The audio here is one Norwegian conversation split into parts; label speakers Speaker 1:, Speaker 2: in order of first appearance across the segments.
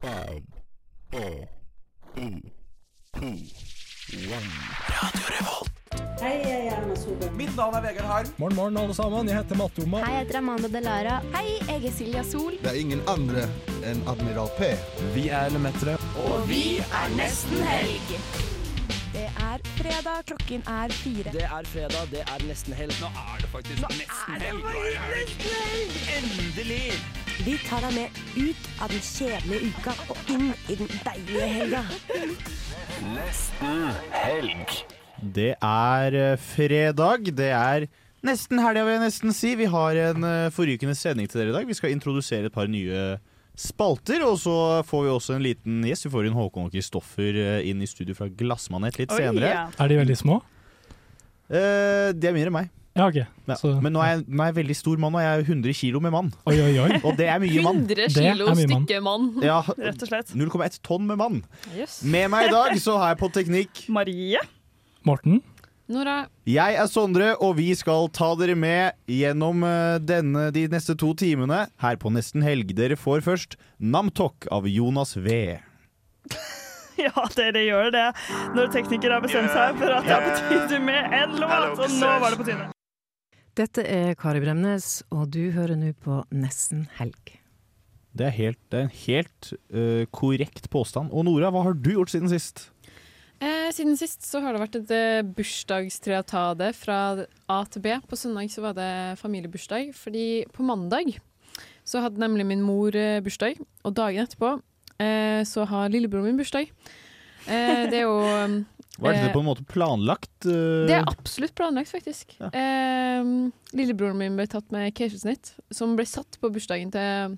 Speaker 1: Five, four, three, two, one.
Speaker 2: Hei, jeg er Erna Solberg.
Speaker 3: Mitt navn er Vegard Harm.
Speaker 4: Morgen, morgen, alle sammen. Jeg heter Matte Oma.
Speaker 5: Hei, jeg heter Amanda Delara. Hei, jeg er Silja Sol.
Speaker 6: Det er ingen andre enn Admiral P.
Speaker 4: Vi er Lemetere.
Speaker 5: Det er fredag, klokken er fire.
Speaker 3: Det er fredag, det er nesten helg. Nå er det faktisk nesten helg. Endelig!
Speaker 7: Vi tar deg med ut av den kjedelige uka og inn i den deilige helga.
Speaker 8: Det er eh, fredag. Det er nesten helga, vil jeg nesten si. Vi har en eh, forrykende sending til dere i dag. Vi skal introdusere et par nye spalter. Og så får vi også en liten gjest. Vi får inn Håkon og Kristoffer eh, inn i studio fra Glassmanet litt senere.
Speaker 9: Er de veldig små?
Speaker 8: Eh, de er mindre enn meg.
Speaker 9: Ja, ok.
Speaker 8: Ja.
Speaker 9: Så,
Speaker 8: Men nå er, jeg, nå er jeg veldig stor mann, og jeg er 100 kilo med mann.
Speaker 9: Oi, oi, oi.
Speaker 8: Og det er mye mann.
Speaker 10: 100
Speaker 9: Det er
Speaker 10: kilo
Speaker 9: mye mann.
Speaker 10: stykke mann,
Speaker 8: Ja,
Speaker 10: rett og slett.
Speaker 8: 0,1 tonn med mann.
Speaker 10: Yes.
Speaker 8: Med meg i dag så har jeg på teknikk
Speaker 10: Marie.
Speaker 9: Morten?
Speaker 10: Nora.
Speaker 8: Jeg er Sondre, og vi skal ta dere med gjennom eh, denne, de neste to timene her på Nesten Helg. Dere får først Namtok av Jonas V.
Speaker 11: Ja, dere gjør det når tekniker har bestemt seg for at det er på tide med en låt. Og nå var det på tide.
Speaker 7: Dette er Kari Bremnes, og du hører nå på Nesten helg.
Speaker 8: Det er, helt, det er en helt eh, korrekt påstand. Og Nora, hva har du gjort siden sist?
Speaker 10: Eh, siden sist så har det vært et eh, bursdagstriatade fra A til B. På søndag så var det familiebursdag, fordi på mandag så hadde nemlig min mor eh, bursdag, og dagen etterpå eh, så har lillebroren min bursdag. Eh, det er jo eh,
Speaker 8: Var dette
Speaker 10: Eh,
Speaker 8: på en måte planlagt? eh,
Speaker 10: Det er absolutt planlagt, faktisk.
Speaker 8: Ja.
Speaker 10: Eh, lillebroren min ble tatt med keisersnitt, som ble satt på bursdagen til,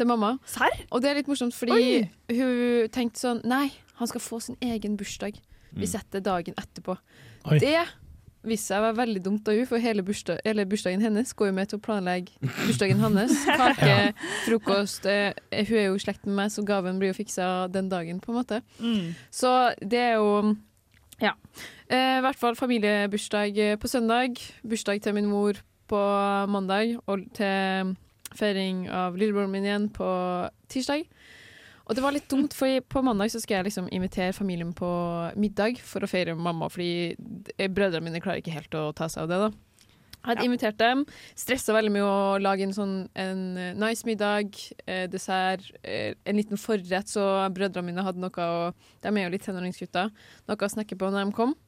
Speaker 10: til mamma.
Speaker 11: Serr?
Speaker 10: Og det er litt morsomt, fordi hun tenkte sånn Nei, han skal få sin egen bursdag. Vi
Speaker 8: Mm.
Speaker 10: setter dagen etterpå.
Speaker 9: Oi.
Speaker 10: Det viste seg å være veldig dumt av hun, for hele bursdag, eller bursdagen hennes går jo med til å planlegge bursdagen hans. Kake, frokost eh, Hun er jo i slekt med meg, så gaven blir jo fiksa den dagen, på en måte.
Speaker 11: Mm.
Speaker 10: Så det er jo Ja. Eh, I hvert fall familiebursdag eh, på søndag. Bursdag til min mor på mandag, og til feiring av lillebroren min igjen på tirsdag. Og det var litt dumt, for på mandag så skal jeg liksom invitere familien på middag for å feire mamma, fordi d- brødrene mine klarer ikke helt å ta seg av det, da. Jeg hadde invitert dem, stressa veldig med å lage en sånn en eh, nice middag, eh, dessert, eh, en liten forrett, så brødrene mine hadde noe å De er jo litt tenåringsgutter. Noe å snakke på når de kom.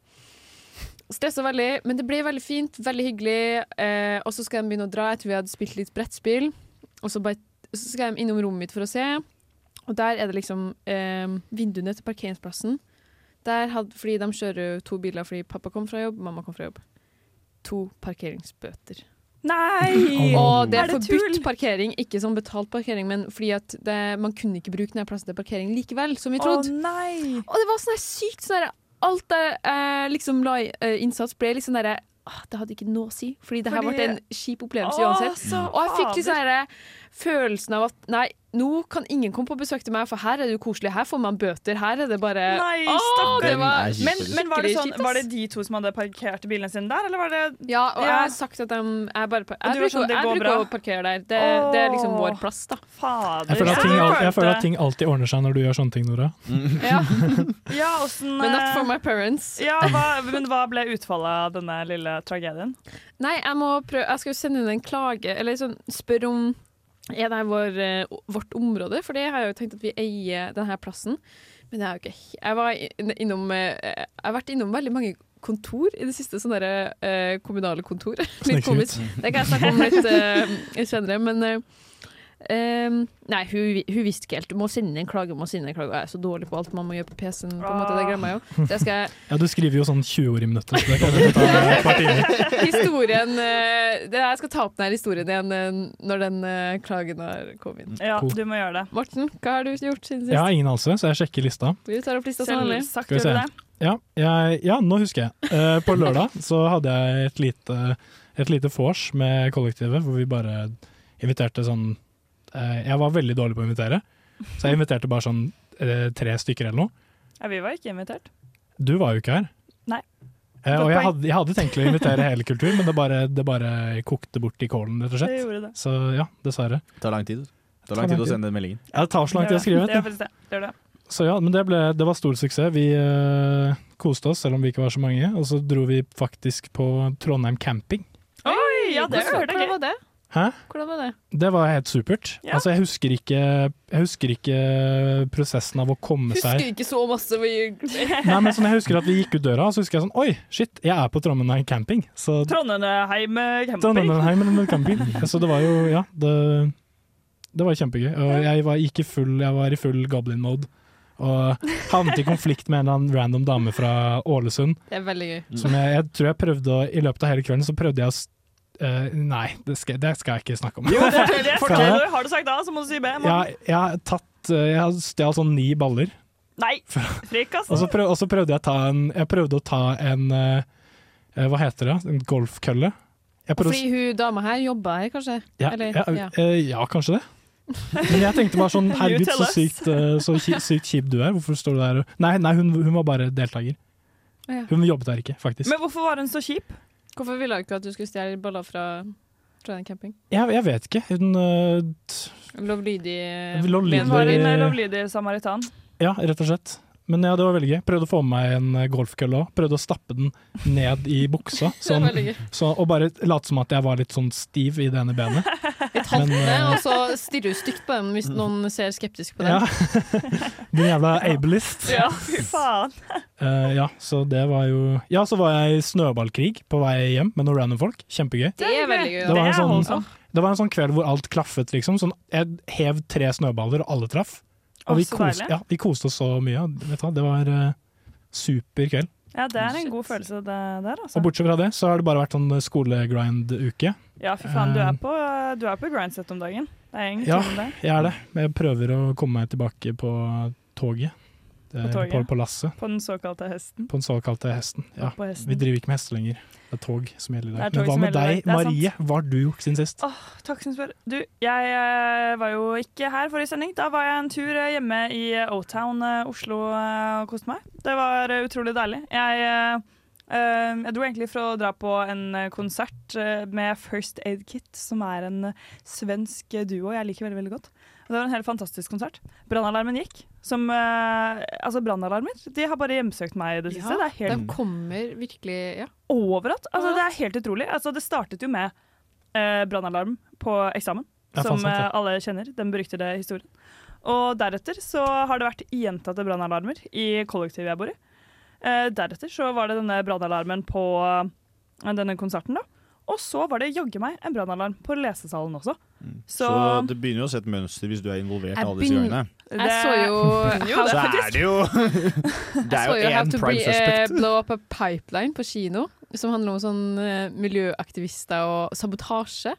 Speaker 10: Stressa veldig, men det ble veldig fint, veldig hyggelig. Eh, og så skal de begynne å dra. Jeg tror vi hadde spilt litt brettspill. Og så, bare, så skal de innom rommet mitt for å se. Og der er det liksom eh, vinduene til parkeringsplassen. Der hadde, fordi de kjører jo to biler fordi pappa kom fra jobb, mamma kom fra jobb. To parkeringsbøter.
Speaker 11: Nei!
Speaker 10: Og det
Speaker 11: Er
Speaker 10: er
Speaker 11: det
Speaker 10: forbudt
Speaker 11: tull?
Speaker 10: parkering, ikke som betalt parkering, men fordi at det, man kunne ikke bruke denne plassen til parkering likevel, som vi
Speaker 11: Å
Speaker 10: trodde.
Speaker 11: nei!
Speaker 10: Og det var sånn her sykt sånn her Alt jeg eh, liksom la i eh, innsats, ble liksom derre ah, Det hadde ikke noe å si, fordi det her
Speaker 11: Fordi-
Speaker 10: ble en kjip opplevelse
Speaker 11: Å,
Speaker 10: uansett.
Speaker 11: så
Speaker 10: Og jeg fikk litt
Speaker 11: fader.
Speaker 10: sånn her følelsen av at nei, nå kan ingen komme på besøk til meg, for her er det jo koselig. Her får man bøter. Her er det bare
Speaker 11: Nei,
Speaker 10: Å,
Speaker 11: stakkar.
Speaker 10: det
Speaker 8: Den
Speaker 10: var-
Speaker 8: er kjip,
Speaker 11: men, men var, det
Speaker 10: skikkelig
Speaker 11: sånn,
Speaker 10: kjipt, ass.
Speaker 11: var det de to som hadde parkert bilene sine der, eller var det
Speaker 10: Ja, og jeg
Speaker 11: Ja.
Speaker 10: har sagt at de Jeg, bare, par-
Speaker 11: Og du var
Speaker 10: jeg bruker,
Speaker 11: sånn, det
Speaker 10: jeg
Speaker 11: går
Speaker 10: bruker
Speaker 11: bra.
Speaker 10: å parkere der. Det, det er liksom
Speaker 11: Åh.
Speaker 10: vår plass, da.
Speaker 11: Fader.
Speaker 9: Jeg føler, at
Speaker 11: Ja,
Speaker 9: ting, al-
Speaker 11: følte-
Speaker 9: jeg føler at ting alltid ordner seg når du gjør sånne ting, Nora.
Speaker 10: Ja.
Speaker 11: Ja, åssen
Speaker 10: Men not for
Speaker 11: eh,
Speaker 10: my parents.
Speaker 11: ja, hva, Men hva ble utfallet av denne lille tragedien?
Speaker 10: Nei, jeg må prøve Jeg skal jo sende inn en klage, eller sånn, spørre om er det her vår, eh, vårt område? For det har jeg jo tenkt at vi eier denne plassen. Men det er jo ikke Jeg, var inn- innom, eh, jeg har vært innom veldig mange kontor i det siste. Sånne der, eh, kommunale kontor. Litt
Speaker 9: Snekker ut.
Speaker 10: komisk. Det kan jeg snakke om litt eh, senere. Men eh, eh, nei, hun, vi- hun visste ikke helt. Du må sende en klage, du må sende en klage. Og Jeg er så dårlig på alt man må gjøre på PC-en. På en måte, det glemmer jeg jo. Det skal jeg
Speaker 9: Ja, du skriver jo sånn 20 ord i minuttet, så det kan jo ta et par timer.
Speaker 10: Historien eh, det, Jeg skal ta opp denne historien igjen eh, når den eh, klagen har kommet inn.
Speaker 11: Ja,
Speaker 9: Cool.
Speaker 11: du må gjøre det.
Speaker 10: Morten, hva har du gjort siden sist?
Speaker 9: Jeg har ingen anelse, så jeg sjekker lista.
Speaker 10: Vi tar opp lista som vanlig.
Speaker 11: Selvsagt
Speaker 9: Skal vi
Speaker 11: gjør du
Speaker 9: se.
Speaker 11: det.
Speaker 9: Ja, jeg, ja nå husker jeg. Eh, på lørdag så hadde jeg et lite, et lite vors med kollektivet, hvor vi bare inviterte sånn eh, Jeg var veldig dårlig på å invitere, så jeg inviterte bare sånn eh, tre stykker eller noe.
Speaker 11: Ja, vi var ikke invitert.
Speaker 9: Du var jo ikke her.
Speaker 11: Nei.
Speaker 9: Eh, og
Speaker 11: Godt
Speaker 9: jeg
Speaker 11: poeng.
Speaker 9: hadde, jeg hadde tenkt å invitere hele kultur, men det bare, det bare kokte bort i kålen, rett og
Speaker 11: Det
Speaker 9: slett.
Speaker 11: gjorde det.
Speaker 9: Så ja, dessverre.
Speaker 8: Det tar lang tid. Det tar lang tid å sende den meldingen.
Speaker 9: Ja, det tar så lang tid å skrive.
Speaker 11: Det er faktisk det. Det er det.
Speaker 9: Så ja, men det, ble, det var stor suksess. Vi eh, koste oss, selv om vi ikke var så mange. Og så dro vi faktisk på Trondheim camping.
Speaker 11: Oi, ja, det
Speaker 10: Hvordan-
Speaker 11: hørte
Speaker 10: hvordan
Speaker 11: jeg.
Speaker 10: var det?
Speaker 9: Hæ?
Speaker 10: Hvordan var det?
Speaker 9: Det var helt supert.
Speaker 11: Ja.
Speaker 9: Altså, jeg husker, ikke, jeg husker ikke prosessen av å komme
Speaker 10: Husker
Speaker 9: seg
Speaker 10: ikke så masse. vi-
Speaker 9: Nei, men sånn, Jeg husker at vi gikk ut døra, og så husker jeg sånn Oi, shit, jeg er på Trondheim camping. Så
Speaker 11: Trondheim eh, camping.
Speaker 9: Trondheim camping. Så det var jo Ja, det, det var kjempegøy. Og jeg var ikke full, jeg var i full goblin-mode. Og havnet i konflikt med en eller annen random dame fra Ålesund.
Speaker 10: Det er veldig gøy.
Speaker 9: Som jeg, jeg tror jeg prøvde å, I løpet av hele kvelden så prøvde jeg å s- eh, Nei, det skal, det skal jeg ikke snakke om.
Speaker 11: Jo, det tør jeg.
Speaker 9: Fortell.
Speaker 11: Fortell. Har du sagt A, så må du si B. mann.
Speaker 9: Jeg, jeg har tatt eh, Jeg har stjålet sånn ni baller,
Speaker 11: Nei, frekk,
Speaker 9: og så,
Speaker 11: altså.
Speaker 9: prøv, og så prøvde jeg å ta en Jeg prøvde å ta en eh, eh, Hva heter det? En golfkølle? Jeg prøvde,
Speaker 10: Fordi hun dama her jobba her, kanskje?
Speaker 9: ja,
Speaker 10: Eller,
Speaker 9: ja,
Speaker 10: ja.
Speaker 9: eh, ja, kanskje det. Men jeg tenkte bare sånn
Speaker 11: You
Speaker 9: Herregud,
Speaker 11: tell
Speaker 9: så
Speaker 11: us.
Speaker 9: sykt, eh, så ki- sykt kjip du er. Hvorfor står du der og Nei, nei hun, hun var bare deltaker.
Speaker 10: Ja.
Speaker 9: Hun jobbet der ikke, faktisk.
Speaker 11: Men hvorfor var hun så kjip?
Speaker 10: Hvorfor ville hun ikke at du skulle stjele baller fra Trondheim camping?
Speaker 9: Jeg, jeg vet ikke. Hun eh, t-
Speaker 10: Lovlydig eh,
Speaker 9: Lovlydig. sånn.
Speaker 11: Hun var
Speaker 10: medborger.
Speaker 11: en eh, lovlydig samaritan.
Speaker 9: Ja, rett og slett. Men ja, det var veldig gøy. Prøvde å få med meg en eh, golfkølle òg. Prøvde å stappe den ned i buksa,
Speaker 10: Det er
Speaker 9: sånn,
Speaker 10: veldig gøy.
Speaker 9: så, og bare late som at jeg var litt sånn stiv i det ene benet.
Speaker 10: Jeg tar
Speaker 9: Men,
Speaker 10: den ned,
Speaker 9: eh, Mm.
Speaker 10: og så stirrer hun stygt på dem hvis noen ser skeptisk på
Speaker 9: Ja.
Speaker 10: dem.
Speaker 9: Din jævla ableist.
Speaker 11: Ja, fy faen.
Speaker 9: Eh, ja, så det var jo Ja, så var jeg i snøballkrig på vei hjem med noen random folk. Kjempegøy.
Speaker 10: Det er veldig gøy.
Speaker 9: Det var en
Speaker 11: er
Speaker 9: sånn-
Speaker 11: voldsomt.
Speaker 9: Det var en sånn kveld hvor alt klaffet, liksom. Sånn, jeg hev tre snøballer, og alle traff.
Speaker 11: Å,
Speaker 9: Og vi
Speaker 11: så
Speaker 9: koste,
Speaker 11: deilig.
Speaker 9: ja, vi koste oss så mye. Vet du, hva, det var eh, super kveld.
Speaker 11: Ja, det er en god følelse det der, altså.
Speaker 9: Og bortsett fra det, så har det bare vært sånn skolegrind-uke.
Speaker 11: Ja, fy faen, du er på, du er på grindset om dagen. Det er egentlig
Speaker 9: Eh. Ja.
Speaker 11: om det.
Speaker 9: Jeg er det, men jeg prøver å komme meg tilbake på toget. På,
Speaker 11: toget?
Speaker 9: på, på lasset.
Speaker 11: På den såkalte hesten.
Speaker 9: På den såkalte hesten. Ja.
Speaker 11: På hesten.
Speaker 9: Vi driver ikke med hester lenger. Det er tog som gjelder i
Speaker 11: Det er
Speaker 9: dag.
Speaker 11: tog
Speaker 9: Men hva
Speaker 11: som
Speaker 9: med
Speaker 11: gjelder i dag. Det
Speaker 9: deg,
Speaker 11: er sant.
Speaker 9: Marie? Hva har du gjort siden sist?
Speaker 11: Takk som spør. Du, jeg eh, var jo ikke her forrige sending. Da var jeg en tur eh, hjemme i eh, O-Town, eh, Oslo, eh, og koste meg. Det var eh, utrolig deilig. Jeg, eh, eh, jeg dro egentlig for å dra på en eh, konsert eh, med First Aid Kit, som er en eh, svensk duo jeg liker veldig, veldig godt. Og Det var en helt fantastisk konsert. Brannalarmen gikk. Som, eh, altså brannalarmer de har bare hjemsøkt meg i det siste.
Speaker 10: Ja,
Speaker 11: det er helt
Speaker 10: De kommer virkelig Ja.
Speaker 11: overalt. Altså,
Speaker 10: Overalt.
Speaker 11: det er helt utrolig. Altså, det startet jo med eh, brannalarm på eksamen,
Speaker 9: Ja, faen
Speaker 11: som
Speaker 9: sant, ja.
Speaker 11: eh, alle kjenner. Den beryktede historien. Og deretter så har det vært gjentatte brannalarmer i kollektivet jeg bor i. Eh, deretter så var det denne brannalarmen på eh, denne konserten, da. Og så var det jaggu meg en brannalarm på lesesalen også.
Speaker 8: Så
Speaker 11: Så,
Speaker 8: det begynner jo å se et mønster hvis du er involvert
Speaker 10: Jeg
Speaker 8: alle disse
Speaker 10: begynner-
Speaker 8: gangene.
Speaker 10: Jeg så jo
Speaker 11: Jo,
Speaker 8: Så
Speaker 11: det er
Speaker 8: er
Speaker 11: faktisk
Speaker 8: det jo Det
Speaker 10: Jeg
Speaker 8: er
Speaker 10: så
Speaker 8: jo
Speaker 10: jo How
Speaker 8: én
Speaker 10: to
Speaker 8: prime
Speaker 10: Be- eh,
Speaker 8: suspect.
Speaker 10: Blow Up a Pipeline på kino, som handler om sånn eh, miljøaktivister og sabotasje.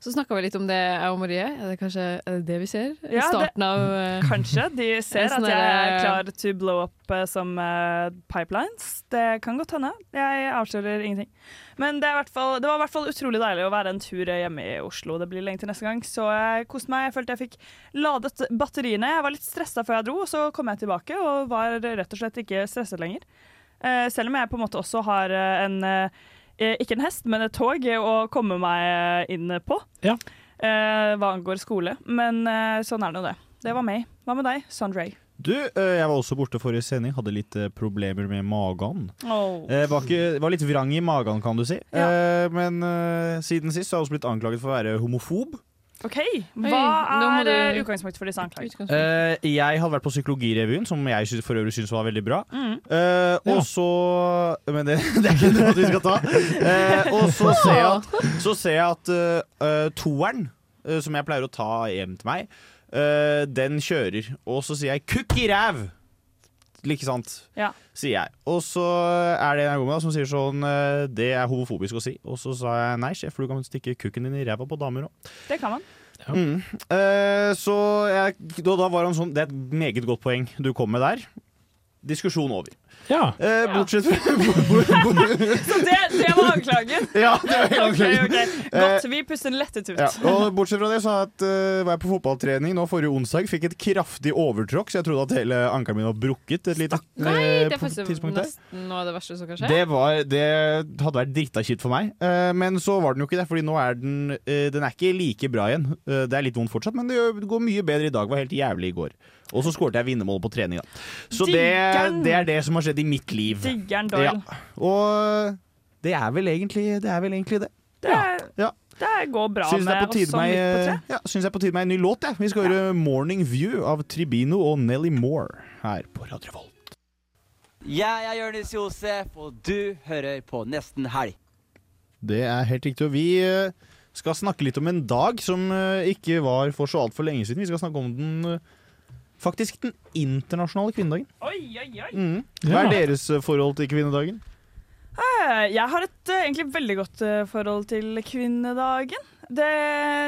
Speaker 10: Så snakka vi litt om det, jeg og Marie. Er det kanskje er det, det vi ser? I
Speaker 11: Ja, det-
Speaker 10: Starten av eh,
Speaker 11: Kanskje de ser at
Speaker 10: sånn
Speaker 11: jeg er
Speaker 10: der-
Speaker 11: klar to blow up eh, som eh, pipelines. Det kan godt hende. Jeg avslører ingenting. Men det, er i hvert fall, det var i hvert fall utrolig deilig å være en tur hjemme i Oslo. Det blir lenge til neste gang. Så jeg koste meg. Jeg følte jeg fikk ladet batteriene. Jeg var litt stressa før jeg dro, og så kom jeg tilbake og var rett og slett ikke stresset lenger. Eh, selv om jeg på en måte også har eh, en eh, eh, ikke en hest, men et tog eh, å komme meg eh, inn på.
Speaker 9: Ja.
Speaker 11: Eh, hva angår skole. Men eh, sånn er nå det. Det var meg. Hva med deg, Sondre?
Speaker 8: Du, eh, jeg var også borte forrige sending, hadde litt eh, problemer med magen.
Speaker 11: Oh.
Speaker 8: Eh, var, ikke, var litt vrang i magen, kan du si. Eh, men eh, siden sist så har jeg også blitt anklaget for å være homofob.
Speaker 11: OK,
Speaker 10: nå
Speaker 11: hva
Speaker 10: må
Speaker 11: er eh,
Speaker 10: du-
Speaker 11: utgangspunktet for disse anklagene?
Speaker 10: utgangspunkt.
Speaker 8: Eh, jeg hadde vært på Psykologirevyen, som jeg sy- for øvrig syns var veldig bra.
Speaker 11: Mm.
Speaker 8: Eh,
Speaker 9: Ja.
Speaker 8: Og så Men det, det er ikke noe vi skal ta. Eh, og så ser jeg at, så ser jeg at eh, eh, toeren, eh, som jeg pleier å ta hjem til meg, eh, den kjører. Og så sier jeg 'kukk i ræv'! Ikke sant?
Speaker 11: Ja.
Speaker 8: Sier jeg. Og så er det en jeg går med, da, som sier sånn eh, Det er homofobisk å si. Og så sa jeg nei, sjef, for du kan stikke kukken din i ræva på damer òg.
Speaker 11: Det kan man.
Speaker 9: Ja.
Speaker 8: Mm. Eh, så jeg, da, da var han sånn Det er et meget godt poeng du kom med der. Diskusjon over.
Speaker 9: Ja.
Speaker 8: Eh, bortsett fra
Speaker 11: Så det, det var anklagen?
Speaker 8: Ja, det var
Speaker 11: Ok,
Speaker 8: anklagen. Eh,
Speaker 11: ok. Godt, vi puster lettet ut.
Speaker 8: Ja, og Bortsett fra det så har jeg et, eh, var jeg på fotballtrening nå forrige onsdag. Fikk et kraftig overtråkk, så jeg trodde at hele ankelen min var brukket. Et lite,
Speaker 10: Nei,
Speaker 8: eh,
Speaker 10: det er
Speaker 8: på-
Speaker 10: faktisk
Speaker 8: tidspunkt der.
Speaker 10: nesten noe av det verste som kan skje.
Speaker 8: Det, var, det hadde vært drita kjipt for meg, eh, men så var den jo ikke det. Fordi nå er den eh, Den er ikke like bra igjen. Eh, Det er litt vondt fortsatt, men det gjør- det går mye bedre i dag. Var helt jævlig i går. Og så skåret jeg vinnermålet på trening, da. Så det,
Speaker 11: Digger'n!
Speaker 8: det er det som har skjedd i mitt liv.
Speaker 11: Diggeren Doyle.
Speaker 8: Ja. Og eh, det er vel egentlig det. Er vel egentlig det.
Speaker 11: Det, er-
Speaker 8: Ja.
Speaker 11: det går bra
Speaker 8: Syns det
Speaker 11: med
Speaker 8: er på
Speaker 11: oss
Speaker 8: tide
Speaker 11: som
Speaker 8: med,
Speaker 11: midt på tre.
Speaker 8: ja, syns det er på tide med en ny låt. jeg. Vi skal høre 'Morning View' av Tribino og Nelly Moore her på Radio Revolt.
Speaker 3: Jeg er Jonis Josef, og du hører på Nesten Helg.
Speaker 8: Det er helt riktig. Og vi eh, skal snakke litt om en dag som eh, ikke var for så altfor lenge siden. Vi skal snakke om den eh, faktisk den internasjonale kvinnedagen.
Speaker 11: Oi, oi, oi.
Speaker 8: Mm. Hva er deres eh, forhold til kvinnedagen?
Speaker 11: Eh, Jeg har et eh, egentlig veldig godt eh, forhold til kvinnedagen.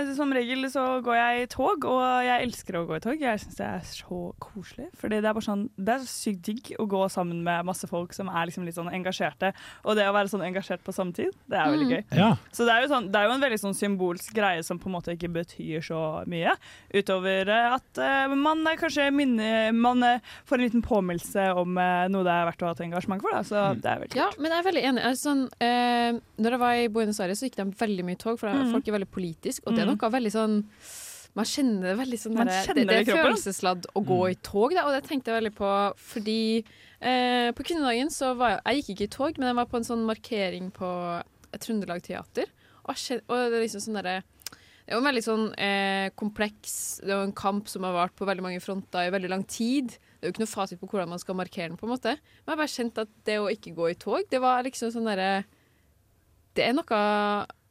Speaker 11: Det, som regel så går jeg i tog, og jeg elsker å gå i tog. Jeg syns det er så koselig. Fordi det er bare sånn, det er så sykt digg å gå sammen med masse folk som er liksom litt sånn engasjerte. Og det å være sånn engasjert på samme tid, det er veldig gøy.
Speaker 9: Ja.
Speaker 11: Så det er, jo sånn, det er jo en veldig sånn symbolsk greie som på en måte ikke betyr så mye. Utover eh, at eh, man eh, kanskje minner Man eh, får en liten påminnelse om eh, noe det er verdt å ha et engasjement for. Da. Så det er veldig
Speaker 10: Ja, men jeg er veldig enig. Jeg er sånn, eh, når jeg var i Buenos Aires, så gikk de veldig mye tog, for der- folk er veldig politiske. Og det er
Speaker 11: Mm.
Speaker 10: noe veldig sånn Man kjenner det veldig sånn
Speaker 11: Man
Speaker 10: derre-
Speaker 11: kjenner
Speaker 10: Det, det
Speaker 11: det i
Speaker 10: er
Speaker 11: kroppen. Mm.
Speaker 10: følelsesladd å gå i tog, da, og det tenkte jeg veldig på fordi eh, På kvinnedagen så var jeg Jeg gikk ikke i tog, men jeg var på en sånn markering på et Trøndelag Teater. Og, jeg kjen- og det er liksom sånn derre det er jo en veldig sånn eh, kompleks Det er jo en kamp som har vart på veldig mange fronter i veldig lang tid. Det er jo ikke noe fasit på hvordan man skal markere den, på en måte. Men jeg har bare kjent at det å ikke gå i tog, det var liksom sånn derre det er, noe,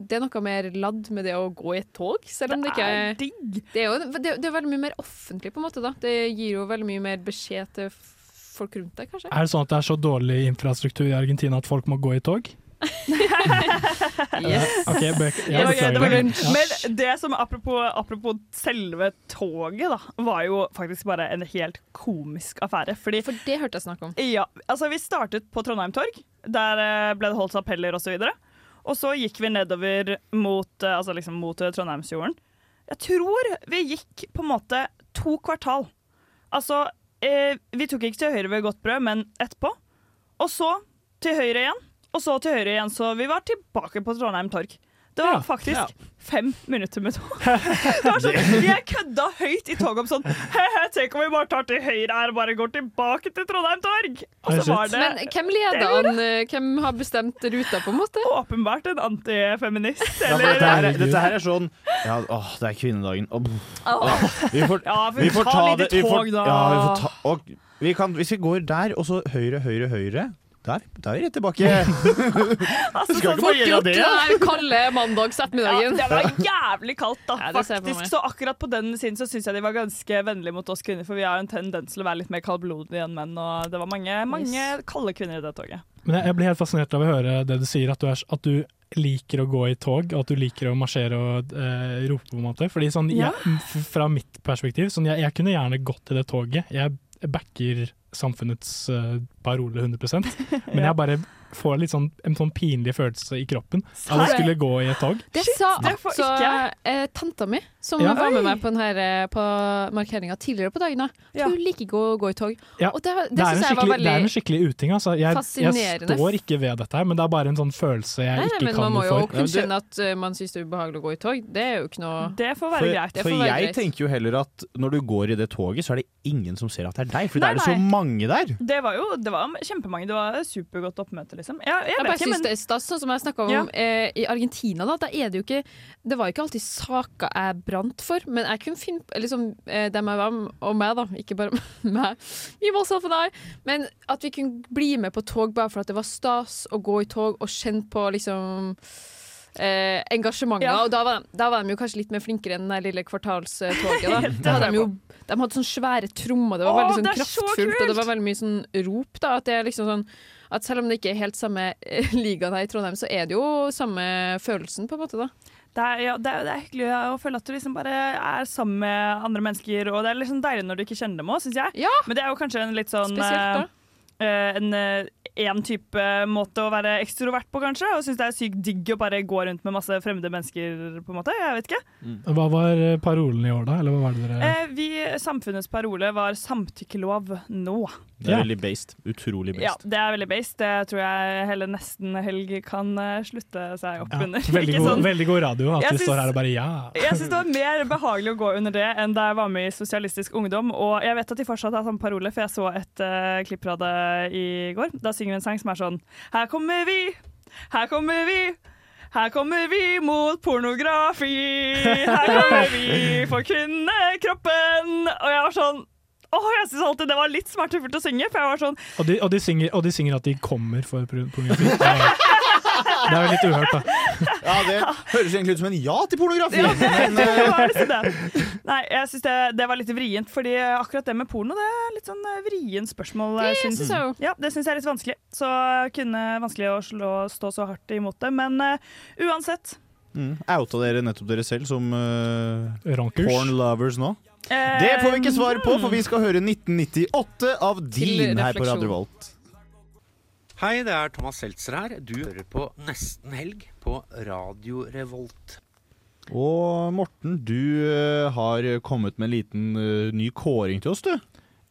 Speaker 10: det er noe mer ladd med det å gå i et tog, selv om det, ikke
Speaker 11: er
Speaker 10: er
Speaker 11: digg.
Speaker 10: det er jo det, det er veldig mye mer offentlig, på en måte. da. Det gir jo veldig mye mer beskjed til f- folk rundt deg, kanskje.
Speaker 9: Er det sånn at det er så dårlig infrastruktur i Argentina at folk må gå i tog? Eh,
Speaker 10: Yes.
Speaker 9: Ok, bek
Speaker 11: Det
Speaker 9: jeg
Speaker 11: var gøy, det var
Speaker 9: beklager
Speaker 11: gøy.
Speaker 9: det. Ja.
Speaker 11: Men det som apropos, apropos selve toget, da, var jo faktisk bare en helt komisk affære. Fordi
Speaker 10: For det hørte jeg snakk om.
Speaker 11: ja, altså vi startet på Trondheim Torg. Der eh, ble det holdt appeller osv. Og så gikk vi nedover mot, eh, altså liksom mot eh, Trondheimsfjorden. Jeg tror vi gikk på en måte to kvartal. Altså, eh, vi tok ikke til høyre ved godt brød, men etterpå. Og så til høyre igjen, og så til høyre igjen. Så vi var tilbake på Trondheim Torg. Det var
Speaker 9: Ja,
Speaker 11: faktisk fem minutter med tog. Det var sånn, jeg kødda høyt i toget om sånn He-he, tenk om vi bare tar til høyre her og bare går tilbake til Trondheim Torg! Og
Speaker 9: Oi,
Speaker 11: så
Speaker 9: shit.
Speaker 11: var det
Speaker 10: Men hvem leder an? eh, Hvem har bestemt ruta, på en måte?
Speaker 11: åpenbart en antifeminist.
Speaker 8: Ja, for
Speaker 11: Eller
Speaker 8: dette, her, er- dette her er sånn ja, Åh, det er kvinnedagen. Åh, vi får,
Speaker 11: Ja, for
Speaker 8: vi får ta det
Speaker 11: litt
Speaker 8: vi får,
Speaker 11: tog, da.
Speaker 8: Ja, vi får ta, og, vi kan, hvis vi går der, og så høyre, høyre, høyre Der, der er vi rett tilbake.
Speaker 11: altså,
Speaker 8: skal
Speaker 11: sånn-
Speaker 8: ikke få gjeld av det,
Speaker 10: Den
Speaker 8: ja.
Speaker 10: her kalde mandags
Speaker 11: ja,
Speaker 10: ettermiddagen.
Speaker 11: det var jævlig kaldt, da.
Speaker 10: Ja, det ser jeg på
Speaker 11: faktisk.
Speaker 10: meg.
Speaker 11: Så akkurat på den siden så syns jeg de var ganske vennlige mot oss kvinner, for vi har jo en tendens til å være litt mer kaldblodige enn menn, og det var mange, mange
Speaker 10: Yes.
Speaker 11: kalde kvinner i det toget.
Speaker 9: Men jeg, jeg blir helt fascinert av å høre det du sier, at du, er, s- at du liker å gå i tog, og at du liker å marsjere og eh, rope på en måte. Fordi sånn,
Speaker 11: Ja.
Speaker 9: jeg, f- Fra mitt perspektiv, sånn, jeg, jeg kunne gjerne gått i det toget. Jeg backer samfunnets eh, parole 100 men jeg bare får litt sånn, en sånn pinlig følelse i kroppen av å
Speaker 11: Serr?
Speaker 9: skulle gå i et tog.
Speaker 10: Det sa
Speaker 11: det får
Speaker 10: altså
Speaker 11: ikke
Speaker 10: eh, tanta mi, som
Speaker 9: Ja.
Speaker 10: var med
Speaker 11: Oi.
Speaker 10: meg på, den her, eh, på markeringa tidligere på dagen. da.
Speaker 11: Ja.
Speaker 10: Hun liker ikke å gå i tog.
Speaker 9: Ja.
Speaker 10: Og det, det,
Speaker 9: Det er, en
Speaker 10: syns jeg
Speaker 9: skikkelig,
Speaker 10: var
Speaker 9: det
Speaker 10: veldig
Speaker 9: er en skikkelig uting. Altså. Jeg, jeg
Speaker 10: fascinerende.
Speaker 9: står ikke ved dette, her, men det er bare en sånn følelse jeg
Speaker 10: Nei, nei,
Speaker 9: ikke
Speaker 10: men
Speaker 9: kan
Speaker 10: man må
Speaker 9: noe
Speaker 10: jo
Speaker 9: for.
Speaker 10: kunne
Speaker 8: Ja,
Speaker 10: kjenne at eh, man syns det er ubehagelig å gå i tog. Det er jo ikke noe
Speaker 11: Det får være
Speaker 8: For,
Speaker 11: greit.
Speaker 10: Det får
Speaker 8: for
Speaker 10: være
Speaker 8: jeg
Speaker 10: greit.
Speaker 8: tenker jo heller at når du går i det toget, så er det ingen som ser at det er deg. For da
Speaker 11: Nei,
Speaker 8: er det så
Speaker 11: nei.
Speaker 8: mange der.
Speaker 11: Det var jo det var kjempemange. Det var supergodt oppmøte, liksom. Ja, jeg
Speaker 10: Jeg
Speaker 11: vet
Speaker 10: bare
Speaker 11: ikke,
Speaker 10: synes
Speaker 11: men
Speaker 10: det er stas, sånn som jeg snakka om
Speaker 11: Ja.
Speaker 10: eh, i Argentina. Da, da er det jo ikke Det var jo ikke alltid saker jeg brant for, men jeg kunne finne på liksom, eh, dem jeg var med, og meg, da, ikke bare meg, vi var også for deg, men at vi kunne bli med på tog bare for at det var stas å gå i tog og kjenne på liksom Eh, engasjementer,
Speaker 11: Ja.
Speaker 10: og da var, de, da var de jo kanskje litt mer flinkere enn det her lille kvartalstoget. Da. Da
Speaker 11: tror
Speaker 10: hadde
Speaker 11: jeg
Speaker 10: de, jo, de hadde sånne svære trommer, det var
Speaker 11: Åh,
Speaker 10: veldig sånn
Speaker 11: det er så
Speaker 10: kraftfullt, og det var
Speaker 11: kult!
Speaker 10: veldig mye sånn rop. Da, at det er liksom sånn at selv om det ikke er helt samme eh, ligaen her i Trondheim, så er det jo samme følelsen, på en måte, da.
Speaker 11: det er, ja, det, er, det er hyggelig å føle at du liksom bare er sammen med andre mennesker, og det er liksom deilig når du ikke kjenner dem òg, syns jeg.
Speaker 10: Ja.
Speaker 11: Men det er jo kanskje en litt sånn
Speaker 10: Spesielt
Speaker 11: eh,
Speaker 10: da.
Speaker 11: eh, en én type måte å være ekstrovert på, kanskje. Og syns det er sykt digg å bare gå rundt med masse fremmede mennesker, på en måte. Jeg vet ikke.
Speaker 9: Hva var eh, parolen i år, da? Eller hva var det dere
Speaker 11: Eh, vi, samfunnets parole var 'samtykkelov nå'.
Speaker 8: Det er veldig based. Utrolig
Speaker 11: Ja,
Speaker 8: based.
Speaker 11: det er veldig based. Det tror jeg hele nesten helg kan eh, slutte seg opp
Speaker 9: ja,
Speaker 11: under.
Speaker 9: veldig,
Speaker 11: Ikke
Speaker 9: god,
Speaker 11: sånn-
Speaker 9: veldig god radio at
Speaker 11: Jeg
Speaker 9: vi
Speaker 11: syns-
Speaker 9: står her og bare ja.
Speaker 11: Jeg syns det var mer behagelig å gå under det enn da jeg var med i Sosialistisk Ungdom. Og jeg vet at de fortsatt har samme parole, for jeg så et uh, klipp fra det i går. Da synger vi en sang som er sånn Her kommer vi, her kommer vi. Her kommer vi mot pornografi. Her kommer vi for kvinnekroppen. Og jeg var sånn Åh, jeg syns alltid det var litt smertefullt å synge, for jeg var sånn
Speaker 9: Og de, og, de synger, og de synger at de kommer for pro- pornografi. Det er det er jo litt uhørt, da.
Speaker 8: Ja, det høres egentlig ut som en ja til pornografi!
Speaker 11: Ja,
Speaker 8: men,
Speaker 11: det
Speaker 8: eh,
Speaker 11: var liksom det. Nei, jeg syns det, det var litt vrient, fordi akkurat det med porno det er litt sånn eh, vrient spørsmål.
Speaker 10: Det
Speaker 11: syns-
Speaker 10: synes jeg jo.
Speaker 11: Ja, det syns jeg er litt vanskelig. Så kunne vanskelig å slå, stå så hardt imot det. Men eh, uansett.
Speaker 8: mm, outa dere nettopp dere selv som eh,
Speaker 9: Ronkers.
Speaker 8: porn lovers nå?
Speaker 11: eh,
Speaker 8: Det får vi ikke svar på, for vi skal høre 1998 av din her på
Speaker 10: refleksjon.
Speaker 8: Radio Volt.
Speaker 12: Hei, det er Thomas Seltzer her. Du hører på Nesten Helg på Radio Revolt.
Speaker 8: Og Morten, du eh, har kommet med en liten eh, ny kåring til oss, du.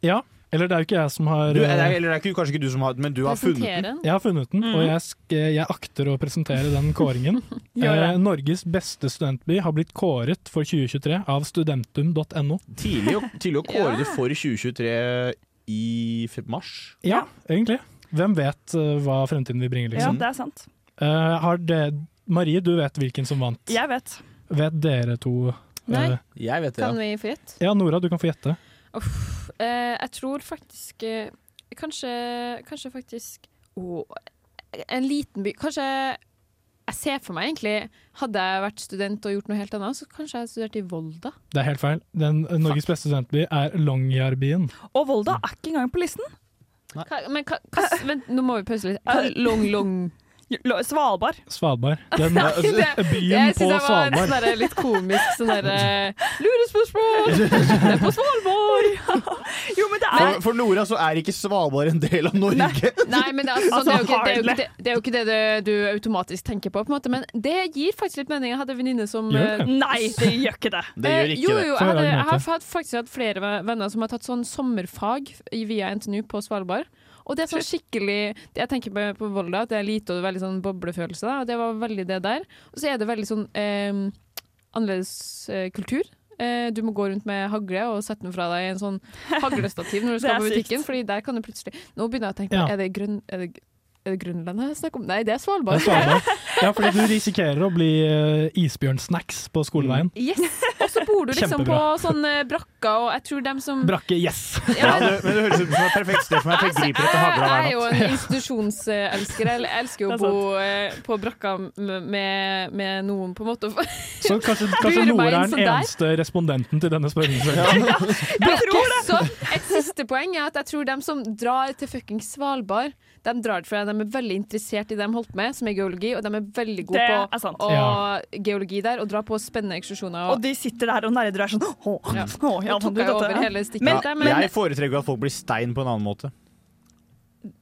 Speaker 9: Ja, eller det er jo ikke jeg som har eh,
Speaker 8: du eller, eller det er ikke, kanskje ikke du som har den, men du har funnet den.
Speaker 9: Jeg har funnet den,
Speaker 11: Mm.
Speaker 9: og jeg, sk jeg akter å presentere den kåringen.
Speaker 11: Gjør det.
Speaker 9: Eh, Norges beste studentby har blitt kåret for 2023 av studentum.no.
Speaker 8: Tidlig, å- tidlig å kåre det for 2023 i fe- mars.
Speaker 9: Ja, egentlig. Hvem vet eh, hva fremtiden vil bringe,
Speaker 11: Ja,
Speaker 9: liksom.
Speaker 11: det er sant.
Speaker 9: Eh, har det Marie, du vet hvilken som vant.
Speaker 11: Jeg vet.
Speaker 9: Vet dere to?
Speaker 10: Nei.
Speaker 9: eh,
Speaker 8: Jeg vet
Speaker 10: Kan vi få gjett?
Speaker 9: ja, Nora, du kan få gjette.
Speaker 10: Uff, eh, jeg tror faktisk eh, Kanskje, kanskje faktisk Åh, En liten by Kanskje jeg ser for meg egentlig Hadde jeg vært student og gjort noe helt annet, så kanskje jeg hadde studert i Volda.
Speaker 9: Det er helt feil. Den eh, Norges beste studentby er Longyearbyen.
Speaker 11: Og Volda er ikke engang på listen.
Speaker 10: Hva, men hva, hva, vent, nå må vi pause litt. Hva, long, long
Speaker 11: Lo- Svalbard.
Speaker 9: Svalbard. Den, altså,
Speaker 10: det-
Speaker 9: byen
Speaker 10: Jeg
Speaker 9: på
Speaker 10: syns jeg var
Speaker 9: Svalbard.
Speaker 10: sånn der litt komisk. Sånn derre Lurespørsmål! Det er på Svalbard!
Speaker 11: Jo, men det er
Speaker 8: For, for Nora så er ikke Svalbard en del av Norge.
Speaker 10: Nei, men det er, altså, sånn, det, er jo ikke, det, er jo
Speaker 11: hardly.
Speaker 10: ikke det, det er jo ikke det du- du automatisk tenker på, på en måte. men det gir faktisk litt mening. Jeg hadde en venninne som
Speaker 9: Gjør
Speaker 10: eh,
Speaker 9: det?
Speaker 11: Nei, det gjør ikke det.
Speaker 8: Det gjør
Speaker 10: jo,
Speaker 8: ikke det.
Speaker 9: Får
Speaker 10: jo, jeg,
Speaker 9: jeg
Speaker 10: hadde,
Speaker 9: lage
Speaker 10: jeg
Speaker 9: note?
Speaker 10: har hatt- faktisk hatt flere ve- venner som har tatt sånn sommerfag i- via NTNU på Svalbard. Og det er sånn skikkelig det Jeg tenker på, på Volda at det er lite og veldig sånn boblefølelse, da, og det var veldig det der. Og så er det veldig sånn eh, annerledes eh, kultur. Eh, du må gå rundt med hagle og sette den fra deg i en sånn haglestativ når du skal
Speaker 11: Det er
Speaker 10: på butikken,
Speaker 11: sykt.
Speaker 10: Fordi der kan du plutselig Nå begynner jeg å tenke
Speaker 9: Ja.
Speaker 10: på, er det, grønn, er det, er det Grønland jeg snakker om? Nei,
Speaker 9: Det
Speaker 10: det er
Speaker 9: er
Speaker 10: Svalbard.
Speaker 9: Svalbard. Ja, fordi du risikerer å bli eh, isbjørnsnacks på skoleveien.
Speaker 10: Yes! Og så bor du liksom på
Speaker 9: Kjempebra.
Speaker 10: sånne brakker, og jeg tror dem som
Speaker 9: Brakke, yes!
Speaker 8: Ja,
Speaker 10: Ja, men-
Speaker 8: det, men det høres ut som et perfekt sted for meg, for jeg griper etter hagla
Speaker 10: Jeg er
Speaker 8: hver
Speaker 10: jo
Speaker 8: natt.
Speaker 10: en institusjonselsker. Jeg elsker jo
Speaker 11: Det
Speaker 10: å
Speaker 11: er
Speaker 10: bo eh, på brakka med, med noen, på en måte.
Speaker 9: Så kanskje, kanskje
Speaker 10: Lurer meg
Speaker 9: Nora
Speaker 10: inn
Speaker 9: er
Speaker 10: som
Speaker 9: den
Speaker 10: deg.
Speaker 9: eneste respondenten til denne spørreundersøkelsen.
Speaker 10: Så sånn et siste poeng er at jeg tror dem som drar til fucking Svalbard, de drar for de er veldig interessert i det de holdt med, som er geologi, og de er veldig
Speaker 11: Det
Speaker 10: gode
Speaker 11: er
Speaker 10: på
Speaker 11: sant.
Speaker 10: å-
Speaker 9: Ja.
Speaker 10: geologi der, og drar på spennende ekskursjoner.
Speaker 11: Og
Speaker 10: Og,
Speaker 11: de sitter der og nerder og er sånn Å,
Speaker 10: Ja.
Speaker 11: å, ja,
Speaker 10: nå
Speaker 11: fant ut
Speaker 10: tok jeg
Speaker 11: dette.
Speaker 10: over hele stikket
Speaker 11: Men-
Speaker 10: der,
Speaker 8: Ja,
Speaker 10: men
Speaker 8: jeg foretrekker jo at folk blir stein på en annen måte.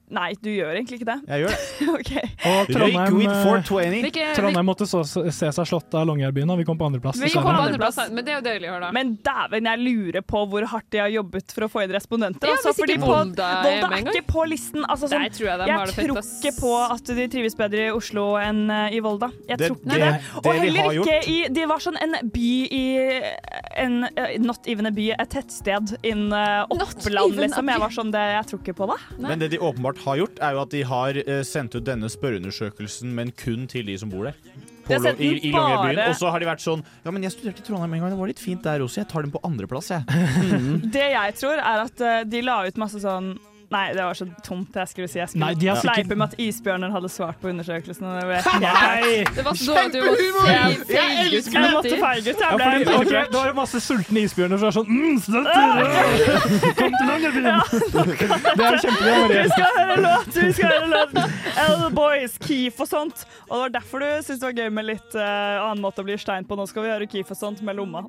Speaker 11: Nei, du gjør egentlig ikke det.
Speaker 8: Jeg gjør det.
Speaker 11: OK.
Speaker 9: Og Trondheim,
Speaker 8: Røykweed
Speaker 9: eh,
Speaker 8: 420.
Speaker 10: hvilke, hvilke,
Speaker 9: Trondheim måtte så, se seg slått av Longyearbyen, og vi kom på andreplass.
Speaker 11: Vi
Speaker 10: kom på
Speaker 9: dessverre.
Speaker 10: andreplass, men det er jo deilig å høre, da.
Speaker 11: Men dæven, jeg lurer på hvor hardt de har jobbet for å få inn respondenter.
Speaker 10: Ja,
Speaker 11: altså,
Speaker 10: hvis ikke
Speaker 11: fordi på,
Speaker 10: Volda
Speaker 11: Volda er
Speaker 10: er med en gang.
Speaker 11: ikke på listen. Altså, sånn,
Speaker 10: Der tror jeg de har
Speaker 11: jeg
Speaker 10: det fett,
Speaker 11: tror
Speaker 10: ass.
Speaker 11: ikke på at de trives bedre i Oslo enn eh, i Volda. Jeg
Speaker 8: Det-
Speaker 11: tror ikke
Speaker 8: det-
Speaker 11: det.
Speaker 8: det
Speaker 11: Og
Speaker 8: de har
Speaker 11: heller
Speaker 8: gjort-
Speaker 11: ikke i De var sånn en by i en, eh, Not even a by, et tettsted innen eh,
Speaker 10: Not
Speaker 11: Oppland,
Speaker 10: even a
Speaker 11: liksom.
Speaker 10: by.
Speaker 11: Jeg var sånn det, Jeg tror ikke på det.
Speaker 8: Men det de åpenbart har gjort, er jo at de har eh, sendt ut denne spørreundersøkelsen, men kun til de som bor der. På,
Speaker 11: De har
Speaker 8: Lo-
Speaker 11: sendt
Speaker 8: I
Speaker 11: den
Speaker 8: i Longyearbyen.
Speaker 11: bare-
Speaker 8: Og så har de vært sånn Ja, men jeg studerte i Trondheim en gang, det var litt fint der også. Jeg tar den på andreplass, jeg.
Speaker 11: Det jeg tror, er at eh, de la ut masse sånn Nei, det var så tomt jeg skulle si. Jeg skulle
Speaker 9: Nei, de har sikkert-
Speaker 11: fleipe med at isbjørner hadde svart på undersøkelsen. Og det ble
Speaker 9: Nei!
Speaker 10: det var så dårlig at du måtte feige- feige ut
Speaker 11: Jeg
Speaker 10: med
Speaker 11: måtte
Speaker 10: det. Ah!
Speaker 11: feige ut.
Speaker 9: Ja,
Speaker 11: Jeg ble sånn-
Speaker 9: fordi, ok,
Speaker 11: provokert.
Speaker 9: det var jo masse sultne isbjørner som er sånn mm, støtter! Kom til Longyearbyen! Det er jo kjempebra, Marie.
Speaker 11: Vi skal høre låt! Vi skal høre låt. L-Boys, Keef og sånt. Og det var derfor du syntes det var gøy med litt eh, annen måte å bli stein på. Nå skal vi høre Keef og sånt med lomma.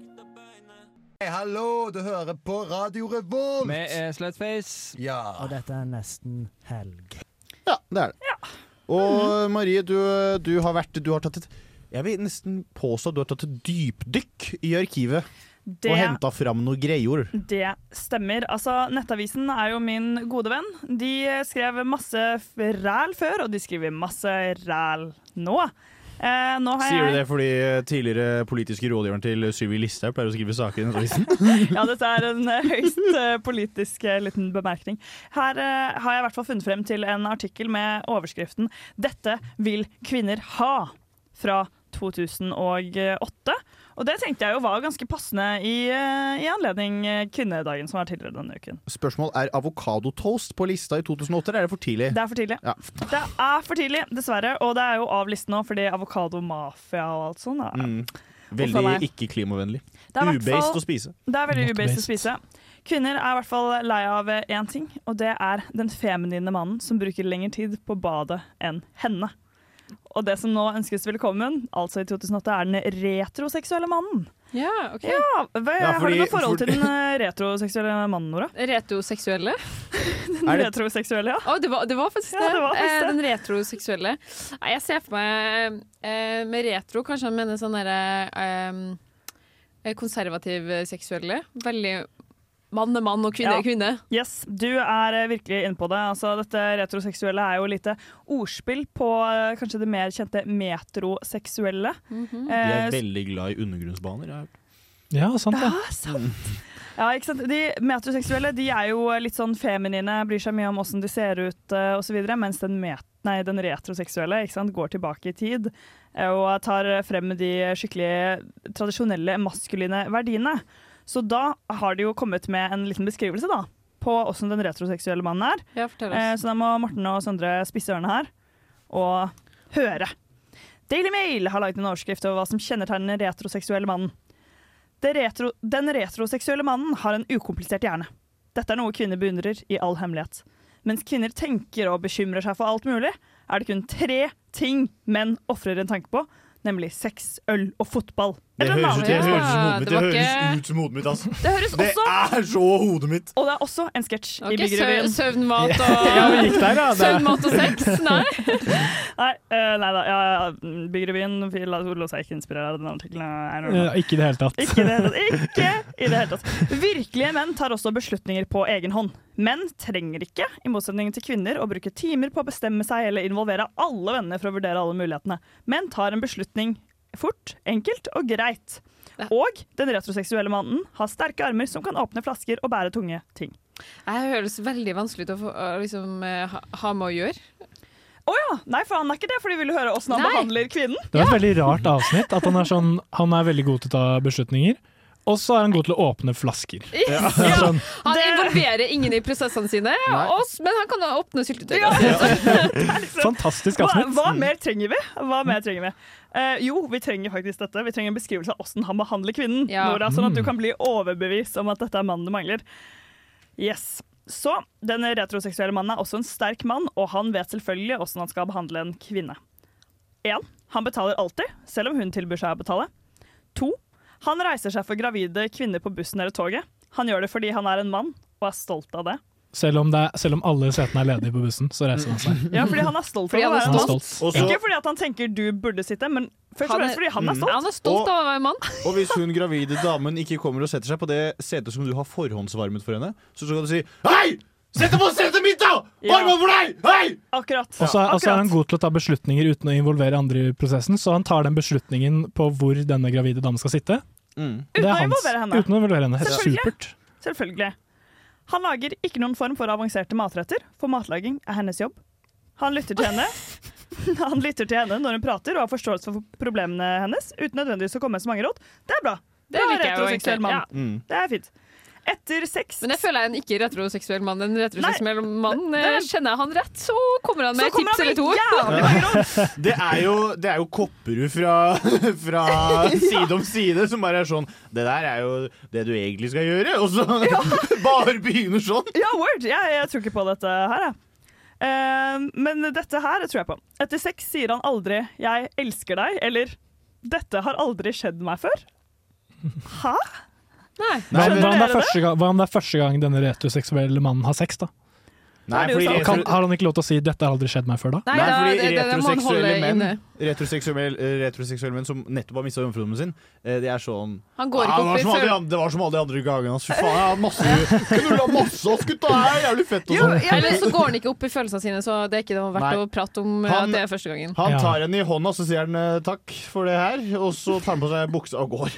Speaker 6: Hei, hallo! Du hører på Radio Revolt!
Speaker 13: Vi er Slutface.
Speaker 6: Ja.
Speaker 14: Og dette er nesten helg.
Speaker 8: Ja, det er det. Og eh, Marie, du, du, har vært Du har tatt et Jeg vil nesten påstå at du har tatt et dypdykk i arkivet.
Speaker 11: Det-
Speaker 8: Og henta fram noen greier.
Speaker 11: Det stemmer. Altså, Nettavisen er jo min gode venn. De skrev masse f- ræl før, og de skriver masse ræl nå. Eh, nå har
Speaker 8: Sier du
Speaker 11: jeg-
Speaker 8: det fordi eh, tidligere politiske rådgiveren til Sylvi Listhaug pleier å skrive saker i Nettavisen?
Speaker 11: ja, dette er en eh, høyst eh, politisk eh, liten bemerkning. Her eh, har jeg i hvert fall funnet frem til en artikkel med overskriften 'Dette vil kvinner ha' fra 2008. Og det tenkte jeg jo var ganske passende i, eh, i anledning eh, kvinnedagen som var tidligere denne uken.
Speaker 8: Spørsmål er avokadotoast på lista i 2008, eller er det for tidlig?
Speaker 11: Det er for tidlig.
Speaker 8: Ja.
Speaker 11: Det er for tidlig, dessverre. Og det er jo av listen nå, fordi avokadomafia og alt sånt. er-
Speaker 8: Mm.
Speaker 11: Uff a meg.
Speaker 8: Veldig ikke klimavennlig.
Speaker 11: Det er i hvert
Speaker 8: Ubeist
Speaker 11: fall-
Speaker 8: å spise.
Speaker 11: Det er veldig
Speaker 8: Not
Speaker 11: ubeist å
Speaker 8: based.
Speaker 11: spise. Kvinner er i hvert fall lei av én ting, og det er den feminine mannen som bruker lengre tid på badet enn henne. Og det som nå ønskes velkommen, altså i 2008, er den retroseksuelle mannen.
Speaker 10: Ja, ok.
Speaker 11: Ja, hva,
Speaker 10: Ja,
Speaker 11: Har du
Speaker 10: fordi-
Speaker 11: noe forhold til
Speaker 10: fordi-
Speaker 11: den eh, retroseksuelle mannen, Nora?
Speaker 10: Retroseksuelle?
Speaker 11: Den retroseksuelle, ja.
Speaker 10: Å, det, var, det var faktisk det.
Speaker 11: Ja, det var faktisk
Speaker 10: Eh,
Speaker 11: det.
Speaker 10: Den retroseksuelle. Nei, jeg ser for meg eh, Med retro kanskje han mener sånn derre eh, konservativ seksuelle. Veldig mann er mann og kvinne
Speaker 11: Ja.
Speaker 10: er kvinne.
Speaker 11: Yes, du er eh, virkelig inne på det. Altså, dette retroseksuelle er jo et lite ordspill på eh, kanskje det mer kjente metroseksuelle.
Speaker 8: De er
Speaker 11: Eh,
Speaker 8: veldig glad i undergrunnsbaner. jeg har hørt.
Speaker 9: Ja, sant det.
Speaker 11: Ja, ikke sant? De metroseksuelle de er jo litt sånn feminine, bryr seg mye om åssen de ser ut eh, osv., mens den, met nei, den retroseksuelle ikke sant, går tilbake i tid eh, og tar frem de skikkelig tradisjonelle maskuline verdiene. Så da har de jo kommet med en liten beskrivelse da, på åssen den retroseksuelle mannen er.
Speaker 10: Ja, fortell
Speaker 11: Eh,
Speaker 10: oss.
Speaker 11: Så da må Morten og Sondre spisse ørene her og høre. Daily Mail har laget en overskrift over hva som kjennetegner den retroseksuelle mannen. Det retro, den retroseksuelle mannen har en ukomplisert hjerne. Dette er noe kvinner beundrer i all hemmelighet. Mens kvinner tenker og bekymrer seg for alt mulig, er det kun tre ting menn ofrer en tanke på, nemlig sex, øl og fotball.
Speaker 8: Det
Speaker 11: Eller en
Speaker 8: høres ut det
Speaker 11: annen.
Speaker 8: høres ut som hodet mitt. Det
Speaker 11: var ikke-
Speaker 8: høres ut som hodet mitt, altså.
Speaker 11: Det høres også-
Speaker 8: er så hodet mitt!
Speaker 11: Og det er også en sketsj i
Speaker 10: Ok,
Speaker 11: Byggerevyen.
Speaker 10: søv- søvn, mat og-
Speaker 8: Ja, vi gikk der, da. Det- Søvn, mat og
Speaker 10: sex? Nei.
Speaker 11: nei, eh, nei da. Ja, ja, Byggerevyen vi la lot seg ikke inspirere av den artikkelen. I don't know.
Speaker 9: Eh, Ikke i det hele tatt.
Speaker 11: Ikke i det hele tatt. Ikke i det hele tatt. Virkelige menn tar også beslutninger på egen hånd. Menn trenger ikke, i motsetning til kvinner, å bruke timer på å bestemme seg eller involvere alle vennene for å vurdere alle mulighetene. Menn tar en beslutning fort, enkelt og greit. Og den retroseksuelle mannen har sterke armer som kan åpne flasker og bære tunge ting.
Speaker 10: Jeg høres veldig vanskelig ut å, få, å liksom, eh, ha, ha med å gjøre.
Speaker 11: Å ja! Nei, for han er ikke det, for de ville høre åssen han
Speaker 10: Nei.
Speaker 11: behandler kvinnen.
Speaker 9: Det var et veldig rart avsnitt. At han er, sånn, han er veldig god til å ta beslutninger, og så er han god til å åpne flasker.
Speaker 10: Ja.
Speaker 9: Sånn,
Speaker 10: Han involverer ingen i prosessene sine, oss, men han kan da åpne syltetøy.
Speaker 9: fantastisk
Speaker 11: Hva,
Speaker 9: avsnitt.
Speaker 11: hva mer trenger vi? Hva mer trenger vi? Eh, jo, vi trenger faktisk dette. Vi trenger en beskrivelse av åssen han behandler kvinnen. Nora, sånn at du
Speaker 9: Mm.
Speaker 11: kan bli overbevist om at dette er mannen du mangler. Yes. Så den retroseksuelle mannen er også en sterk mann, og han vet selvfølgelig åssen han skal behandle en kvinne. 1. Han betaler alltid, selv om hun tilbyr seg å betale. 2. Han reiser seg for gravide kvinner på bussen eller toget. Han gjør det fordi han er en mann, og er stolt av det.
Speaker 9: Selv om, det er, selv om alle setene er ledige på bussen, så reiser han seg.
Speaker 11: Ja, fordi han er stolt
Speaker 9: Fordi
Speaker 11: av å
Speaker 9: han er
Speaker 11: være en mann.
Speaker 9: stolt. Og så-
Speaker 11: Ikke fordi at han tenker du burde sitte, men først og
Speaker 10: Han er-
Speaker 11: fremst fordi han er
Speaker 8: Mm.
Speaker 11: stolt.
Speaker 8: Han er stolt Og-
Speaker 10: av å være mann.
Speaker 8: Og hvis hun gravide damen ikke kommer og setter seg på det setet som du har forhåndsvarmet for henne, så skal du si Hei! Sett deg på setet mitt, da! Varm opp for deg! Hei!
Speaker 11: Akkurat.
Speaker 9: Og så og så er han
Speaker 11: Akkurat.
Speaker 9: god til å ta beslutninger uten å involvere andre i prosessen, så han tar den beslutningen på hvor denne gravide damen skal sitte. Det
Speaker 11: Uten
Speaker 9: er
Speaker 11: å
Speaker 9: hans.
Speaker 11: involvere henne.
Speaker 9: Uten å involvere henne.
Speaker 11: Selvfølgelig.
Speaker 9: Supert.
Speaker 11: Selvfølgelig. Han lager ikke noen form for avanserte matretter, for matlaging er hennes jobb. Han lytter til henne. Han lytter til henne når hun prater og har forståelse for problemene hennes. uten nødvendigvis å komme med så mange råd. Det er bra.
Speaker 10: Det
Speaker 11: Bra
Speaker 10: liker jeg jo
Speaker 11: retroseksuell
Speaker 10: egentlig,
Speaker 11: mann.
Speaker 10: ja. Mm.
Speaker 11: Det er fint. Etter sex
Speaker 10: Men jeg føler jeg er en ikke-retroseksuell mann. En retroseksuell mann
Speaker 11: det-
Speaker 10: eh, Kjenner jeg han rett, så kommer han med
Speaker 11: Så
Speaker 10: et
Speaker 11: kommer
Speaker 10: tips
Speaker 11: han
Speaker 10: eller to.
Speaker 8: Det er jo, det er jo Kopperud fra, fra side om side som bare er sånn Det der er jo det du egentlig skal gjøre, og så bare begynner sånn.
Speaker 11: Ja, word! Jeg, jeg tror ikke på dette her, jeg. Ehm, men dette her tror jeg på. Etter sex sier han aldri 'jeg elsker deg' eller 'dette har aldri skjedd meg før'. Hæ?
Speaker 10: Nei.
Speaker 9: Hva om, hva, om det
Speaker 10: Skjønner
Speaker 9: er
Speaker 10: dere
Speaker 9: første gang, hva om det er første gang denne retuseksuelle mannen har sex, da?
Speaker 8: Nei, fordi
Speaker 9: Og kan,
Speaker 8: retro-
Speaker 9: har han ikke lov til å si 'dette har aldri skjedd meg før', da?
Speaker 10: Nei,
Speaker 8: Nei,
Speaker 10: da-
Speaker 8: fordi
Speaker 10: det- det- det må han
Speaker 8: retroseksuelle
Speaker 10: holde
Speaker 8: menn,
Speaker 10: inne.
Speaker 8: retroseksuelle, retroseksuelle menn som nettopp har mista jomfrudommen sin, eh, de er sånn
Speaker 10: Han går
Speaker 8: «Ah,
Speaker 10: ikke
Speaker 8: det,
Speaker 10: opp
Speaker 8: var
Speaker 10: i
Speaker 8: som alle, de
Speaker 10: søl-
Speaker 8: andre- det var som alle de andre gangene. ass. Fy faen, jeg hadde masse Knulla masse oss gutta her! Jævlig fett og
Speaker 10: Jo,
Speaker 8: sånn.
Speaker 10: ja, men så går han ikke opp i følelsene sine, så det er ikke det verdt
Speaker 8: Nei.
Speaker 10: å prate om eh,
Speaker 8: Han-
Speaker 10: at det er første gangen.
Speaker 8: Han tar henne i hånda, så sier han eh, takk for det her, og så tar han på seg buksa og går.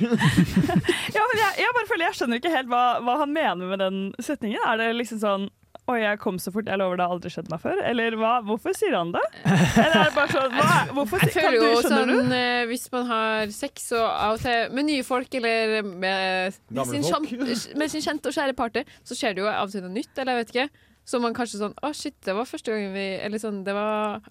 Speaker 11: Ja, men jeg, jeg bare føler jeg skjønner ikke helt hva, hva han mener med den setningen. Er det liksom sånn Oi, jeg kom så fort, jeg lover det har aldri skjedd meg før. Eller hva, hvorfor sier han det? Eller er det bare sånn hva, er- Hvorfor
Speaker 10: Jeg
Speaker 11: sier kan
Speaker 10: føler
Speaker 11: du,
Speaker 10: jo
Speaker 11: skjønner
Speaker 10: sånn
Speaker 11: du?
Speaker 10: eh, Hvis man har sex og av og til med nye folk eller med, med,
Speaker 11: Gamle
Speaker 10: sin,
Speaker 11: folk.
Speaker 10: kjent, med sin kjente og kjære partner, så skjer det jo av og til noe nytt, eller jeg vet ikke. Så man kanskje sånn Å, shit, det var første gangen vi Eller sånn, det var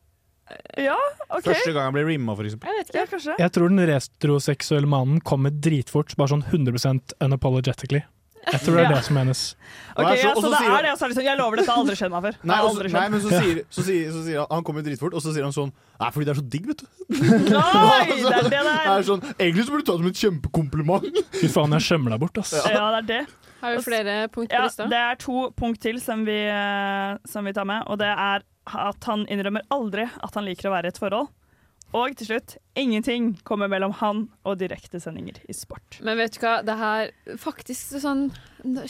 Speaker 11: Ja, OK.
Speaker 8: Første gang han ble rimma, for eksempel.
Speaker 10: Jeg vet ikke.
Speaker 11: Ja, kanskje.
Speaker 9: Jeg tror den retroseksuelle mannen kommer dritfort, bare sånn 100 unapologetically. Jeg tror det er
Speaker 11: Ja.
Speaker 9: det som menes.
Speaker 8: Og
Speaker 11: Ok,
Speaker 8: så-
Speaker 11: ja,
Speaker 8: og
Speaker 11: så
Speaker 8: så
Speaker 11: det
Speaker 8: sier han-
Speaker 11: er det, og så er det sånn Jeg lover dette har aldri skjedd meg før.
Speaker 8: Nei,
Speaker 11: Har
Speaker 8: og så-
Speaker 11: aldri skjedd.
Speaker 8: nei, men så sier, så, sier, så sier han Han kommer dritfort, og så sier han sånn Nei, fordi det er så digg, vet du.
Speaker 11: Nei, det er det det er.
Speaker 8: er sånn, Egentlig så burde du ta det som et kjempekompliment.
Speaker 9: Fy faen, jeg skjemmer deg bort, ass.
Speaker 11: Ja, det er det.
Speaker 10: Har vi flere punkt på
Speaker 11: Ja,
Speaker 10: lista?
Speaker 11: det er to punkt til som vi, eh, som vi tar med, og det er at han innrømmer aldri at han liker å være i et forhold. Og til slutt, ingenting kommer mellom han og direktesendinger i sport.
Speaker 10: Men vet du hva, det her faktisk sånn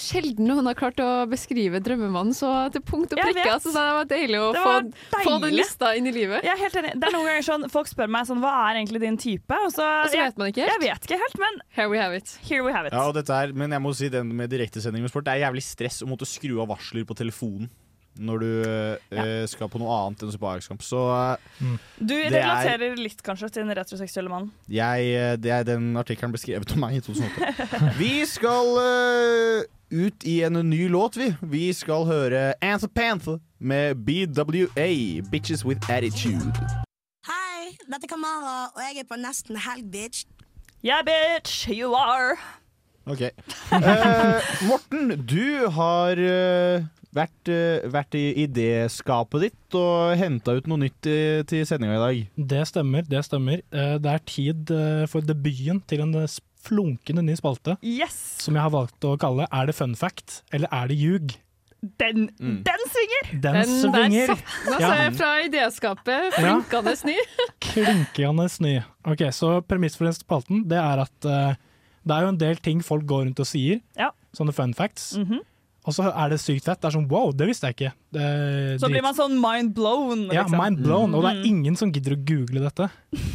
Speaker 10: Sjelden noen har klart å beskrive drømmemannen så til punkt og
Speaker 11: Jeg
Speaker 10: prikke.
Speaker 11: vet.
Speaker 10: Altså, det var deilig å
Speaker 11: Det
Speaker 10: få,
Speaker 11: var
Speaker 10: få den
Speaker 11: deilig.
Speaker 10: lista inn i livet.
Speaker 11: Jeg er helt enig. Det er noen ganger sånn, Folk spør meg sånn, hva er egentlig din type? Og så,
Speaker 10: Og så vet man ikke helt.
Speaker 11: Jeg vet ikke helt, men
Speaker 10: Here we have it.
Speaker 11: here we have it.
Speaker 8: Ja, og dette er, Men jeg må si den med direktesending med sport. Det er jævlig stress å måtte skru av varsler på telefonen når du eh, skal på noe annet enn å se på Ajax-kamp. Så eh,
Speaker 11: Du
Speaker 8: det er,
Speaker 11: relaterer litt kanskje til den retroseksuelle mannen.
Speaker 8: jeg, eh, det er Den artikkelen ble skrevet om meg i 2008. Vi skal eh, ut i en ny låt, vi. Vi skal høre Anther Panther med BWA, Bitches With Attitude.
Speaker 7: Hei, dette er Kamara, og jeg er på nesten helg, bitch.
Speaker 11: Yeah, bitch, you are.
Speaker 8: Ok. Eh, Morten, du har eh, vært, eh, vært i idéskapet ditt og henta ut noe nytt i, til sendinga i dag.
Speaker 9: Det stemmer, det stemmer. Eh, Det er tid eh, for debuten til en eh, s- flunkende ny spalte.
Speaker 11: Yes!
Speaker 9: Som jeg har valgt å kalle 'Er det fun fact, eller er det ljug?'
Speaker 11: Den,
Speaker 9: Mm.
Speaker 11: den svinger!
Speaker 9: Den svinger.
Speaker 10: Der satt den altså
Speaker 9: Ja.
Speaker 10: fra idéskapet. Flinkende sny.
Speaker 9: Klinkende sny. Ok, så premiss for den spalten, det er at eh, det er jo en del ting folk går rundt og sier.
Speaker 11: Ja. Mm.
Speaker 9: Sånne fun facts.
Speaker 8: Mm-hmm.
Speaker 9: Og så er det sykt fett. Det er sånn wow, det visste jeg ikke. Det er
Speaker 11: Så blir
Speaker 9: drit-
Speaker 11: man sånn mind blown.
Speaker 9: ja,
Speaker 11: liksom.
Speaker 9: mind blown, og det er
Speaker 11: Mm.
Speaker 9: ingen som gidder å google dette.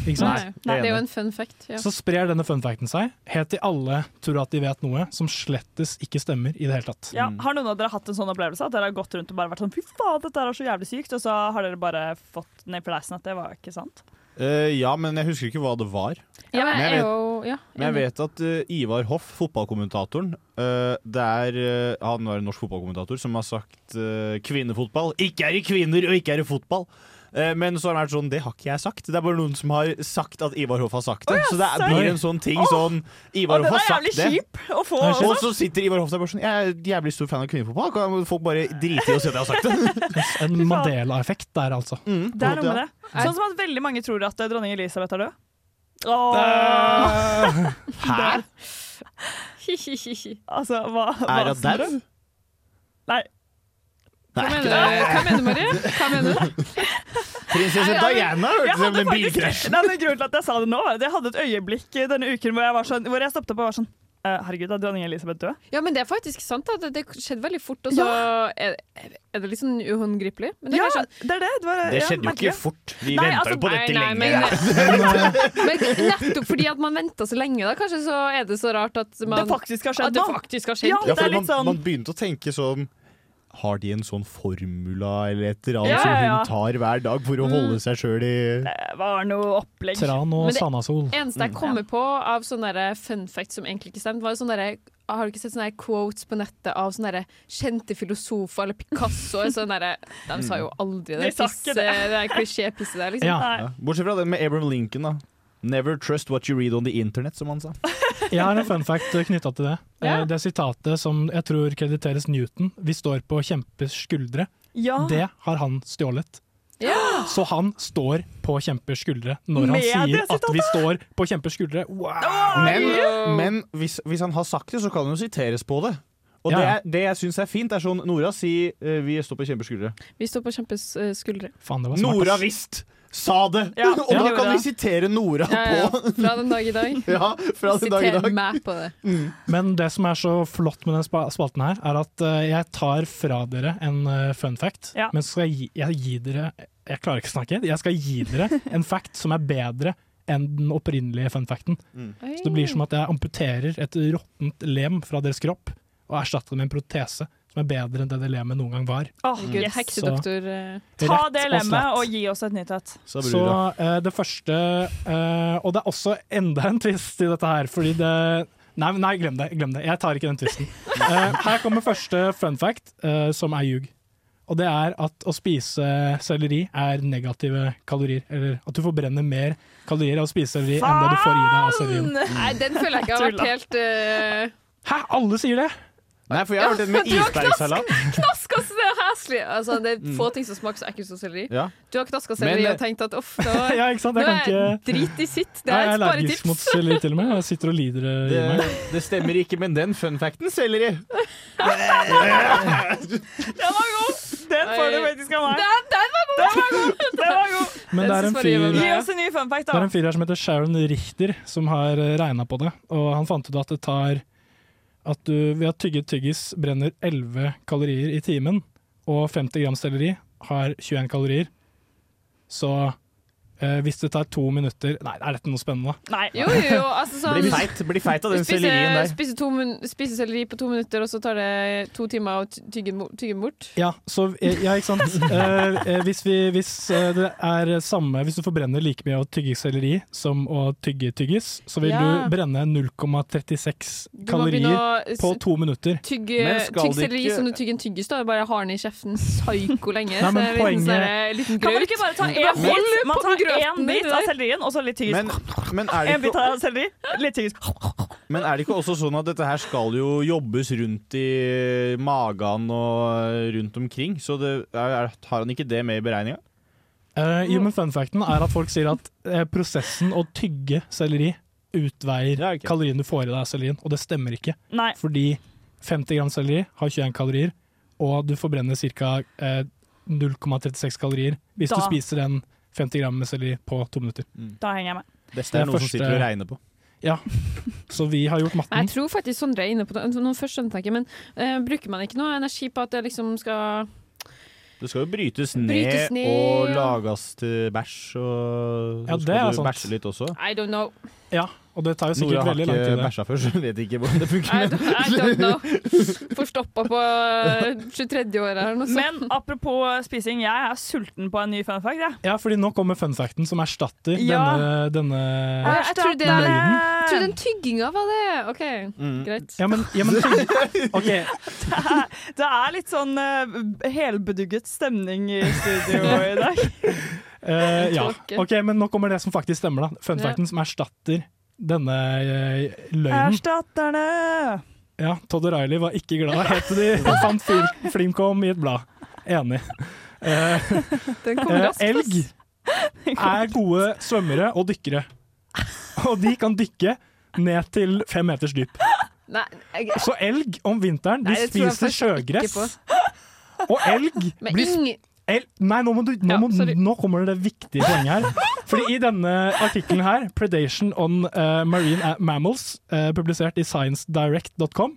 Speaker 9: Ikke sant?
Speaker 10: Nei, det er jo en fun fact. Ja.
Speaker 9: Så sprer denne funfacten seg, helt til alle tror at de vet noe som slettes ikke stemmer i det hele tatt.
Speaker 10: Mm.
Speaker 11: Ja, har noen av dere hatt en sånn opplevelse? At dere har gått rundt og bare vært sånn 'fy faen, dette her er så jævlig sykt', og så har dere bare fått ned på leisen at det var ikke sant?
Speaker 8: Eh, ja, men jeg husker ikke hva det var.
Speaker 10: Ja, men jeg er
Speaker 8: vet-
Speaker 10: jo- ja,
Speaker 8: Men jeg
Speaker 10: enig.
Speaker 8: vet at eh, Ivar Hoff, fotballkommentatoren eh, det er, eh, Han var en norsk fotballkommentator som har sagt eh, kvinnefotball. Ikke er det kvinner, og ikke er det fotball! Eh, men så har han vært sånn, det har ikke jeg sagt. Det er bare noen som har sagt at Ivar Hoff har sagt det. så det er,
Speaker 11: sant?
Speaker 8: blir en sånn ting
Speaker 11: Åh!
Speaker 8: sånn Ivar
Speaker 11: Og den
Speaker 8: Hoff har
Speaker 11: er
Speaker 8: sagt
Speaker 11: jævlig
Speaker 8: det.
Speaker 11: kjip å få også.
Speaker 8: Og så sitter Ivar Hoff der bare sånn Jeg er jævlig stor fan av kvinnefotball. Kan folk bare drite i å si at jeg har sagt det?
Speaker 9: En Mandela-effekt der, altså.
Speaker 11: Det er noe med Mm. det.
Speaker 9: Nei.
Speaker 11: Sånn som at veldig mange tror at eh, dronning Elisabeth er død. Åh.
Speaker 8: Hæ?
Speaker 11: altså, hva, hva
Speaker 8: Er hun dau?
Speaker 11: Nei.
Speaker 10: Hva
Speaker 8: Nei,
Speaker 10: mener du, hva mener du Marie? Hva mener du?
Speaker 8: Prinsesse
Speaker 11: Nei, nei, men-
Speaker 8: Diana hørtes ut
Speaker 11: jeg hadde
Speaker 8: som en
Speaker 11: faktisk-
Speaker 8: bilkrasj.
Speaker 11: Nei, men Grunnen til at jeg sa det nå, var at jeg hadde et øyeblikk eh, denne uken hvor jeg, var sånn, hvor jeg stoppet opp og var sånn eh, Herregud, er dronning Elisabeth død?
Speaker 10: Ja, men det er faktisk sant. Da. Det, det skjedde veldig fort, og så er, er det litt sånn uhåndgripelig. Men det er
Speaker 11: Ja,
Speaker 10: kanskje-
Speaker 11: det er det. Det, var,
Speaker 8: Det
Speaker 11: ja,
Speaker 8: skjedde jo ikke
Speaker 11: merkelig.
Speaker 8: fort. Vi
Speaker 11: Nei,
Speaker 8: venta
Speaker 11: altså,
Speaker 8: jo på dette
Speaker 10: nei, nei,
Speaker 8: lenge.
Speaker 10: Men nettopp fordi at man venta så lenge, da kanskje så er det så rart at man
Speaker 11: Det faktisk har skjedd
Speaker 10: at det
Speaker 11: nå.
Speaker 10: faktisk har skjedd.
Speaker 11: Ja,
Speaker 8: Ja,
Speaker 11: det er
Speaker 8: for
Speaker 11: litt
Speaker 8: man,
Speaker 11: sånn-
Speaker 8: man begynte å tenke sånn Har de en sånn formula eller et eller annet
Speaker 11: Ja, ja, ja. Mm.
Speaker 8: som hun tar hver dag for å holde seg sjøl i
Speaker 11: Det var noe opplegg.
Speaker 9: Tran og
Speaker 10: Men det-
Speaker 9: Sanasol.
Speaker 10: eneste jeg kommer på av sånne der fun facts som egentlig ikke stemte, var jo sånne der, har du ikke sett sånne der quotes på nettet av sånne der kjente filosofer eller Picasso? Sånne der, de sa jo aldri det
Speaker 11: De sa ikke
Speaker 10: pisset,
Speaker 11: det.
Speaker 10: det der klisjépisset der, liksom.
Speaker 8: ja. ja. Bortsett fra den med Abraham Lincoln, da. Never trust what you read on the internet, som han sa.
Speaker 9: Jeg har en fun fact knytta til det. Eh, Det sitatet som jeg tror krediteres Newton, 'Vi står på kjempers skuldre',
Speaker 11: Ja.
Speaker 9: det har han stjålet.
Speaker 10: Ah. Ja!
Speaker 9: Så han står på kjempers skuldre når han
Speaker 8: Med det
Speaker 9: sier at vi
Speaker 8: sitatet?
Speaker 9: står på kjempers skuldre. Wow!
Speaker 8: Men, men hvis, hvis han har sagt det, så kan han jo siteres på det. Og
Speaker 9: Ja,
Speaker 8: det,
Speaker 9: ja.
Speaker 8: er, det jeg syns er fint, er sånn Nora sier eh, 'vi står på kjempeskuldre'.
Speaker 10: Vi står på kjempes eh, skuldre.
Speaker 9: Faen, det var smart.
Speaker 8: Nora
Speaker 9: ass.
Speaker 8: visst sa det!
Speaker 10: Ja,
Speaker 8: og da
Speaker 10: Nora.
Speaker 8: kan vi sitere Nora
Speaker 10: Ja, ja.
Speaker 8: på
Speaker 10: Fra den dag i dag.
Speaker 8: Ja, fra den dag i dag.
Speaker 10: Siter meg på det.
Speaker 9: Men det som er så flott med den spa- spalten her, er at eh, jeg tar fra dere en eh, fun fact,
Speaker 11: Ja.
Speaker 9: men så skal jeg gi, jeg gi dere Jeg klarer ikke å snakke. Jeg skal gi dere en fact som er bedre enn den opprinnelige fun facten.
Speaker 8: Mm.
Speaker 10: Oi.
Speaker 9: Så det blir som at jeg amputerer et råttent lem fra deres kropp og erstatter det med en protese som er bedre enn det det lemet noen gang var.
Speaker 11: Åh,
Speaker 10: Herregud,
Speaker 11: yes.
Speaker 10: heksedoktor. eh.
Speaker 11: Ta det
Speaker 9: Rett og slett.
Speaker 11: lemmet og gi oss et nytt et.
Speaker 9: Så eh, det første eh, Og det er også enda en twist i dette her, fordi det Nei, nei glem det. glem det Jeg tar ikke den twisten. Eh, her kommer første fun fact, eh, som er ljug. Og det er at å spise selleri er negative kalorier. Eller at du forbrenner mer kalorier av å spise selleri enn det du får i deg altså, Mm. av sellerien.
Speaker 10: Nei, den føler jeg ikke har vært
Speaker 9: Tulla.
Speaker 10: helt eh,
Speaker 9: Hæ, alle sier det!
Speaker 8: Nei, for jeg har hørt det med
Speaker 10: Ja, men du har
Speaker 8: isbergsalat.
Speaker 10: Knask, altså, det er heslig! Altså, det er
Speaker 8: Mm.
Speaker 10: få ting som smaker så ekkelt som selleri.
Speaker 8: Ja.
Speaker 10: Du har knaska selleri
Speaker 9: Men,
Speaker 10: og tenkt at uff, nå,
Speaker 9: Ja, ikke sant? Jeg
Speaker 10: nå
Speaker 9: kan
Speaker 10: er
Speaker 9: ikke-
Speaker 10: drit i sitt. Det
Speaker 9: Nei,
Speaker 10: er
Speaker 9: jeg
Speaker 10: et
Speaker 9: er allergisk mot
Speaker 10: sparetips.
Speaker 9: selleri til og med. Jeg sitter og lider eh,
Speaker 8: Det,
Speaker 9: i meg.
Speaker 8: det stemmer ikke med den fun facten, selleri.
Speaker 11: Den får du
Speaker 10: Oi.
Speaker 11: faktisk av meg.
Speaker 10: Den, den var god!
Speaker 11: Den var god! Den var god.
Speaker 9: Men det er en fyr
Speaker 11: Gi oss en ny fun fact,
Speaker 9: Det er
Speaker 11: da.
Speaker 9: en fyr her som heter Sharon Richter, som har regna på det. Og han fant ut at det tar At du ved å tygge tyggis brenner 11 kalorier i timen, og 50 gram selleri har 21 kalorier. Så eh, hvis det tar to minutter Nei, er dette noe spennende?
Speaker 11: Nei.
Speaker 10: Jo, jo, jo, altså sånn
Speaker 8: Blir feit, blir feit av den
Speaker 10: Spise,
Speaker 8: sellerien der.
Speaker 10: spise, to mun spise selleri på to minutter, og så tar det to timer å ty- tygge den bo- tygge den bort.
Speaker 9: Ja, så, ja ikke sant. Eh, eh, hvis, vi, hvis eh, det er samme Hvis du forbrenner like mye av å tygge selleri som å tygge tyggis, så vil
Speaker 10: Ja.
Speaker 9: du brenne 0,36
Speaker 10: Du må begynne
Speaker 9: kalorier
Speaker 10: å s-
Speaker 9: på to minutter.
Speaker 10: Tygge,
Speaker 9: Men skal
Speaker 10: tygg
Speaker 9: det
Speaker 10: selleri
Speaker 9: ikke-
Speaker 10: som du tygger en tyggis. da, Bare har den i kjeften psyko lenge.
Speaker 9: Nei,
Speaker 10: så
Speaker 9: men
Speaker 10: det er en liten,
Speaker 9: poenget-
Speaker 10: sånn, eh, liten
Speaker 11: Kan man
Speaker 10: grøt.
Speaker 11: ikke bare ta
Speaker 10: Men
Speaker 11: en
Speaker 10: hold
Speaker 11: bit?
Speaker 10: på
Speaker 11: Man tar
Speaker 10: den grøten
Speaker 11: en bit
Speaker 10: din,
Speaker 11: av
Speaker 10: der.
Speaker 11: sellerien, og så litt tyggis.
Speaker 8: Men, men, er det
Speaker 11: En bit
Speaker 8: ikke,
Speaker 11: av selleri, litt tyggis.
Speaker 8: men er det ikke også sånn at dette her skal jo jobbes rundt i magen og eh, rundt omkring? Så det, er, er- har han ikke det med i beregninga?
Speaker 9: Eh, jo,
Speaker 11: Mm.
Speaker 9: men fun facten er at folk sier at eh, prosessen å tygge selleri utveier kalorien du får i deg av sellerien, og det stemmer ikke.
Speaker 11: Nei.
Speaker 9: Fordi 50 gram selleri har 21 kalorier, og du forbrenner ca. Eh, 0,36 kalorier hvis
Speaker 11: Da.
Speaker 9: du spiser den 50 gram med selleri på to minutter.
Speaker 11: Da henger jeg med.
Speaker 8: Dette er noe som sitter og regner på.
Speaker 9: Ja, så vi har gjort
Speaker 10: Nei,
Speaker 9: matten.
Speaker 10: Jeg tror faktisk sånn regner på det. Nå først skjønte jeg ikke, men eh, bruker man ikke noe energi på at det liksom skal
Speaker 8: Det skal jo brytes ned,
Speaker 10: Brytes ned,
Speaker 8: og
Speaker 10: ja.
Speaker 8: lages til bæsj, og så
Speaker 9: Ja, det er
Speaker 8: skal du
Speaker 9: sant.
Speaker 8: bæsje litt også.
Speaker 10: I don't know.
Speaker 9: Ja, og det tar jo
Speaker 8: Nora
Speaker 9: sikkert
Speaker 8: har
Speaker 9: veldig lang tid.
Speaker 8: ikke
Speaker 9: det.
Speaker 8: bæsja før, så hun vet ikke hvordan det funker.
Speaker 10: I don't, I don't know. Forstoppa på eh, 23. året eller noe sånt.
Speaker 11: Men apropos eh, spising, jeg er sulten på en ny fun fact. Jeg.
Speaker 9: Ja, fordi nå kommer fun facten som erstatter
Speaker 11: Ja.
Speaker 9: denne, denne
Speaker 10: jeg, jeg tror det
Speaker 9: denne
Speaker 10: jeg
Speaker 9: lyden.
Speaker 10: tror den tygginga var det. OK, greit.
Speaker 9: Ja, men, ja, men tygg- Ok,
Speaker 11: Det er litt sånn eh, helbedugget stemning i studio i dag.
Speaker 9: Eh, ja.
Speaker 11: tåke.
Speaker 9: Ok, men nå kommer det som faktisk stemmer, da. Fun
Speaker 11: Ja.
Speaker 9: facten som erstatter denne eh, løgnen.
Speaker 11: Erstatterne!
Speaker 9: Ja, Todd O'Reilly var ikke glad, het de. Fant fil- Flimkom i et blad. Enig. Eh,
Speaker 10: Den
Speaker 9: eh,
Speaker 10: kommer raskt.
Speaker 9: elg er gode svømmere og dykkere. Og de kan dykke ned til fem meters dyp.
Speaker 10: Nei, jeg,
Speaker 9: Så elg om vinteren, de
Speaker 10: Nei, det tror jeg
Speaker 9: spiser
Speaker 10: faktisk ikke
Speaker 9: sjøgress. Og elg
Speaker 10: Men
Speaker 9: blir sp-
Speaker 10: ing-
Speaker 9: El Nei, nå, må du, nå, må, nå kommer det viktige poenget her. Fordi i denne artikkelen her, 'Predation on eh, Marine a- Mammals', eh, publisert i sciencedirect.com,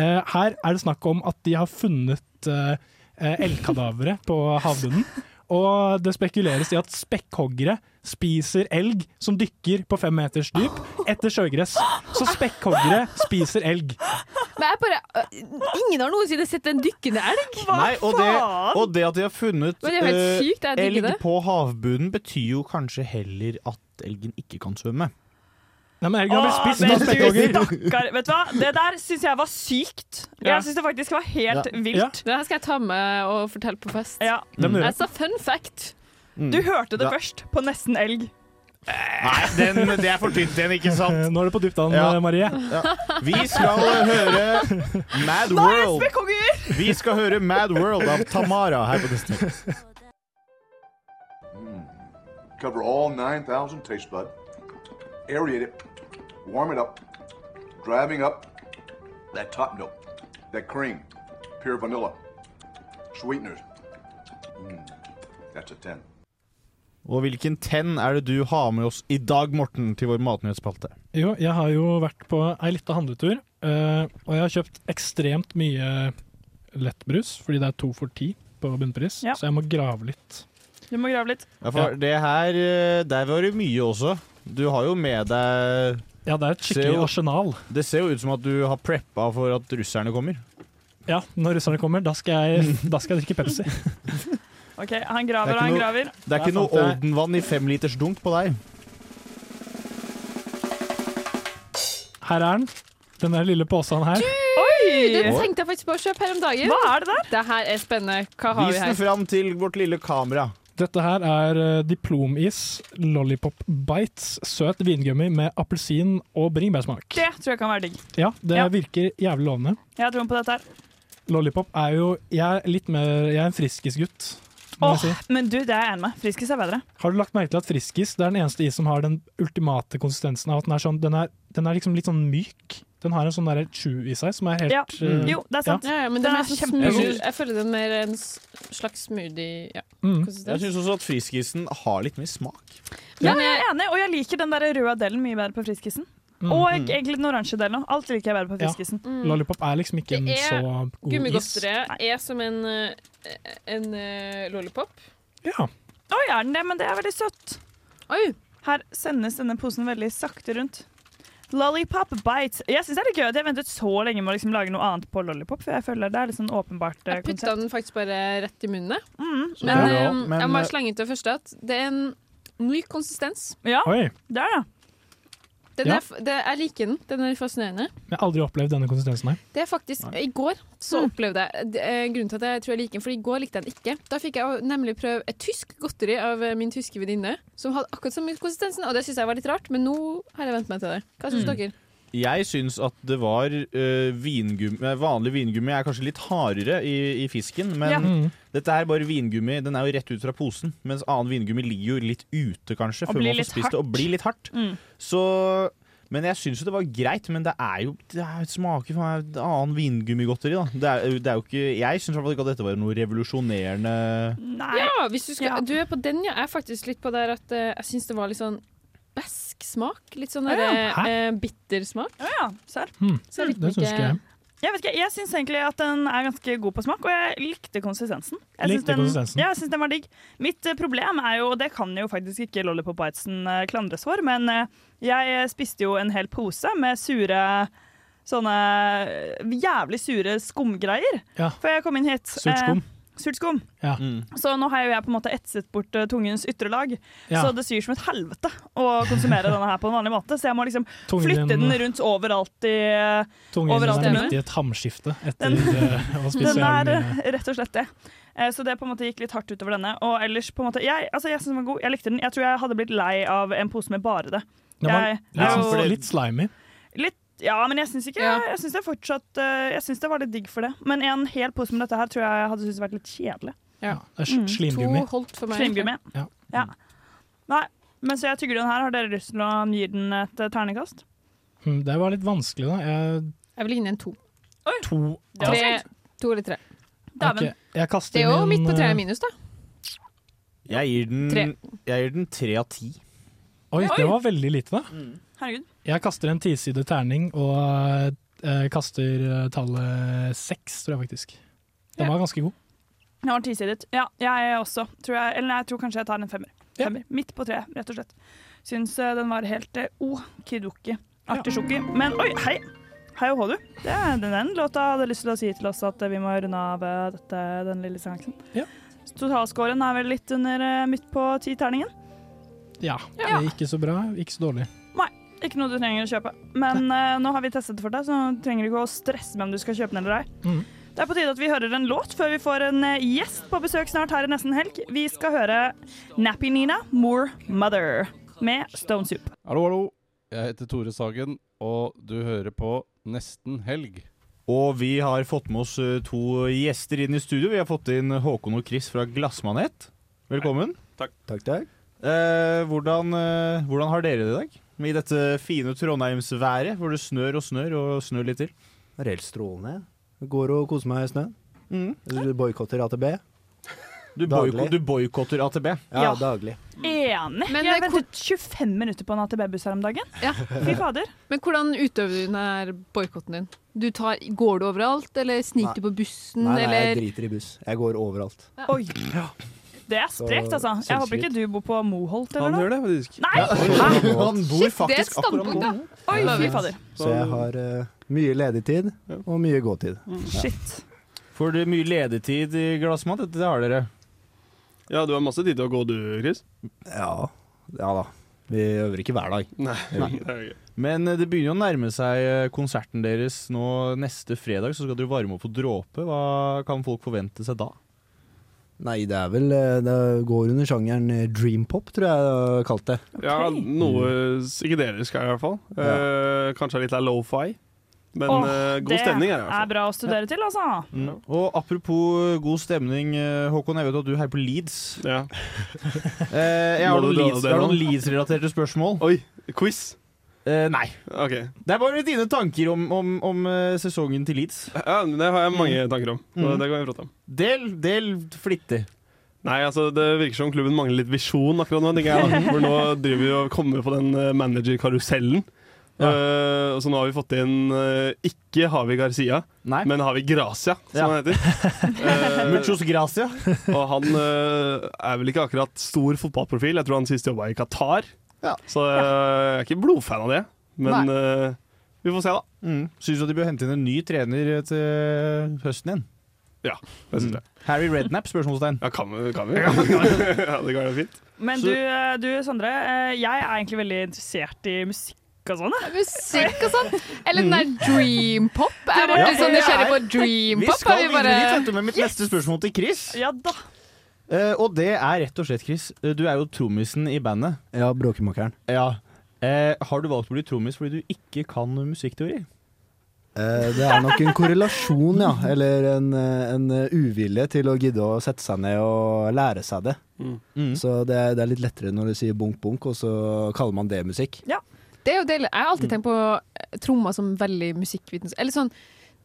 Speaker 9: eh, her er det snakk om at de har funnet uh, elgkadavere på havbunnen. Og det spekuleres i at spekkhoggere spiser elg som dykker på fem meters dyp etter sjøgress. Så spekkhoggere spiser elg.
Speaker 10: men jeg bare øh, Ingen har noensinne sett en dykkende elg!
Speaker 8: Nei, og det, og det at de har funnet
Speaker 10: Men det er jo helt
Speaker 8: eh,
Speaker 10: sykt, jeg digger
Speaker 8: elg
Speaker 10: det.
Speaker 8: på havbunnen, betyr jo kanskje heller at elgen ikke kan svømme.
Speaker 9: Nei, men elgen
Speaker 11: Åh,
Speaker 9: har blitt spist
Speaker 11: men
Speaker 9: av
Speaker 11: du
Speaker 9: spekkhogger.
Speaker 11: stakkar. Vet du hva? Det der syns jeg var sykt.
Speaker 10: Ja.
Speaker 11: Jeg syns det faktisk var helt
Speaker 9: Ja.
Speaker 11: vilt.
Speaker 9: Ja.
Speaker 10: Det her skal jeg ta med og fortelle på fest.
Speaker 9: Det må du gjøre.
Speaker 10: Jeg sa fun fact.
Speaker 11: Du hørte det først på Nesten elg.
Speaker 8: Nei, den, det er for tynt igjen, ikke sant?
Speaker 9: Nå er det på dypt an,
Speaker 8: Ja.
Speaker 9: eh, Marie.
Speaker 8: Vi skal høre Mad World.
Speaker 11: Spekkhoggeri!
Speaker 8: Vi skal høre Mad World av Tamara her på Disney.
Speaker 13: Cover all 9,000 taste bud. Aerate it. Warm it up. Driving up that top note, that cream, pure vanilla, sweeteners. Mm, that's a 10.
Speaker 8: Og hvilken tenn er det du har med oss i dag, Morten, til vår matnyhetsspalte?
Speaker 9: Jo, jeg har jo vært på ei lita handletur, eh, og jeg har kjøpt ekstremt mye lettbrus, fordi det er to for ti på bunnpris,
Speaker 11: Ja.
Speaker 9: så jeg må grave litt.
Speaker 11: Du må grave litt.
Speaker 8: Ja, for det her eh, Der var det mye også. Du har jo med deg
Speaker 9: Ja, det er et skikkelig arsenal.
Speaker 8: Det ser jo ut som at du har preppa for at russerne kommer.
Speaker 9: Ja, når russerne kommer, da skal jeg, da skal jeg drikke Pepsi.
Speaker 11: OK, han graver og han graver.
Speaker 8: det er ikke noe Oldenvann i femliters dunk på deg.
Speaker 9: Her er den. Denne lille posen her.
Speaker 10: Oi! Den
Speaker 9: Oi.
Speaker 10: tenkte jeg faktisk på å kjøpe her om dagen.
Speaker 11: Hva er det der?
Speaker 10: Det her er spennende. Hva har
Speaker 8: Vis
Speaker 10: vi
Speaker 8: den
Speaker 10: her?
Speaker 8: fram til vårt lille kamera.
Speaker 9: Dette her er eh, diplomis lollipop bites, søt vingummi med appelsin og bringebærsmak.
Speaker 11: Det tror jeg kan være digg.
Speaker 9: Ja, det
Speaker 11: Ja.
Speaker 9: virker jævlig lovende.
Speaker 11: Jeg har troen på dette her.
Speaker 9: Lollipop er jo Jeg er litt mer Jeg er en friskisgutt. må
Speaker 11: Åh,
Speaker 9: jeg si.
Speaker 11: men du, det er jeg enig med. Friskis er bedre.
Speaker 9: Har du lagt merke til at friskis det er den eneste is som har den ultimate konsistensen av at den er sånn Den er, den er liksom litt sånn myk. Den har en sånn derre chew i seg som er helt
Speaker 11: Ja. Mm.
Speaker 9: eh,
Speaker 11: Jo, det er sant.
Speaker 10: Ja, ja, men
Speaker 11: Den er
Speaker 10: den er sånn
Speaker 11: kjempegod.
Speaker 10: smooth. Jeg føler den mer en s- slags smoothie. Ja.
Speaker 9: Mm.
Speaker 8: Jeg syns også at friskisen har litt mer smak.
Speaker 11: Ja, men jeg er enig, og jeg liker den der røde delen mye bedre på friskisen.
Speaker 9: Mm.
Speaker 11: Og
Speaker 9: Mm.
Speaker 11: egentlig den oransje delen òg. Alt liker jeg bedre på
Speaker 9: Ja.
Speaker 11: friskisen.
Speaker 10: Mm.
Speaker 9: Lollipop er liksom ikke en
Speaker 10: Det
Speaker 9: så
Speaker 10: er
Speaker 9: god is.
Speaker 10: Gummigodteriet er som en, eh, en eh, lollipop.
Speaker 9: Ja.
Speaker 11: Oi, er den det? Men det er veldig søtt. Her sendes denne posen veldig sakte rundt. Lollipop bites. Jeg syns det er litt gøy at jeg ventet så lenge med å liksom lage noe annet på lollipop, for jeg føler det er litt sånn åpenbart eh, Mm.
Speaker 10: Jeg putta den faktisk bare rett i munnen. jeg.
Speaker 11: Så
Speaker 10: Men,
Speaker 11: bra.
Speaker 10: eh,
Speaker 11: Men,
Speaker 10: jeg må
Speaker 11: eh,
Speaker 10: bare slenge ut det første at det er en myk konsistens.
Speaker 11: Ja,
Speaker 9: Oi.
Speaker 11: det er det.
Speaker 10: Den
Speaker 9: Ja.
Speaker 10: er, f- det, jeg liker den. Den er fascinerende.
Speaker 9: Jeg har aldri opplevd denne konsistensen her.
Speaker 10: Det er faktisk, I går så
Speaker 11: Mm.
Speaker 10: opplevde jeg det er Grunnen til at jeg tror jeg liker den, for i går likte jeg den ikke. Da fikk jeg jo nemlig prøve et tysk godteri av eh, min tyske venninne, som hadde akkurat samme konsistensen, og det syns jeg var litt rart, men nå har jeg vent meg til det. Hva
Speaker 11: Mm.
Speaker 10: syns dere?
Speaker 8: Jeg syns at det var øh, vingummi, eh, vanlig vingummi er kanskje litt hardere i, i fisken, men
Speaker 11: Ja. Mm.
Speaker 8: dette er bare vingummi. Den er jo rett ut fra posen, mens annen vingummi ligger jo litt ute, kanskje,
Speaker 11: Og
Speaker 8: før
Speaker 11: blir
Speaker 8: man får
Speaker 11: litt
Speaker 8: spist det, og
Speaker 11: hardt.
Speaker 8: blir litt hardt.
Speaker 11: Mm.
Speaker 8: Så men jeg syns jo det var greit, men det er jo det er, smaker for meg annen vingummigodteri. da. Det er, det er jo ikke, jeg syns i hvert fall ikke at dette var noe revolusjonerende
Speaker 10: Ja, hvis du, skal, du er på den, ja. Jeg er faktisk litt på der at eh, jeg syns det var litt sånn besk smak. Litt sånn
Speaker 11: Å, ja.
Speaker 10: derre,
Speaker 11: Hæ?
Speaker 10: eh, bitter smak.
Speaker 11: Å ja, serr.
Speaker 9: mm.
Speaker 10: Så jeg liker ikke
Speaker 11: Jeg vet ikke, jeg syns egentlig at den er ganske god på smak, og jeg likte konsistensen. Jeg syns
Speaker 9: Likte
Speaker 11: den,
Speaker 9: konsistensen.
Speaker 11: Ja, jeg syns den var digg. Mitt eh, problem er jo, og det kan jo faktisk ikke Lollipop Bitesen eh, klandres for, men eh, jeg spiste jo en hel pose med sure Sånne eh, jævlig sure skumgreier.
Speaker 9: Ja.
Speaker 11: Før jeg kom inn hit.
Speaker 9: Surt
Speaker 11: Eh,
Speaker 9: skum.
Speaker 11: Surt skum.
Speaker 9: Ja.
Speaker 11: Så nå har jo jeg på en måte etset bort eh, tungens ytre lag,
Speaker 9: Ja.
Speaker 11: så det syr som et helvete å konsumere denne her på en vanlig måte. Så jeg må liksom
Speaker 9: Tungen
Speaker 11: flytte
Speaker 9: din- eh.
Speaker 11: den rundt overalt i eh,
Speaker 9: Tungen din
Speaker 11: overalt i
Speaker 9: er
Speaker 11: munnen.
Speaker 9: midt i et hamskifte etter eh, å spise
Speaker 11: Den er
Speaker 9: jævlig
Speaker 11: eh, rett og slett det. Eh, Så det på en måte gikk litt hardt utover denne. Og ellers på en måte, Jeg, altså, jeg synes den var god, jeg likte den. Jeg tror jeg hadde blitt lei av en pose med bare det.
Speaker 9: Den var
Speaker 11: Jeg,
Speaker 9: litt,
Speaker 11: er
Speaker 9: sånn-
Speaker 11: jo-
Speaker 9: litt slimy.
Speaker 11: litt ja, men jeg syns ikke Jeg syns det fortsatt eh, Jeg synes det var litt digg for det. Men en hel pose med dette her tror jeg hadde syntes vært litt kjedelig.
Speaker 9: Det er sl-
Speaker 11: Mm.
Speaker 9: Slimgummi.
Speaker 10: holdt for meg.
Speaker 11: Slimgummi.
Speaker 9: Ja.
Speaker 11: Ja. Nei, men så jeg tygger den her. Har dere lyst til å gi den et eh, terningkast?
Speaker 9: Mm, Det var litt vanskelig, da. Jeg,
Speaker 10: Jeg vil gi den en to.
Speaker 9: to
Speaker 10: Tre, to eller tre. Dæven.
Speaker 9: Ok, Jeg kaster
Speaker 10: Det er jo
Speaker 9: min,
Speaker 10: midt på
Speaker 9: eh,
Speaker 10: treet minus, da.
Speaker 8: Jeg gir den-
Speaker 10: Tre.
Speaker 8: jeg gir den tre av ti.
Speaker 9: Oi,
Speaker 10: Oi.
Speaker 9: det var veldig lite, da.
Speaker 11: Herregud.
Speaker 9: Jeg kaster en tisidet terning og eh, kaster eh, tallet seks, tror jeg faktisk. Den var ganske god.
Speaker 11: Den var tisidet. Ja, jeg også. Tror jeg, eller nei, jeg tror kanskje jeg tar en femmer. femmer. Midt på treet, rett og slett. Syns eh, den var helt eh, okidoki. Artisjoki. Men oi, hei! Hei og hå, du. Det er den, den låta hadde lyst til å si til oss at eh, vi må runde av eh, dette, den lille seansen.
Speaker 9: Ja.
Speaker 11: Totalscoren er vel litt under eh, midt på ti-terningen.
Speaker 9: Ja,
Speaker 11: Ja.
Speaker 9: det er Ikke så bra, ikke så dårlig.
Speaker 11: Nei, ikke noe du trenger å kjøpe. Men eh, nå har vi testet det for deg, så nå trenger du ikke å stresse med om du skal kjøpe den eller ei.
Speaker 9: Mm.
Speaker 11: Det er på tide at vi hører en låt før vi får en eh, gjest på besøk snart her i nesten helg. Vi skal høre Nappy Nina, More Mother med Stone Soup.
Speaker 15: Hallo, hallo. Jeg heter Tore Sagen, og du hører på Nesten Helg.
Speaker 8: Og vi har fått med oss eh, to gjester inn i studio. Vi har fått inn Håkon og Chris fra Glassmanet. Velkommen.
Speaker 16: Takk.
Speaker 8: takk, takk. Eh, hvordan, eh, hvordan har dere det i dag? I dette fine trondheimsværet, hvor det snør og snør og snør litt til.
Speaker 16: Det er helt strålende. Jeg Går og koser meg i snøen. Du boikotter AtB?
Speaker 8: Du
Speaker 16: Daglig.
Speaker 8: boiko- Du boikotter AtB?
Speaker 16: Ja,
Speaker 11: Ja.
Speaker 16: daglig.
Speaker 11: Enig. jeg ventet 25 minutter på en AtB-buss her om dagen. Fy fader.
Speaker 10: Men hvordan utøver du denne boikotten din? Du tar, går du overalt, eller sniker
Speaker 16: Nei.
Speaker 10: du på bussen,
Speaker 16: Nei, nei, jeg
Speaker 10: eller
Speaker 16: driter i buss. Jeg går overalt.
Speaker 11: Oi. Det er sprekt, altså. Jeg håper ikke du bor på Moholt eller noe.
Speaker 15: det, faktisk.
Speaker 11: Nei!
Speaker 16: Han
Speaker 11: Shit, det er et standpunkt, da. Oi, fy fader.
Speaker 16: Så jeg har eh, mye ledig tid og mye gåtid.
Speaker 11: Shit.
Speaker 8: Får dere mye ledetid i glassmat? Det har dere.
Speaker 17: Ja, du har masse tid til å gå, du, Chris.
Speaker 16: Ja. ja da. Vi øver ikke hver dag.
Speaker 17: Nei.
Speaker 8: Nei.
Speaker 17: det er jo gøy.
Speaker 8: Men eh, det begynner jo å nærme seg eh, konserten deres nå neste fredag, så skal dere varme opp på Dråpe. Hva kan folk forvente seg da?
Speaker 16: Nei, det er vel eh, Det går under sjangeren eh, dreampop, tror jeg jeg har kalt det.
Speaker 17: Ja, noe psykedelisk her i hvert fall. Eh, kanskje litt av lo-fi. Men
Speaker 11: Åh,
Speaker 17: eh, god
Speaker 11: det
Speaker 17: stemning er det i hvert fall.
Speaker 11: er bra å studere til, altså.
Speaker 8: Mm. Og apropos god stemning, eh, Håkon, jeg vet at du heier på Leeds. Eh, jeg
Speaker 17: Må
Speaker 8: har
Speaker 17: du
Speaker 8: noen
Speaker 17: dra
Speaker 8: Leeds-
Speaker 17: det
Speaker 8: jeg har
Speaker 17: nå?
Speaker 8: noen Leeds-relaterte spørsmål. Eh,
Speaker 17: Oi, quiz?
Speaker 8: nei. Det er bare dine tanker om, om, om eh, sesongen til Leeds.
Speaker 17: Ja, men det har jeg mange tanker om. og
Speaker 8: Mm.
Speaker 17: Det kan vi prate om.
Speaker 8: Del, del flittig.
Speaker 17: Nei, altså Det virker som klubben mangler litt visjon akkurat nå. tenker jeg da. For nå driver vi og kommer på den eh, managerkarusellen. Eh, og så nå har vi fått inn eh, Ikke har vi Garcia, men har vi Gracia, som
Speaker 8: Ja.
Speaker 17: han heter. Eh,
Speaker 8: Muchos gracia.
Speaker 17: og han eh, er vel ikke akkurat stor fotballprofil. Jeg tror han sist jobba i Qatar. Så eh, jeg er ikke blodfan av det. Men eh, vi får se, da.
Speaker 8: Mm. Syns du at de bør hente inn en ny trener eh, til høsten igjen?
Speaker 17: Ja, det
Speaker 8: Mm.
Speaker 17: syns jeg.
Speaker 8: Harry Redknapp? Spørsmålstegn.
Speaker 17: Ja, kan vi? Kan vi? ja, det går jo fint.
Speaker 11: Men du, eh, du Sondre, eh, jeg er egentlig veldig interessert i musikk og sånn. jeg.
Speaker 10: musikk og sånn? Eller den der dream pop? Jeg
Speaker 11: Dere-
Speaker 10: ble litt sånn
Speaker 11: Ja,
Speaker 10: nysgjerrig på
Speaker 11: jeg-
Speaker 10: dream
Speaker 8: Vi
Speaker 10: pop.
Speaker 8: skal
Speaker 10: er
Speaker 8: videre dit vet du, med mitt neste spørsmål til Chris.
Speaker 11: Ja da.
Speaker 8: Eh, og det er rett og slett, Chris, eh, du er jo trommisen i bandet.
Speaker 16: Ja, bråkemakeren.
Speaker 8: Ja. Eh, har du valgt å bli trommis fordi du ikke kan musikkteori?
Speaker 16: Eh, Det er nok en korrelasjon, ja. Eller en, eh, en eh, uvilje til å gidde å sette seg ned og lære seg det. Så det, er- det er litt lettere når du sier bunk-bunk, og så kaller man det musikk.
Speaker 10: Det er jo deilig. Jeg har alltid tenkt på eh, trommer som veldig musikkvitenskap. Eller sånn,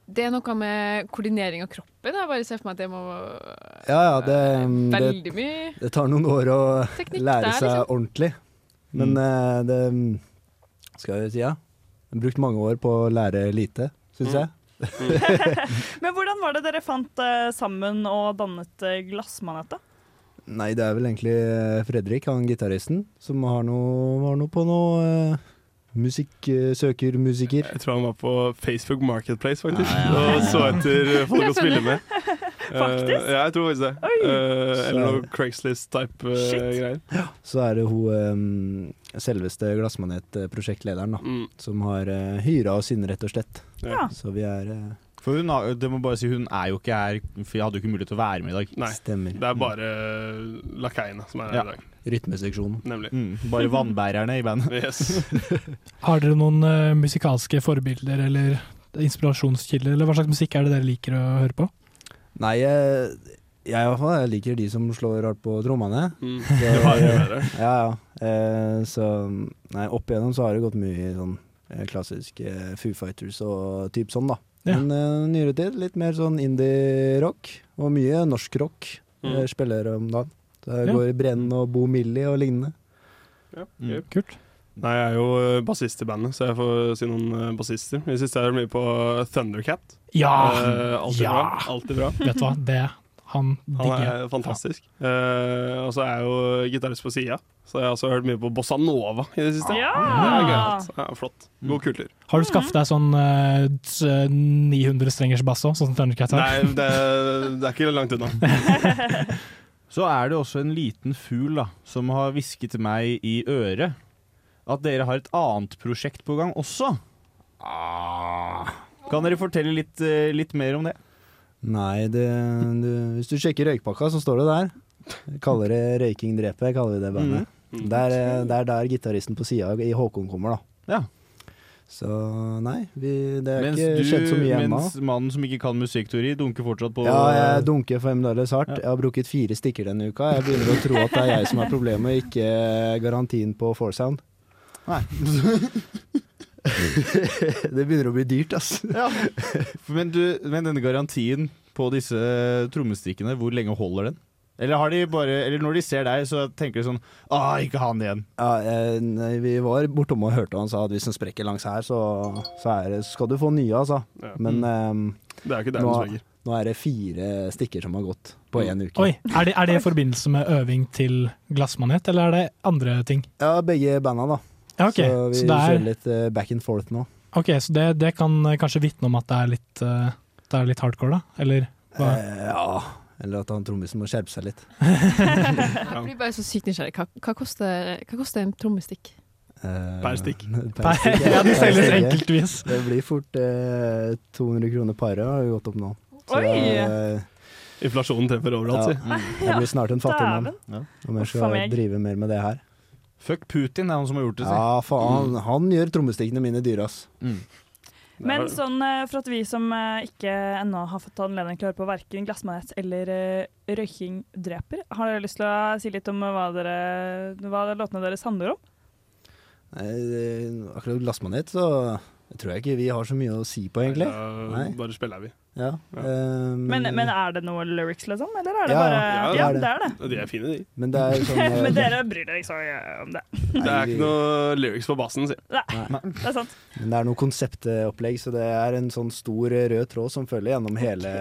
Speaker 10: det er noe med koordinering av kroppen. Jeg bare ser for meg at det må eh,
Speaker 16: Ja, ja, det, mm,
Speaker 10: Veldig
Speaker 16: det,
Speaker 10: mye
Speaker 16: det tar noen år å
Speaker 10: Teknikk
Speaker 16: lære
Speaker 10: der,
Speaker 16: seg
Speaker 10: liksom.
Speaker 16: ordentlig. Men eh, det mm, skal jeg si, ja. Jeg har brukt mange år på å lære lite, syns
Speaker 8: Mm.
Speaker 16: jeg.
Speaker 11: Men hvordan var det dere fant eh, sammen og dannet uh, Glassmanetta?
Speaker 16: Nei, det er vel egentlig eh, Fredrik, han gitaristen, som har noe, har noe på noe eh, musikksøkermusiker.
Speaker 17: Jeg tror han var på Facebook Marketplace, faktisk. Og så etter eh, folk å spille med. Faktisk? ja, jeg tror faktisk det. Eh, eller noe Craigslist-type eh, greier.
Speaker 16: Så er det hun eh, selveste Glassmanet-prosjektlederen, da,
Speaker 3: Mm.
Speaker 16: som har uh, hyra oss inn, rett og slett.
Speaker 11: Ja.
Speaker 16: Så vi er eh,
Speaker 8: For hun, har, det må bare si, hun er jo ikke her, for jeg hadde jo ikke mulighet til å være med i dag.
Speaker 17: Nei,
Speaker 16: Stemmer.
Speaker 17: det er bare lakeiene som er her
Speaker 8: Ja.
Speaker 17: i dag.
Speaker 16: rytmeseksjonen.
Speaker 17: Nemlig.
Speaker 8: Mm, bare vannbærerne i bandet.
Speaker 17: Yes.
Speaker 9: Har dere noen eh, musikalske forbilder eller inspirasjonskilder, eller hva slags musikk er det dere liker å høre på?
Speaker 16: Nei, jeg, jeg, i hvert fall, jeg liker de som slår hardt på trommene.
Speaker 17: Mm.
Speaker 16: Så-
Speaker 17: Det var det bedre.
Speaker 16: Ja, ja. Eh, så nei, opp igjennom så har det gått mye i sånn eh, klassisk eh, Foo Fighters og typ sånn, da. Men eh, nyere tid litt mer sånn indie-rock, og mye norsk rock
Speaker 17: Mm.
Speaker 16: eh, spiller om dagen. Så det
Speaker 17: Ja.
Speaker 16: går Brenn og Mm. Bo Millie og lignende.
Speaker 9: Kult.
Speaker 17: Nei, jeg er jo eh, bassist i bandet, så jeg får si noen eh, bassister. Vi siste er mye på Thundercat.
Speaker 16: Ah,
Speaker 9: Ja!
Speaker 17: Eh, alltid
Speaker 9: Ja!
Speaker 17: bra. Alltid bra.
Speaker 9: Vet du hva, det han
Speaker 17: Han
Speaker 9: digger.
Speaker 17: er fantastisk. Eh, og så er jeg jo gitarist på sida, så jeg har også hørt mye på Bossa Nova i det siste.
Speaker 11: Ja!
Speaker 17: Det er gøyalt. ja flott.
Speaker 16: Mm.
Speaker 17: God kultur.
Speaker 9: Har du skaffet deg sånn 900-strengers bass òg, sånn som Thundercat har?
Speaker 17: Nei, det, det er ikke langt unna.
Speaker 8: Så er det også en liten fugl da, som har hvisket til meg i øret at dere har et annet prosjekt på gang også.
Speaker 16: Ah.
Speaker 8: Kan dere fortelle litt, eh, litt mer om det?
Speaker 16: Nei, det, du, hvis du sjekker røykpakka, så står det der. Jeg Kaller det 'Røyking dreper',
Speaker 3: Mm.
Speaker 8: Mm.
Speaker 16: eh, kaller vi det bandet. Det er der, der gitaristen på sida i Håkon kommer, da. Så nei, vi, det er
Speaker 8: Mens,
Speaker 16: ikke skjedd så
Speaker 8: du,
Speaker 16: mye ennå.
Speaker 8: mens mannen som ikke kan musikkteori, dunker fortsatt på
Speaker 16: Ja, jeg dunker fremdeles hardt. Jeg har brukket fire stikker denne uka. Jeg begynner å tro at det er jeg som er problemet, ikke garantien på foursound.
Speaker 8: Nei.
Speaker 16: det begynner å bli dyrt, ass.
Speaker 8: Ja. Men, du, men denne garantien på disse trommestikkene, hvor lenge holder den? Eller, har de bare, eller når de ser deg, så tenker de sånn Ah, ikke han igjen.
Speaker 16: Ja, eh, nei, vi var bortom og hørte han sa at hvis den sprekker langs her, så, så er det, skal du få nye, altså.
Speaker 17: Ja.
Speaker 16: Men
Speaker 3: Mm.
Speaker 16: ehm,
Speaker 17: Det er jo ikke der den
Speaker 16: nå,
Speaker 17: sprekker.
Speaker 16: nå er det fire stikker som har gått på én uke.
Speaker 9: Oi, er det, er det i forbindelse med øving til glassmanet, eller er det andre ting?
Speaker 16: Ja, begge banda, da.
Speaker 9: Ja, ok.
Speaker 16: Så vi
Speaker 9: Så det er-
Speaker 16: kjører litt eh, back and forth nå.
Speaker 9: Ok, så det, det kan eh, kanskje vitne om at det er litt, eh, det er litt hardcore, da? Eller hva?
Speaker 16: Eh, ja, eller at han trommisen må skjerpe seg litt.
Speaker 10: Jeg blir bare så sykt nysgjerrig. Hva, hva, koster, hva koster en trommestikk?
Speaker 16: Per
Speaker 17: stikk.
Speaker 16: per stikk,
Speaker 9: Ja, de
Speaker 16: Per
Speaker 9: selges
Speaker 16: stikk, ja.
Speaker 9: enkeltvis.
Speaker 16: Det blir fort eh, 200 kroner paret har det gått opp nå.
Speaker 11: Oi!
Speaker 16: det er-
Speaker 17: Inflasjonen treffer overalt, si.
Speaker 16: ja. eh, Jeg blir snart en fattig mann
Speaker 8: Ja.
Speaker 16: om jeg
Speaker 17: Uff a
Speaker 16: skal
Speaker 17: meg.
Speaker 16: drive mer med det her.
Speaker 8: Fuck Putin, det er han som har gjort det. si. Mm.
Speaker 16: Ja, faen. Han, han gjør trommestikkene mine dyre, ass.
Speaker 11: Men sånn eh, for at vi som eh, ikke ennå har fått anledning til å høre på verken glassmanet eller eh, røyking dreper, har dere lyst til å si litt om eh, hva, dere, hva låtene deres handler om?
Speaker 16: Nei, det- akkurat glassmanet, så tror jeg ikke vi har så mye å si på, egentlig.
Speaker 17: Da
Speaker 16: Nei.
Speaker 17: bare spiller vi.
Speaker 16: Ja. ehm,
Speaker 11: Men, men er det noe lyrics, liksom? Eller er det
Speaker 16: Ja,
Speaker 11: bare
Speaker 16: ja, det
Speaker 11: Ja,
Speaker 16: er det.
Speaker 11: det er det.
Speaker 17: De er fine, de.
Speaker 16: men det er jo sånn eh,
Speaker 11: Men dere bryr dere ikke så mye om det.
Speaker 17: Det er ikke noe lyrics på bassen, si.
Speaker 11: Nei, det er sant.
Speaker 16: Men det er noe konseptopplegg, så det er en sånn stor eh, rød tråd som følger gjennom hele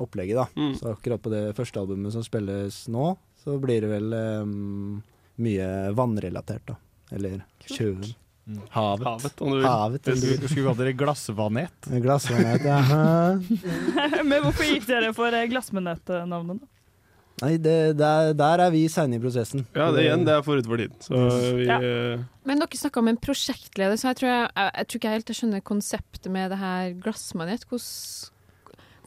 Speaker 16: opplegget. da. Så akkurat på det første albumet som spilles nå, så blir det vel ehm, mye vannrelatert, da. Eller sjøen.
Speaker 8: Mm. Havet.
Speaker 17: Havet, om du vil.
Speaker 16: Havet, om du vil.
Speaker 8: Jeg skulle, skulle kalt dere glassvanet.
Speaker 16: Glassvanet, jaha.
Speaker 11: men hvorfor gikk dere for eh, glassmanet-navnet, da?
Speaker 16: Nei, det, der, der er vi seine i prosessen.
Speaker 17: Ja, det, igjen, det er forut for tiden. Så vi
Speaker 10: Ja.
Speaker 17: eh,
Speaker 10: Men dere snakka om en prosjektleder, så jeg tror, jeg, jeg, jeg tror ikke jeg helt jeg skjønner konseptet med det her glassmanet. Hvordan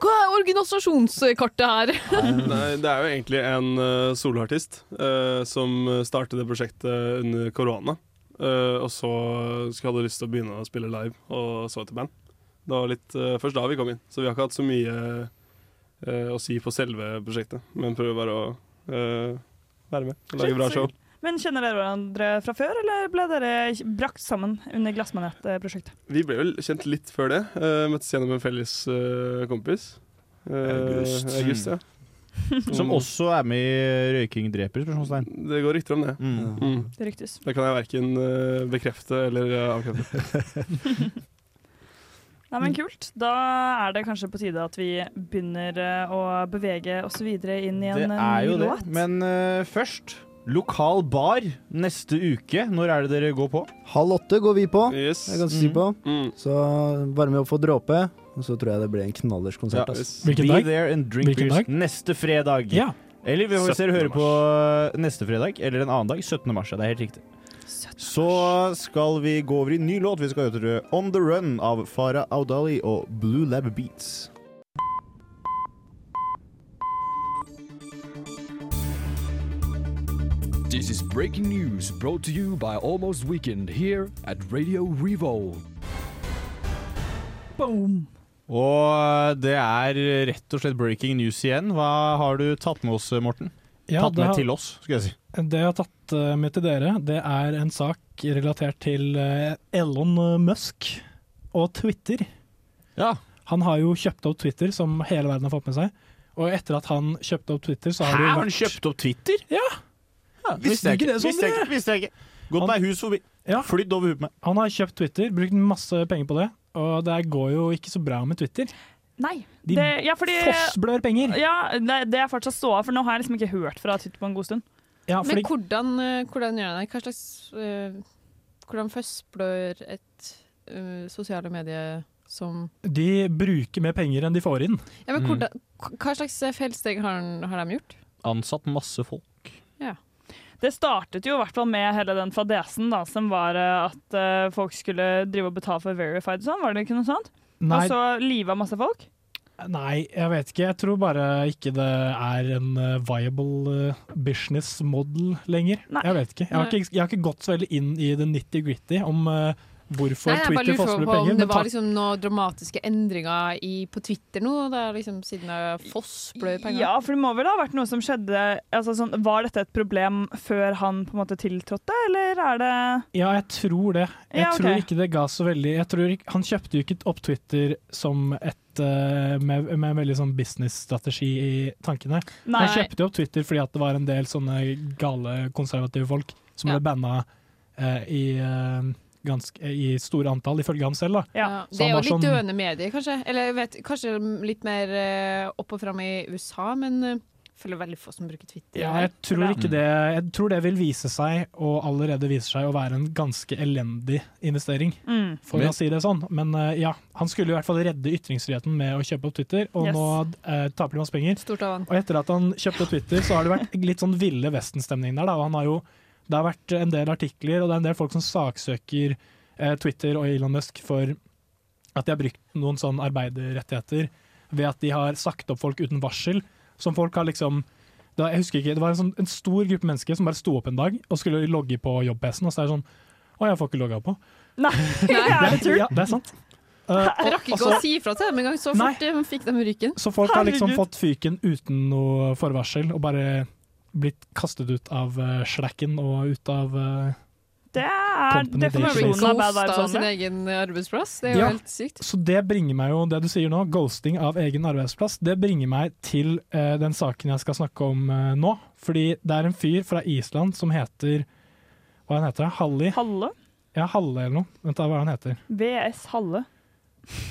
Speaker 10: hva er organisasjonskartet her?
Speaker 17: Nei, det er jo egentlig en uh, soloartist eh, som startet det prosjektet under korona. Eh, og så skulle hadde lyst til å begynne å spille live, og så etter band. Det var litt eh, først da vi kom inn, så vi har ikke hatt så mye eh, å si på selve prosjektet. Men prøver bare å eh, være med og lage bra show.
Speaker 11: Men kjenner dere hverandre fra før, eller ble dere brakt sammen under glassmanet-prosjektet?
Speaker 17: Vi ble vel kjent litt før det. eh, møttes gjennom en felles eh, kompis. Eh,
Speaker 8: August.
Speaker 17: August, ja. Mm.
Speaker 8: Som også er med i Røyking dreper? spørsmålstegn.
Speaker 17: Det går rykter om det.
Speaker 8: Mm.
Speaker 17: Mm.
Speaker 11: Det ryktes.
Speaker 17: Det kan jeg verken eh, bekrefte eller eh, avkrefte.
Speaker 11: Nei,
Speaker 8: Mm.
Speaker 11: men kult. Da er det kanskje på tide at vi begynner eh, å bevege oss videre inn i en
Speaker 8: Det
Speaker 11: eh,
Speaker 8: er jo
Speaker 11: ny
Speaker 8: det.
Speaker 11: låt.
Speaker 8: Men eh, først Lokal bar neste uke. Når er det dere går på?
Speaker 16: Halv åtte går vi på,
Speaker 17: yes.
Speaker 16: det er jeg ganske sikker på. Så varme opp for dråpe, og så tror jeg det blir en knallers konsert.
Speaker 8: Ja.
Speaker 16: ass.
Speaker 8: Be there and drink
Speaker 16: Hvilken
Speaker 8: beers
Speaker 16: dag?
Speaker 8: neste fredag.
Speaker 16: Ja.
Speaker 8: Eller vi får se og
Speaker 16: 17.
Speaker 8: høre på neste fredag, eller en annen dag. 17. mars, ja, det er helt riktig. Så skal vi gå over i ny låt. Vi skal høre On The Run av Farah Audali og Blue Lab Beats.
Speaker 18: This is breaking news brought to you by Almost Weekend here at Radio Revolve.
Speaker 11: Boom.
Speaker 8: Og det er rett og slett breaking news igjen. Hva har du tatt med oss, Morten?
Speaker 9: Ja,
Speaker 8: tatt
Speaker 9: det
Speaker 8: med
Speaker 9: har-
Speaker 8: til oss, skulle jeg si.
Speaker 9: Det jeg har tatt eh, med til dere, det er en sak relatert til eh, Elon Musk og Twitter. Han har jo kjøpt opp Twitter, som hele verden har fått med seg. Og etter at han kjøpte opp Twitter, så har det jo vært
Speaker 8: kjøpt opp Twitter?
Speaker 9: Ja.
Speaker 8: Visste jeg
Speaker 9: ikke
Speaker 8: ikke.
Speaker 9: det, sånn,
Speaker 8: Visste jeg
Speaker 9: Sondre?
Speaker 8: ikke. Visste jeg ikke. Gått meg hus forbi. Flydd over huet på meg.
Speaker 9: Han har kjøpt Twitter, brukt masse penger på det, og det går jo ikke så bra med Twitter.
Speaker 11: Nei.
Speaker 9: De
Speaker 11: det, ja, fordi,
Speaker 9: fossblør penger.
Speaker 11: Ja, det, det er fortsatt ståa, for nå har jeg liksom ikke hørt fra Tytt på en god stund.
Speaker 10: Men hvordan, eh, hvordan gjør han det? Hva slags eh, Hvordan fossblør et eh, sosiale medie som
Speaker 9: De bruker mer penger enn de får inn.
Speaker 10: Ja, men hvordan, Hva slags eh, feilsteg har, han- har de gjort?
Speaker 8: Ansatt masse folk.
Speaker 10: Ja.
Speaker 11: Det startet jo i hvert fall med hele den fadesen da, som var eh, at eh, folk skulle drive og betale for verified og sånn, var det ikke noe sånt?
Speaker 9: Nei.
Speaker 11: Og så liva masse folk?
Speaker 9: Nei, jeg vet ikke. Jeg tror bare ikke det er en eh, viable eh, business model lenger. Jeg vet ikke. Jeg har
Speaker 11: Nei.
Speaker 9: ikke, jeg har ikke gått så veldig inn i det nitty-gritty om eh, hvorfor
Speaker 10: Nei, jeg bare
Speaker 9: Twitter
Speaker 10: lurer
Speaker 9: fosser
Speaker 10: på
Speaker 9: penger.
Speaker 10: om det
Speaker 9: men
Speaker 10: var
Speaker 9: takk-
Speaker 10: liksom noen dramatiske endringer i, på Twitter nå, da, liksom, siden eh, Foss ble penger.
Speaker 11: Ja, for det må vel ha vært noe som skjedde altså, sånn, Var dette et problem før han på en måte tiltrådte, eller er det
Speaker 9: Ja, jeg tror det. Jeg
Speaker 11: Ja, ok.
Speaker 9: tror ikke det ga så veldig jeg tror ikke, Han kjøpte jo ikke opp Twitter som et eh, med, med veldig sånn businessstrategi i tankene.
Speaker 11: Nei.
Speaker 9: Han kjøpte jo opp Twitter fordi at det var en del sånne gale konservative folk som ble banna eh, i, eh, ganske, i store antall, ifølge ham selv. da.
Speaker 10: Ja,
Speaker 9: Så
Speaker 10: Det er
Speaker 9: han
Speaker 10: jo
Speaker 9: var
Speaker 10: litt
Speaker 9: sånn-
Speaker 10: døende medier, kanskje. Eller jeg vet, kanskje litt mer eh, opp og fram i USA, men eh, jeg føler veldig få som bruker Twitter.
Speaker 9: Ja, jeg tror ikke det Jeg tror det vil vise seg, og allerede viser seg, å være en ganske elendig investering.
Speaker 11: Mm.
Speaker 9: For
Speaker 11: Men-
Speaker 9: å si det sånn. Men eh, ja, han skulle i hvert fall redde ytringsfriheten med å kjøpe opp Twitter, og
Speaker 10: Yes.
Speaker 9: nå eh, taper de masse penger.
Speaker 10: Stort av han.
Speaker 9: Og etter at han kjøpte opp Twitter, så har det vært litt sånn ville vesten-stemning der. Da. Og han har jo, det har vært en del artikler, og det er en del folk som saksøker eh, Twitter og Elon Musk for at de har brukt noen sånn arbeiderrettigheter ved at de har sagt opp folk uten varsel. Som folk har liksom det var, jeg husker ikke, det var en, sånn, en stor gruppe mennesker som bare sto opp en dag og skulle logge på jobb-PC-en, og så er det sånn Å, jeg får ikke logga på.
Speaker 11: Nei, er det tull?
Speaker 9: Ja, det er sant. Eh,
Speaker 10: Jeg
Speaker 9: og-
Speaker 10: rakk
Speaker 9: og
Speaker 10: ikke
Speaker 9: så-
Speaker 10: å si ifra til dem engang, så
Speaker 9: Nei.
Speaker 10: fort de fikk dem ryken.
Speaker 9: så folk har liksom fått fyken uten noe forvarsel, og bare blitt kastet ut av uh, slacken og ut av eh,
Speaker 11: Det er
Speaker 9: Company
Speaker 11: definisjonen av bad vibes
Speaker 10: Ghost av sin
Speaker 11: only.
Speaker 10: egen arbeidsplass. Det er jo
Speaker 9: Ja.
Speaker 10: helt sykt.
Speaker 9: Så det bringer meg jo, det du sier nå, ghosting av egen arbeidsplass, det bringer meg til eh, den saken jeg skal snakke om eh, nå. Fordi det er en fyr fra Island som heter Hva han heter han? Halli?
Speaker 11: Halle?
Speaker 9: Ja, Halle eller noe. Vent da, hva er det han heter?
Speaker 11: VS Halle.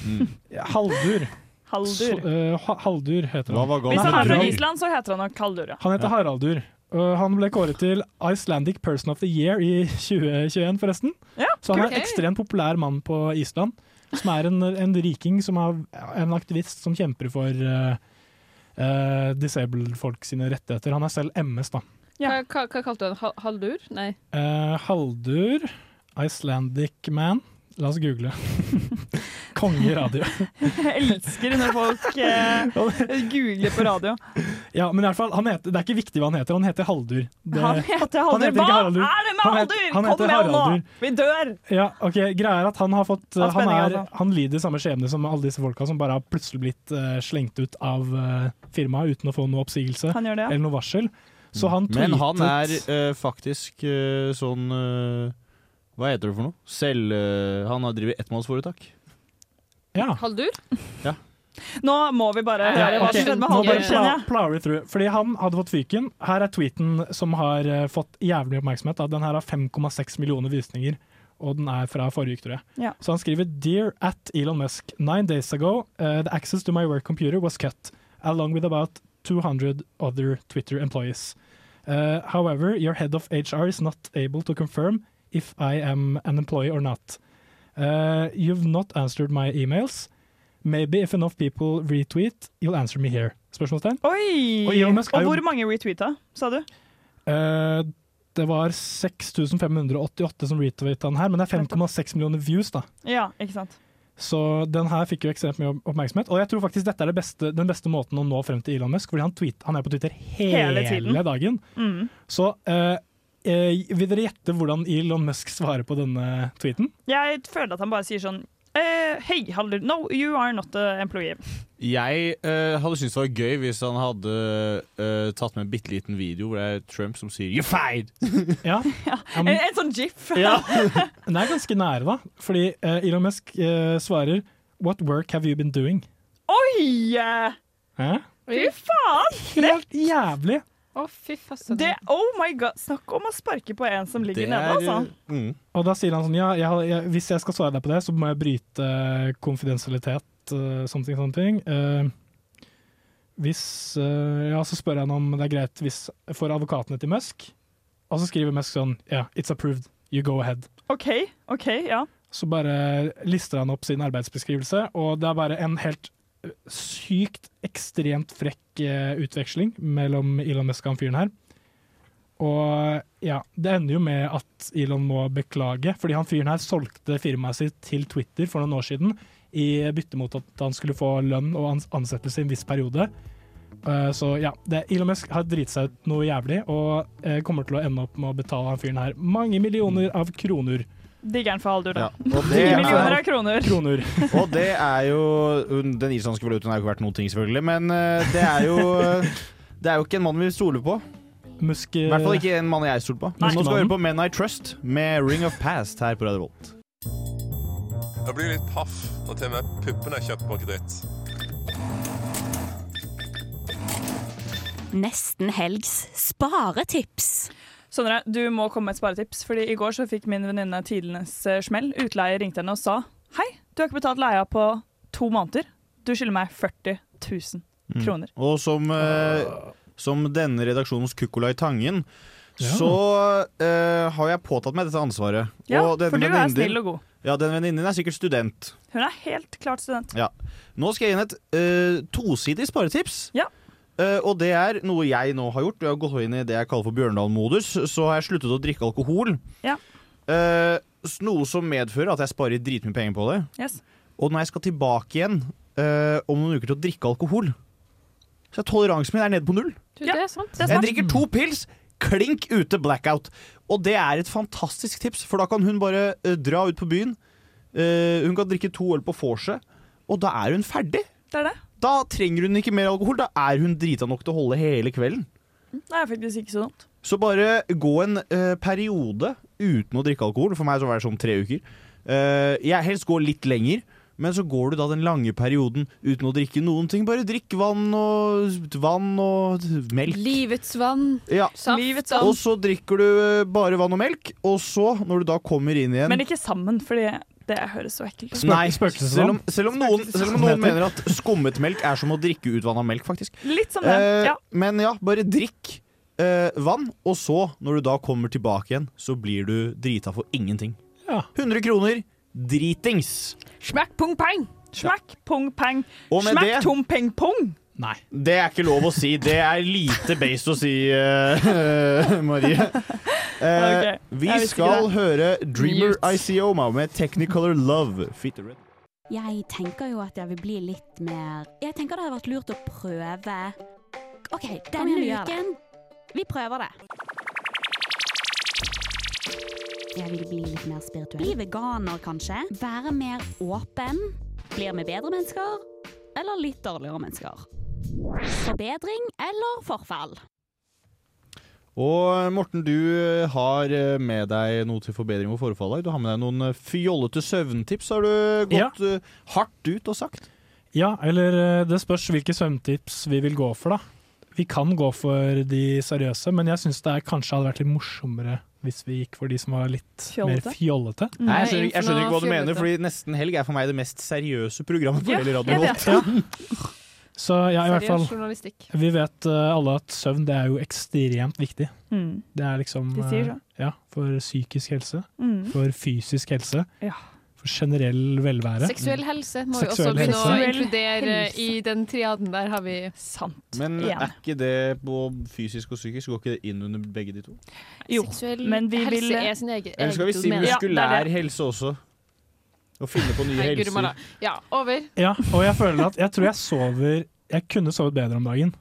Speaker 8: Mm.
Speaker 9: Ja, Haldur.
Speaker 11: Haldur.
Speaker 9: Så, eh, Ha- Haldur heter han.
Speaker 11: Hvis han er fra Island, så heter han nok Haldur, ja.
Speaker 9: Han heter Haraldur. og han ble kåret til Icelandic Person of the Year i 2021, forresten. så han er en
Speaker 11: kult.
Speaker 9: ekstremt populær mann på Island. Som er en, en riking, som er en aktivist som kjemper for eh, eh, disabled folk sine rettigheter. Han er selv MS, da.
Speaker 10: Hva, hva, hva kalte du den? Hal- Haldur? Nei.
Speaker 9: Eh, Haldur, Icelandic man. La oss google. Kongeradio.
Speaker 11: Jeg elsker når folk eh, googler på radio.
Speaker 9: Ja, men i hvert fall, han heter, Det er ikke viktig hva han heter, han heter Haldur. Det-
Speaker 11: Han heter
Speaker 9: Han
Speaker 11: Haldur.
Speaker 9: heter ikke
Speaker 11: Hva
Speaker 9: Haraldur.
Speaker 11: er det med
Speaker 9: Han het-
Speaker 11: Haldur?
Speaker 9: han
Speaker 11: Kom
Speaker 9: heter
Speaker 11: med nå!
Speaker 9: Haraldur.
Speaker 11: Vi dør!
Speaker 9: Ja, ok, greia er at han har fått
Speaker 11: Av
Speaker 9: han,
Speaker 11: spenning,
Speaker 9: er,
Speaker 11: altså.
Speaker 9: han lider samme skjebne som alle disse folka som bare har plutselig blitt eh, slengt ut av eh, firmaet uten å få noe oppsigelse
Speaker 11: Han gjør det, ja.
Speaker 9: eller noe varsel. Så han tweetet
Speaker 8: Men han er eh, faktisk eh, sånn eh, Hva heter det for noe? Selv eh, Han har drevet ettmannsforetak.
Speaker 9: ja.
Speaker 10: Haldur?
Speaker 8: Ja.
Speaker 11: Nå må vi bare høre hva som
Speaker 9: ok,
Speaker 11: skjedde med
Speaker 9: Nå
Speaker 11: Haldur,
Speaker 9: bare pla
Speaker 11: kjenner jeg.
Speaker 9: plower vi through. Fordi han hadde fått fyken. Her er tweeten som har eh, fått jævlig oppmerksomhet. Da. Den her har 5,6 millioner visninger, og den er fra forrige uke, tror jeg.
Speaker 11: Ja.
Speaker 9: Så han skriver Dear at Elon Musk, nine days ago uh, the access to my work computer was cut, along with about 200 other Twitter employees. Uh, however, your head of HR is not able to confirm if I am an employee or not. Uh, you've not answered my emails. Maybe if enough people retweet, you'll answer me here. Spørsmålstegn? Og
Speaker 11: Oi!
Speaker 9: Elon Musk er
Speaker 11: Og
Speaker 9: jo-
Speaker 11: hvor mange retweeta, sa du?
Speaker 9: Eh, det var 6588 som retweeta den her, men det er 5,6 millioner views, da.
Speaker 11: Ja, ikke sant.
Speaker 9: Så den her fikk jo ekstremt mye oppmerksomhet. Og jeg tror faktisk dette er det beste, den beste måten å nå frem til Elon Musk, fordi han, tweet, han er på Twitter hele,
Speaker 11: Hele tiden.
Speaker 9: dagen.
Speaker 11: Mm.
Speaker 9: Så eh, eh, vil dere gjette hvordan Elon Musk svarer på denne tweeten?
Speaker 11: Jeg føler at han bare sier sånn eh, Hei, Haldur. No, you are not an employee.
Speaker 8: Jeg eh, hadde syntes det var gøy hvis han hadde eh, tatt med en bitte liten video hvor det er Trump som sier 'you're fired'!
Speaker 9: Ja.
Speaker 11: En, en sånn gif.
Speaker 9: Den er ganske nære, da. Fordi eh, Elon Musk eh, svarer What work have you been doing?
Speaker 11: Oi! eh,
Speaker 9: Hæ?
Speaker 11: Fy faen!
Speaker 9: Helt jævlig.
Speaker 10: Å, fy fasen.
Speaker 11: Det, oh my god, Snakk om å sparke på en som ligger nede, altså.
Speaker 8: mm.
Speaker 9: Og da sier han sånn Ja, jeg, jeg, hvis jeg skal svare deg på det, så må jeg bryte eh, konfidensialitet, eh, sånne ting, sånne ting. Eh, hvis eh, Ja, så spør jeg han om det er greit hvis for advokatene til Musk. Og så skriver Musk sånn Ja, it's approved. You go ahead.
Speaker 11: OK, ok, ja.
Speaker 9: Så bare lister han opp sin arbeidsbeskrivelse, og det er bare en helt eh, sykt ekstremt frekk eh, utveksling mellom Elon Musk og han fyren her. Og ja, det ender jo med at Elon må beklage, fordi han fyren her solgte firmaet sitt til Twitter for noen år siden i bytte mot at han skulle få lønn og ans- ansettelse i en viss periode. Eh, Så ja, det, Elon Musk har driti seg ut noe jævlig og eh, kommer til å ende opp med å betale han fyren her mange millioner av kroner
Speaker 11: Digger den for Haldur, da.
Speaker 8: Ja, og det
Speaker 11: 10 millioner
Speaker 8: er-
Speaker 11: av kroner.
Speaker 8: Og det er jo Den islandske valutaen er jo ikke verdt noen ting, selvfølgelig, men eh, det er jo Det er jo ikke en mann vi stoler på.
Speaker 9: Muske...
Speaker 8: I hvert fall ikke en mann jeg stoler på.
Speaker 9: Nei.
Speaker 8: Nå skal vi høre på Men I Trust med Ring of Past her på Radio Volt.
Speaker 19: Jeg blir litt paff når til og med puppene er kjøpt på kreditt.
Speaker 20: Nesten helgs sparetips.
Speaker 11: Sondre, du må komme med et sparetips. Fordi i går så fikk min venninne tidenes eh, smell. Utleier ringte henne og sa Hei, du har ikke betalt leia på to måneder. Du skylder meg 40 000
Speaker 8: Mm.
Speaker 11: kroner.
Speaker 8: Og som, eh, som denne redaksjonens Kukkola i Tangen, så eh, har jeg påtatt meg dette ansvaret.
Speaker 11: Ja,
Speaker 8: Og denne
Speaker 11: for du er
Speaker 8: venninnen din-
Speaker 11: snill og god.
Speaker 8: Ja, den venninnen din er sikkert student.
Speaker 11: Hun er helt klart student.
Speaker 8: Ja. Nå skal jeg inn et eh, tosidig sparetips. Eh, og det er noe jeg nå har gjort. Jeg har gått inn i det jeg kaller for Bjørndalen-modus. Så har jeg sluttet å drikke alkohol.
Speaker 11: Ja.
Speaker 8: Eh, s- noe som medfører at jeg sparer dritmye penger på det.
Speaker 11: Yes.
Speaker 8: Og når jeg skal tilbake igjen eh, om noen uker til å drikke alkohol, så er toleransen min er nede på null.
Speaker 10: Du, det er sant.
Speaker 8: Jeg drikker to pils, klink ute blackout. Og det er et fantastisk tips, for da kan hun bare eh, dra ut på byen. Eh, hun kan drikke to øl på vorset, og da er hun ferdig. Da trenger hun ikke mer alkohol. Da er hun drita nok til å holde hele kvelden.
Speaker 11: Det er faktisk ikke så dumt.
Speaker 8: Så bare gå en eh, periode uten å drikke alkohol. For meg så var det sånn tre uker. Eh, jeg helst går litt lenger, men så går du da den lange perioden uten å drikke noen ting. Bare drikk vann og vann og melk.
Speaker 10: Livets vann.
Speaker 8: Ja.
Speaker 10: Saft. Livets vann.
Speaker 8: Og så drikker du eh, bare vann og melk, og så, når du da kommer inn igjen
Speaker 11: Men ikke sammen, fordi det høres så ekkelt ut.
Speaker 8: Nei, selv om, selv om noen, selv om noen mener at skummet melk er som å drikke utvanna melk, faktisk.
Speaker 11: Litt som Sånn det,
Speaker 8: Eh,
Speaker 11: ja.
Speaker 8: Men ja, bare drikk eh, vann, og så, når du da kommer tilbake igjen, så blir du drita for ingenting. 100 kroner dritings.
Speaker 11: Smakk pung pang! Smakk pung pang!
Speaker 8: Og med
Speaker 11: Smakk
Speaker 8: det-
Speaker 11: tom peng pung!
Speaker 8: Nei. Det er ikke lov å si. Det er lite based å si, eh, Marie. Eh,
Speaker 1: Ok,
Speaker 8: Vi
Speaker 1: jeg visste ikke
Speaker 8: skal
Speaker 1: det.
Speaker 8: høre Dreamer
Speaker 1: Mute.
Speaker 8: ICOMA med Technicolor Love. Fit the red.
Speaker 20: Jeg tenker jo at jeg vil bli litt mer Jeg tenker det hadde vært lurt å prøve OK,
Speaker 5: Kom
Speaker 20: denne
Speaker 5: igjen, vi gjør
Speaker 20: uken Vi prøver det. Jeg vil bli litt mer spirituell. Bli veganer, kanskje. Være mer åpen. Blir vi bedre mennesker? Eller litt dårligere mennesker? Forbedring eller forfall?
Speaker 8: Og eh, Morten, du har eh, med deg noe til forbedring og forfall. i dag. Du har med deg noen eh, fjollete søvntips, har du gått eh, hardt ut og sagt.
Speaker 9: Ja, eller eh, det spørs hvilke svømmetips vi vil gå for, da. Vi kan gå for de seriøse, men jeg syns det er, kanskje hadde vært litt morsommere hvis vi gikk for de som var litt mer fjollete.
Speaker 8: Nei, jeg, skjønner, jeg skjønner ikke hva du mener, fordi Nesten helg er for meg det mest seriøse programmet på
Speaker 9: Ja,
Speaker 8: hele
Speaker 9: jeg
Speaker 8: Radio
Speaker 9: vet
Speaker 8: Volt.
Speaker 9: Så ja, i hvert
Speaker 10: Seriøs
Speaker 9: fall.
Speaker 10: journalistikk.
Speaker 9: Vi vet eh, alle at søvn det er jo ekstremt viktig.
Speaker 10: Mm.
Speaker 9: Det er liksom
Speaker 10: De sier
Speaker 9: eh,
Speaker 10: så.
Speaker 9: ja, for psykisk helse,
Speaker 10: Mm.
Speaker 9: for fysisk helse,
Speaker 11: Ja.
Speaker 9: for generell velvære.
Speaker 10: Seksuell helse må vi også
Speaker 9: Seksuell
Speaker 10: begynne å
Speaker 9: helse.
Speaker 10: inkludere
Speaker 11: Helse.
Speaker 10: i den triaden der, har vi Sant.
Speaker 8: Men eh, er ikke det på fysisk og psykisk? Går ikke det inn under begge de to?
Speaker 11: Jo,
Speaker 10: Seksuell
Speaker 11: men vi
Speaker 10: helse
Speaker 11: vil
Speaker 10: er sin egen
Speaker 8: Eller skal vi si
Speaker 10: domene.
Speaker 8: muskulær
Speaker 10: Ja, det er det.
Speaker 8: helse også? Og finne på nye
Speaker 10: Nei, guri
Speaker 8: helser?
Speaker 10: malla. Ja, over.
Speaker 9: Ja, og jeg føler at jeg tror jeg sover Jeg kunne sovet bedre om dagen.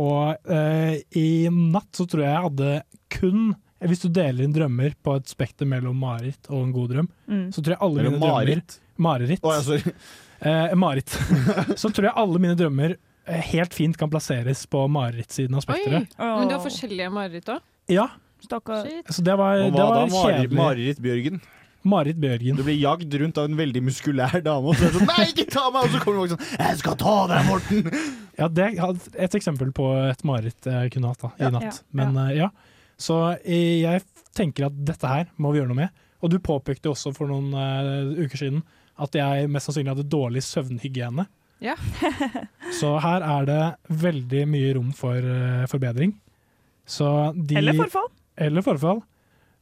Speaker 9: Og eh, i natt så tror jeg jeg hadde kun Hvis du deler inn drømmer på et spekter mellom mareritt og en god drøm,
Speaker 11: Mm.
Speaker 9: så tror jeg alle
Speaker 8: Eller
Speaker 9: mine
Speaker 8: mareritt?
Speaker 9: drømmer Mareritt.
Speaker 8: Å, ja, sorry.
Speaker 9: Eh, mareritt. så tror jeg alle mine drømmer eh, helt fint kan plasseres på marerittsiden av
Speaker 10: Oi,
Speaker 9: spekteret.
Speaker 10: men du har forskjellige mareritt òg?
Speaker 9: Ja,
Speaker 11: Stakkar.
Speaker 9: så det var,
Speaker 8: Og
Speaker 9: det
Speaker 8: hva da,
Speaker 9: var
Speaker 8: Mari-
Speaker 9: kjedelig.
Speaker 8: Marit Bjørgen?
Speaker 9: Marit Bjørgen.
Speaker 8: Du blir jagd rundt av en veldig muskulær dame, og så er det sånn Nei, ikke ta meg! Og så kommer folk sånn Jeg skal ta deg, Morten!
Speaker 9: Ja, det er et eksempel på et mareritt eh, jeg kunne hatt da, i
Speaker 8: Ja.
Speaker 9: natt.
Speaker 8: Ja,
Speaker 9: Men eh, ja, så eh, jeg tenker at dette her må vi gjøre noe med. Og du påpekte også for noen eh, uker siden at jeg mest sannsynlig hadde dårlig søvnhygiene.
Speaker 10: Ja.
Speaker 9: Så her er det veldig mye rom for eh, forbedring. Så de,
Speaker 11: Eller forfall.
Speaker 9: Eller forfall.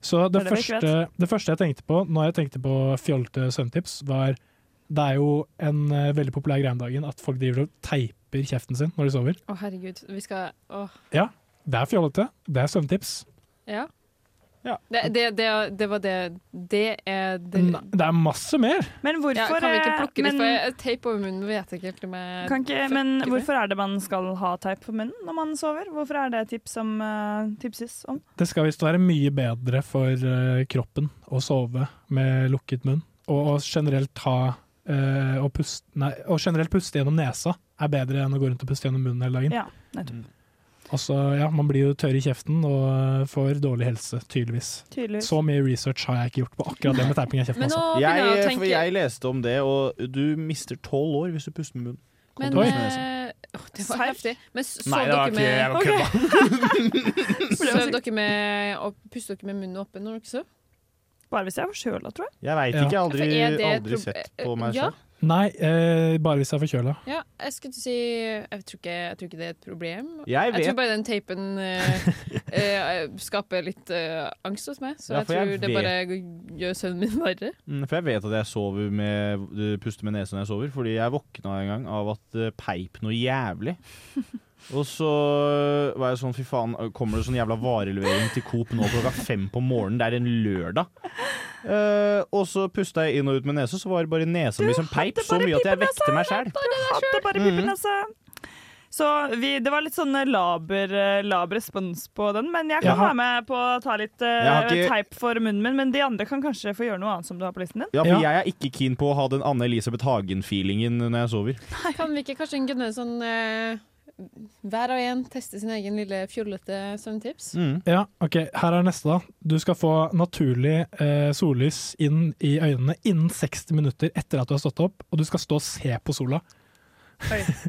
Speaker 9: Så det,
Speaker 11: Det er det vi ikke
Speaker 9: første, det første jeg tenkte på når jeg tenkte på fjolte søvntips, var Det er jo en eh, veldig populær greie om dagen at folk driver og teiper kjeften sin når de sover.
Speaker 10: Å, herregud. Vi skal Åh.
Speaker 9: Ja, det er fjollete. Det er søvntips.
Speaker 10: Ja. Det, det, det, det var det Det er det
Speaker 9: Nei, Det er masse mer!
Speaker 11: Men hvorfor
Speaker 10: ja, Kan vi ikke plukke
Speaker 11: eh,
Speaker 10: litt?
Speaker 11: men-
Speaker 10: For jeg- Teip over munnen vet jeg ikke helt om jeg
Speaker 11: Kan ikke, men
Speaker 10: fucker med.
Speaker 11: hvorfor er det man skal ha teip på munnen når man sover? Hvorfor er det et tips som eh, tipses om?
Speaker 9: Det skal visst være mye bedre for eh, kroppen å sove med lukket munn. Og, og generelt ha eh, å puste, nei, og generelt puste gjennom nesa er bedre enn å gå rundt og puste gjennom munnen hele dagen.
Speaker 11: Ja, nettopp.
Speaker 9: Og så, ja, Man blir jo tørr i kjeften og eh, får dårlig helse, tydeligvis.
Speaker 11: Tydeligvis.
Speaker 9: Så mye research har jeg ikke gjort på akkurat det med teiping i kjeften.
Speaker 10: Men nå
Speaker 9: altså.
Speaker 8: Jeg,
Speaker 10: begynner
Speaker 8: eh,
Speaker 10: jeg å
Speaker 8: for
Speaker 10: tenke
Speaker 8: jeg leste om det, og du mister tolv år hvis du puster med munnen.
Speaker 10: Men
Speaker 8: Oi.
Speaker 10: eh, åh, Det var heftig. Men så
Speaker 8: Nei, det var ikke- jeg
Speaker 10: dere
Speaker 8: var
Speaker 10: med
Speaker 8: kødda.
Speaker 10: Sov dere med og pustet dere med munnen åpen når dere sov?
Speaker 11: Bare hvis jeg er forkjøla, tror jeg.
Speaker 8: Jeg veit
Speaker 9: Ja.
Speaker 8: ikke, jeg har aldri,
Speaker 10: For er det et
Speaker 8: aldri
Speaker 10: proble-
Speaker 8: sett på meg
Speaker 10: Ja.
Speaker 8: selv.
Speaker 9: Nei, eh, bare hvis jeg er forkjøla.
Speaker 10: Ja, jeg skulle til å si jeg tror, ikke, jeg tror ikke det er et problem.
Speaker 9: Jeg vet-
Speaker 10: tror bare den teipen eh, eh, skaper litt eh, angst hos meg, så
Speaker 8: Ja,
Speaker 10: jeg
Speaker 8: for
Speaker 10: tror
Speaker 8: jeg
Speaker 10: det
Speaker 8: vet-
Speaker 10: bare g- gjør søvnen min verre.
Speaker 8: Mm, For jeg vet at jeg sover med, du puster med nesa når jeg sover, fordi jeg våkna en gang av at det peip noe jævlig. Og så var jeg sånn, fy faen, kommer det sånn jævla varelevering til Coop nå klokka fem på morgenen? Det er en lørdag. Eh, og så pusta jeg inn og ut med nesa, så var det bare nesa mi som peip så mye at jeg vekte meg sjæl.
Speaker 11: Hadde bare
Speaker 8: Mhm.
Speaker 11: pipen, altså. Så vi, det var litt sånn laber, eh, lab respons på den, men jeg kan
Speaker 8: Jeg har-
Speaker 11: være med på å ta litt eh,
Speaker 8: Jeg har ikke-
Speaker 11: teip for munnen min. Men de andre kan kanskje få gjøre noe annet som du har på listen din.
Speaker 8: Ja, for jeg er ikke keen på å ha den Anne-Elisabeth Hagen-feelingen når jeg sover.
Speaker 10: Kan vi ikke kanskje gunne sånn eh, hver og en teste sin egen lille fjollete søvntips?
Speaker 8: Mm.
Speaker 9: Ja, ok. Her er neste, da. Du skal få naturlig eh, sollys inn i øynene innen 60 minutter etter at du har stått opp, og du skal stå og se på sola.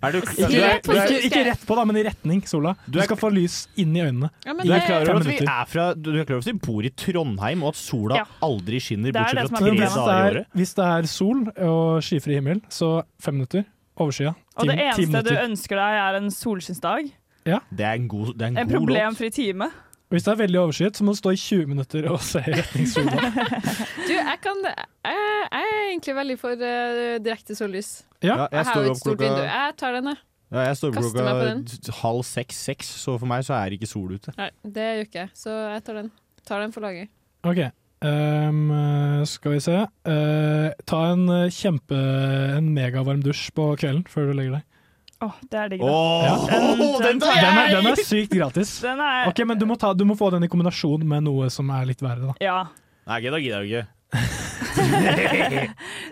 Speaker 8: Er du,
Speaker 9: Ikke, rett, på, ikke, ikke rett på, da, men i retning sola. Du skal få lys inn i øynene.
Speaker 10: Ja,
Speaker 8: Du er klar over
Speaker 9: Fem
Speaker 8: at vi,
Speaker 9: minutter.
Speaker 8: er fra, du er klar over at vi bor i Trondheim, og at sola aldri skinner
Speaker 9: Det er det
Speaker 8: bortsett fra
Speaker 9: som er
Speaker 8: tre
Speaker 9: problemet.
Speaker 8: dager i
Speaker 9: Hvis
Speaker 8: året?
Speaker 9: det er- Hvis det er sol og skyfri himmel, så fem minutter. Overskya.
Speaker 11: Og det
Speaker 9: ti
Speaker 11: eneste du
Speaker 9: minutter.
Speaker 11: ønsker deg, er en solskinnsdag.
Speaker 9: Ja.
Speaker 8: Det er en god, det er en
Speaker 11: En
Speaker 8: god låt.
Speaker 11: problemfri time.
Speaker 9: Hvis det er veldig overskyet, så må du stå i 20 minutter og se i retning sola.
Speaker 10: Du, jeg kan Jeg, jeg er egentlig veldig for eh, direkte sollys.
Speaker 8: Ja. Ja, jeg
Speaker 10: jeg
Speaker 8: står
Speaker 10: har jo
Speaker 8: opp
Speaker 10: et stort
Speaker 8: klokka-
Speaker 10: vindu. Jeg tar den, jeg.
Speaker 8: Ja, jeg står opp
Speaker 10: Kaster meg på den.
Speaker 8: klokka t- halv seks-seks, så for meg så er det ikke sol ute.
Speaker 10: Nei, det gjør ikke jeg, så jeg tar den. Tar den for laget.
Speaker 9: Ok, ehm, skal vi se. Eh, ta en eh, kjempe, en megavarm dusj på kvelden før du legger deg.
Speaker 11: Åh, det er digg, da.
Speaker 9: Åh,
Speaker 11: den tar
Speaker 9: Den er,
Speaker 11: jeg!
Speaker 9: den er sykt gratis.
Speaker 11: Den er-
Speaker 9: Ok, Men du må, ta, du må få den i kombinasjon med noe som er litt verre. da.
Speaker 11: Ja.
Speaker 8: Nei, ok, da gidder jeg jo ikke.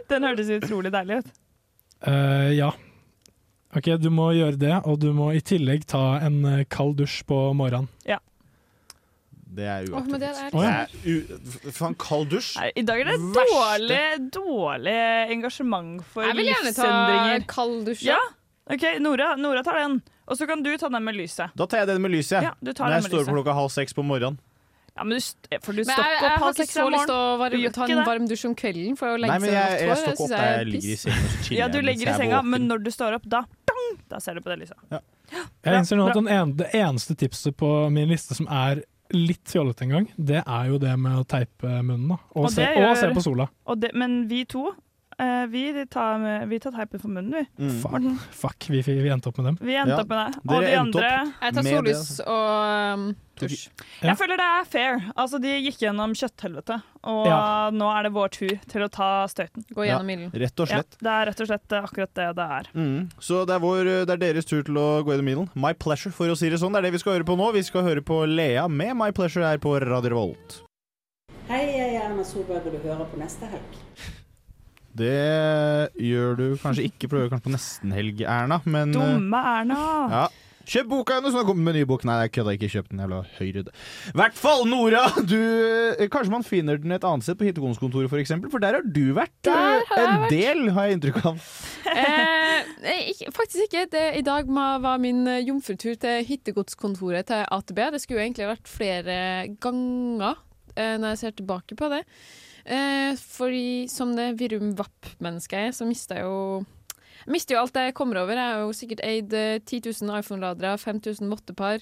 Speaker 11: Den hørtes utrolig deilig ut.
Speaker 9: Eh, ja. Ok, du må gjøre det, og du må i tillegg ta en eh, kald dusj på morgenen.
Speaker 11: Ja.
Speaker 8: Det er
Speaker 11: Åh, men det er
Speaker 8: uaktuelt.
Speaker 11: liksom-
Speaker 8: u- f- Faen, kald dusj!
Speaker 11: I dag er det dårlig, dårlig engasjement for
Speaker 10: Jeg vil gjerne ta
Speaker 11: livsendringer.
Speaker 10: kald dusj.
Speaker 11: Ja, ok, Nora, Nora tar den. Og så kan du ta den med lyset.
Speaker 8: Da tar jeg den med lyset, jeg.
Speaker 11: Ja, du tar
Speaker 8: når
Speaker 11: den
Speaker 8: jeg
Speaker 11: med
Speaker 8: står opp
Speaker 11: lyset.
Speaker 8: klokka halv seks på morgenen.
Speaker 11: Ja, men du, st- eh, for du
Speaker 10: Men jeg,
Speaker 11: stopper
Speaker 10: jeg
Speaker 11: opp
Speaker 10: har
Speaker 11: halv
Speaker 10: ikke
Speaker 11: seks
Speaker 10: så
Speaker 11: om
Speaker 10: lyst til å
Speaker 11: morgenen. Du
Speaker 10: varme,
Speaker 11: gjør
Speaker 10: ta
Speaker 11: ikke
Speaker 10: en
Speaker 11: det.
Speaker 10: varm dusj om kvelden for å legge
Speaker 8: Nei, men
Speaker 10: seg
Speaker 8: jeg,
Speaker 10: langt
Speaker 8: jeg
Speaker 10: hår.
Speaker 8: står ikke
Speaker 10: synes
Speaker 8: opp,
Speaker 10: jeg er
Speaker 8: jeg ligger i
Speaker 10: piss.
Speaker 8: senga og så chiller
Speaker 11: Ja,
Speaker 8: jeg
Speaker 11: du
Speaker 8: mens
Speaker 11: legger i
Speaker 8: jeg er
Speaker 11: senga,
Speaker 8: våken.
Speaker 11: men når du står opp, da, dang, da ser du på det lyset.
Speaker 9: Jeg innser nå at
Speaker 11: bra.
Speaker 9: den en, Det eneste tipset på min liste som er litt fjollete en gang, det er jo det med å teipe munnen da. Og, se,
Speaker 11: det
Speaker 9: og
Speaker 11: gjør-
Speaker 9: se på sola.
Speaker 11: og det, men vi to, eh, vi tar, med- vi tar teipen for munnen, vi.
Speaker 8: Mm.
Speaker 9: Fuck,
Speaker 11: Morten,
Speaker 9: fuck vi, vi endte opp med dem.
Speaker 11: Vi endte opp med det. Og de andre
Speaker 10: Jeg tar sollys
Speaker 8: altså.
Speaker 10: og um, dusj.
Speaker 11: Jeg føler det er fair. Altså, de gikk gjennom kjøtthelvete, og
Speaker 9: Ja.
Speaker 11: nå er det vår tur til å ta støyten.
Speaker 10: Gå
Speaker 8: gjennom Ja, ilden. rett og slett.
Speaker 11: Ja, det er rett og slett eh, akkurat det det er.
Speaker 8: Mm. Så det er, vår, det er deres tur til å gå gjennom middelen. My pleasure, for å si det sånn. Det er det vi skal høre på nå. Vi skal høre på Lea med My pleasure her på Radio Revolt.
Speaker 2: Hei, jeg er Erna Solberg, og du hører på neste helg.
Speaker 8: Det gjør du kanskje ikke, for du gjør kanskje på nesten helg, Erna,
Speaker 9: Mm.
Speaker 8: men
Speaker 11: Dumme Erna!
Speaker 8: eh, ja. Kjøp boka hennes! Hun har kommet med en ny bok. Nei, jeg kødda ikke. Kjøp den jævla høyredd. I hvert fall, Nora! Du, eh, kanskje man finner den et annet sted, på hittekontoret f.eks., for der har du vært eh,
Speaker 10: har jeg
Speaker 8: en
Speaker 10: vært.
Speaker 8: del, har jeg inntrykk av.
Speaker 10: Eh, nei, ikke, faktisk ikke. Det, I dag ma- var min eh, jomfrutur til hittegodskontoret til AtB. Det skulle jo egentlig vært flere ganger eh, når jeg ser tilbake på det. Eh, fordi som det Virum Vapp-mennesket jeg er, så mister jeg jo jeg mister jo alt jeg kommer over. Jeg har jo sikkert eid eh, 10 000 iPhone-ladere, 5000 vottepar.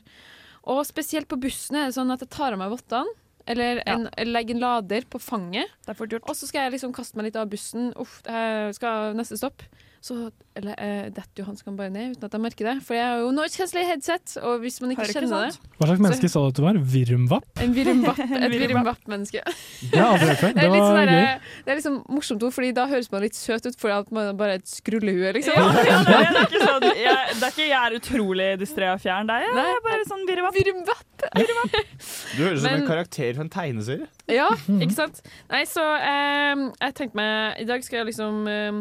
Speaker 10: Og spesielt på bussen er det sånn at jeg tar av meg vottene, eller en, legger en lader på fanget.
Speaker 11: Og
Speaker 10: så skal jeg liksom kaste meg litt av bussen. Uff, jeg skal neste stopp. så eller, eh, detter jo hanskene bare ned uten at jeg merker det. For jeg har jo noise cancelling headset, og hvis man ikke sånn?
Speaker 11: Har du ikke sånn?
Speaker 10: kjenner
Speaker 11: sant?
Speaker 10: det
Speaker 9: Hva slags menneske sa du at du var? Virumvapp?
Speaker 10: En virumvapp, et
Speaker 9: virumvapp.
Speaker 10: virumvapp-menneske.
Speaker 9: Det har jeg aldri hørt før.
Speaker 10: Det er
Speaker 9: Det
Speaker 10: litt
Speaker 9: var
Speaker 10: sånn
Speaker 9: gøy.
Speaker 10: der, det er liksom morsomt ord, Fordi da høres man litt søt ut, fordi at man bare er et skrullehue, liksom.
Speaker 11: Ja, ja, det, er ikke sånn, jeg, det er ikke jeg er utrolig distré og fjern deg. Jeg er bare sånn virvapp.
Speaker 8: Du høres ut som
Speaker 10: Men-
Speaker 8: en karakter fra en tegneserie.
Speaker 10: Ja, ikke sant? Nei, så eh, jeg tenkte meg I dag skal jeg liksom eh,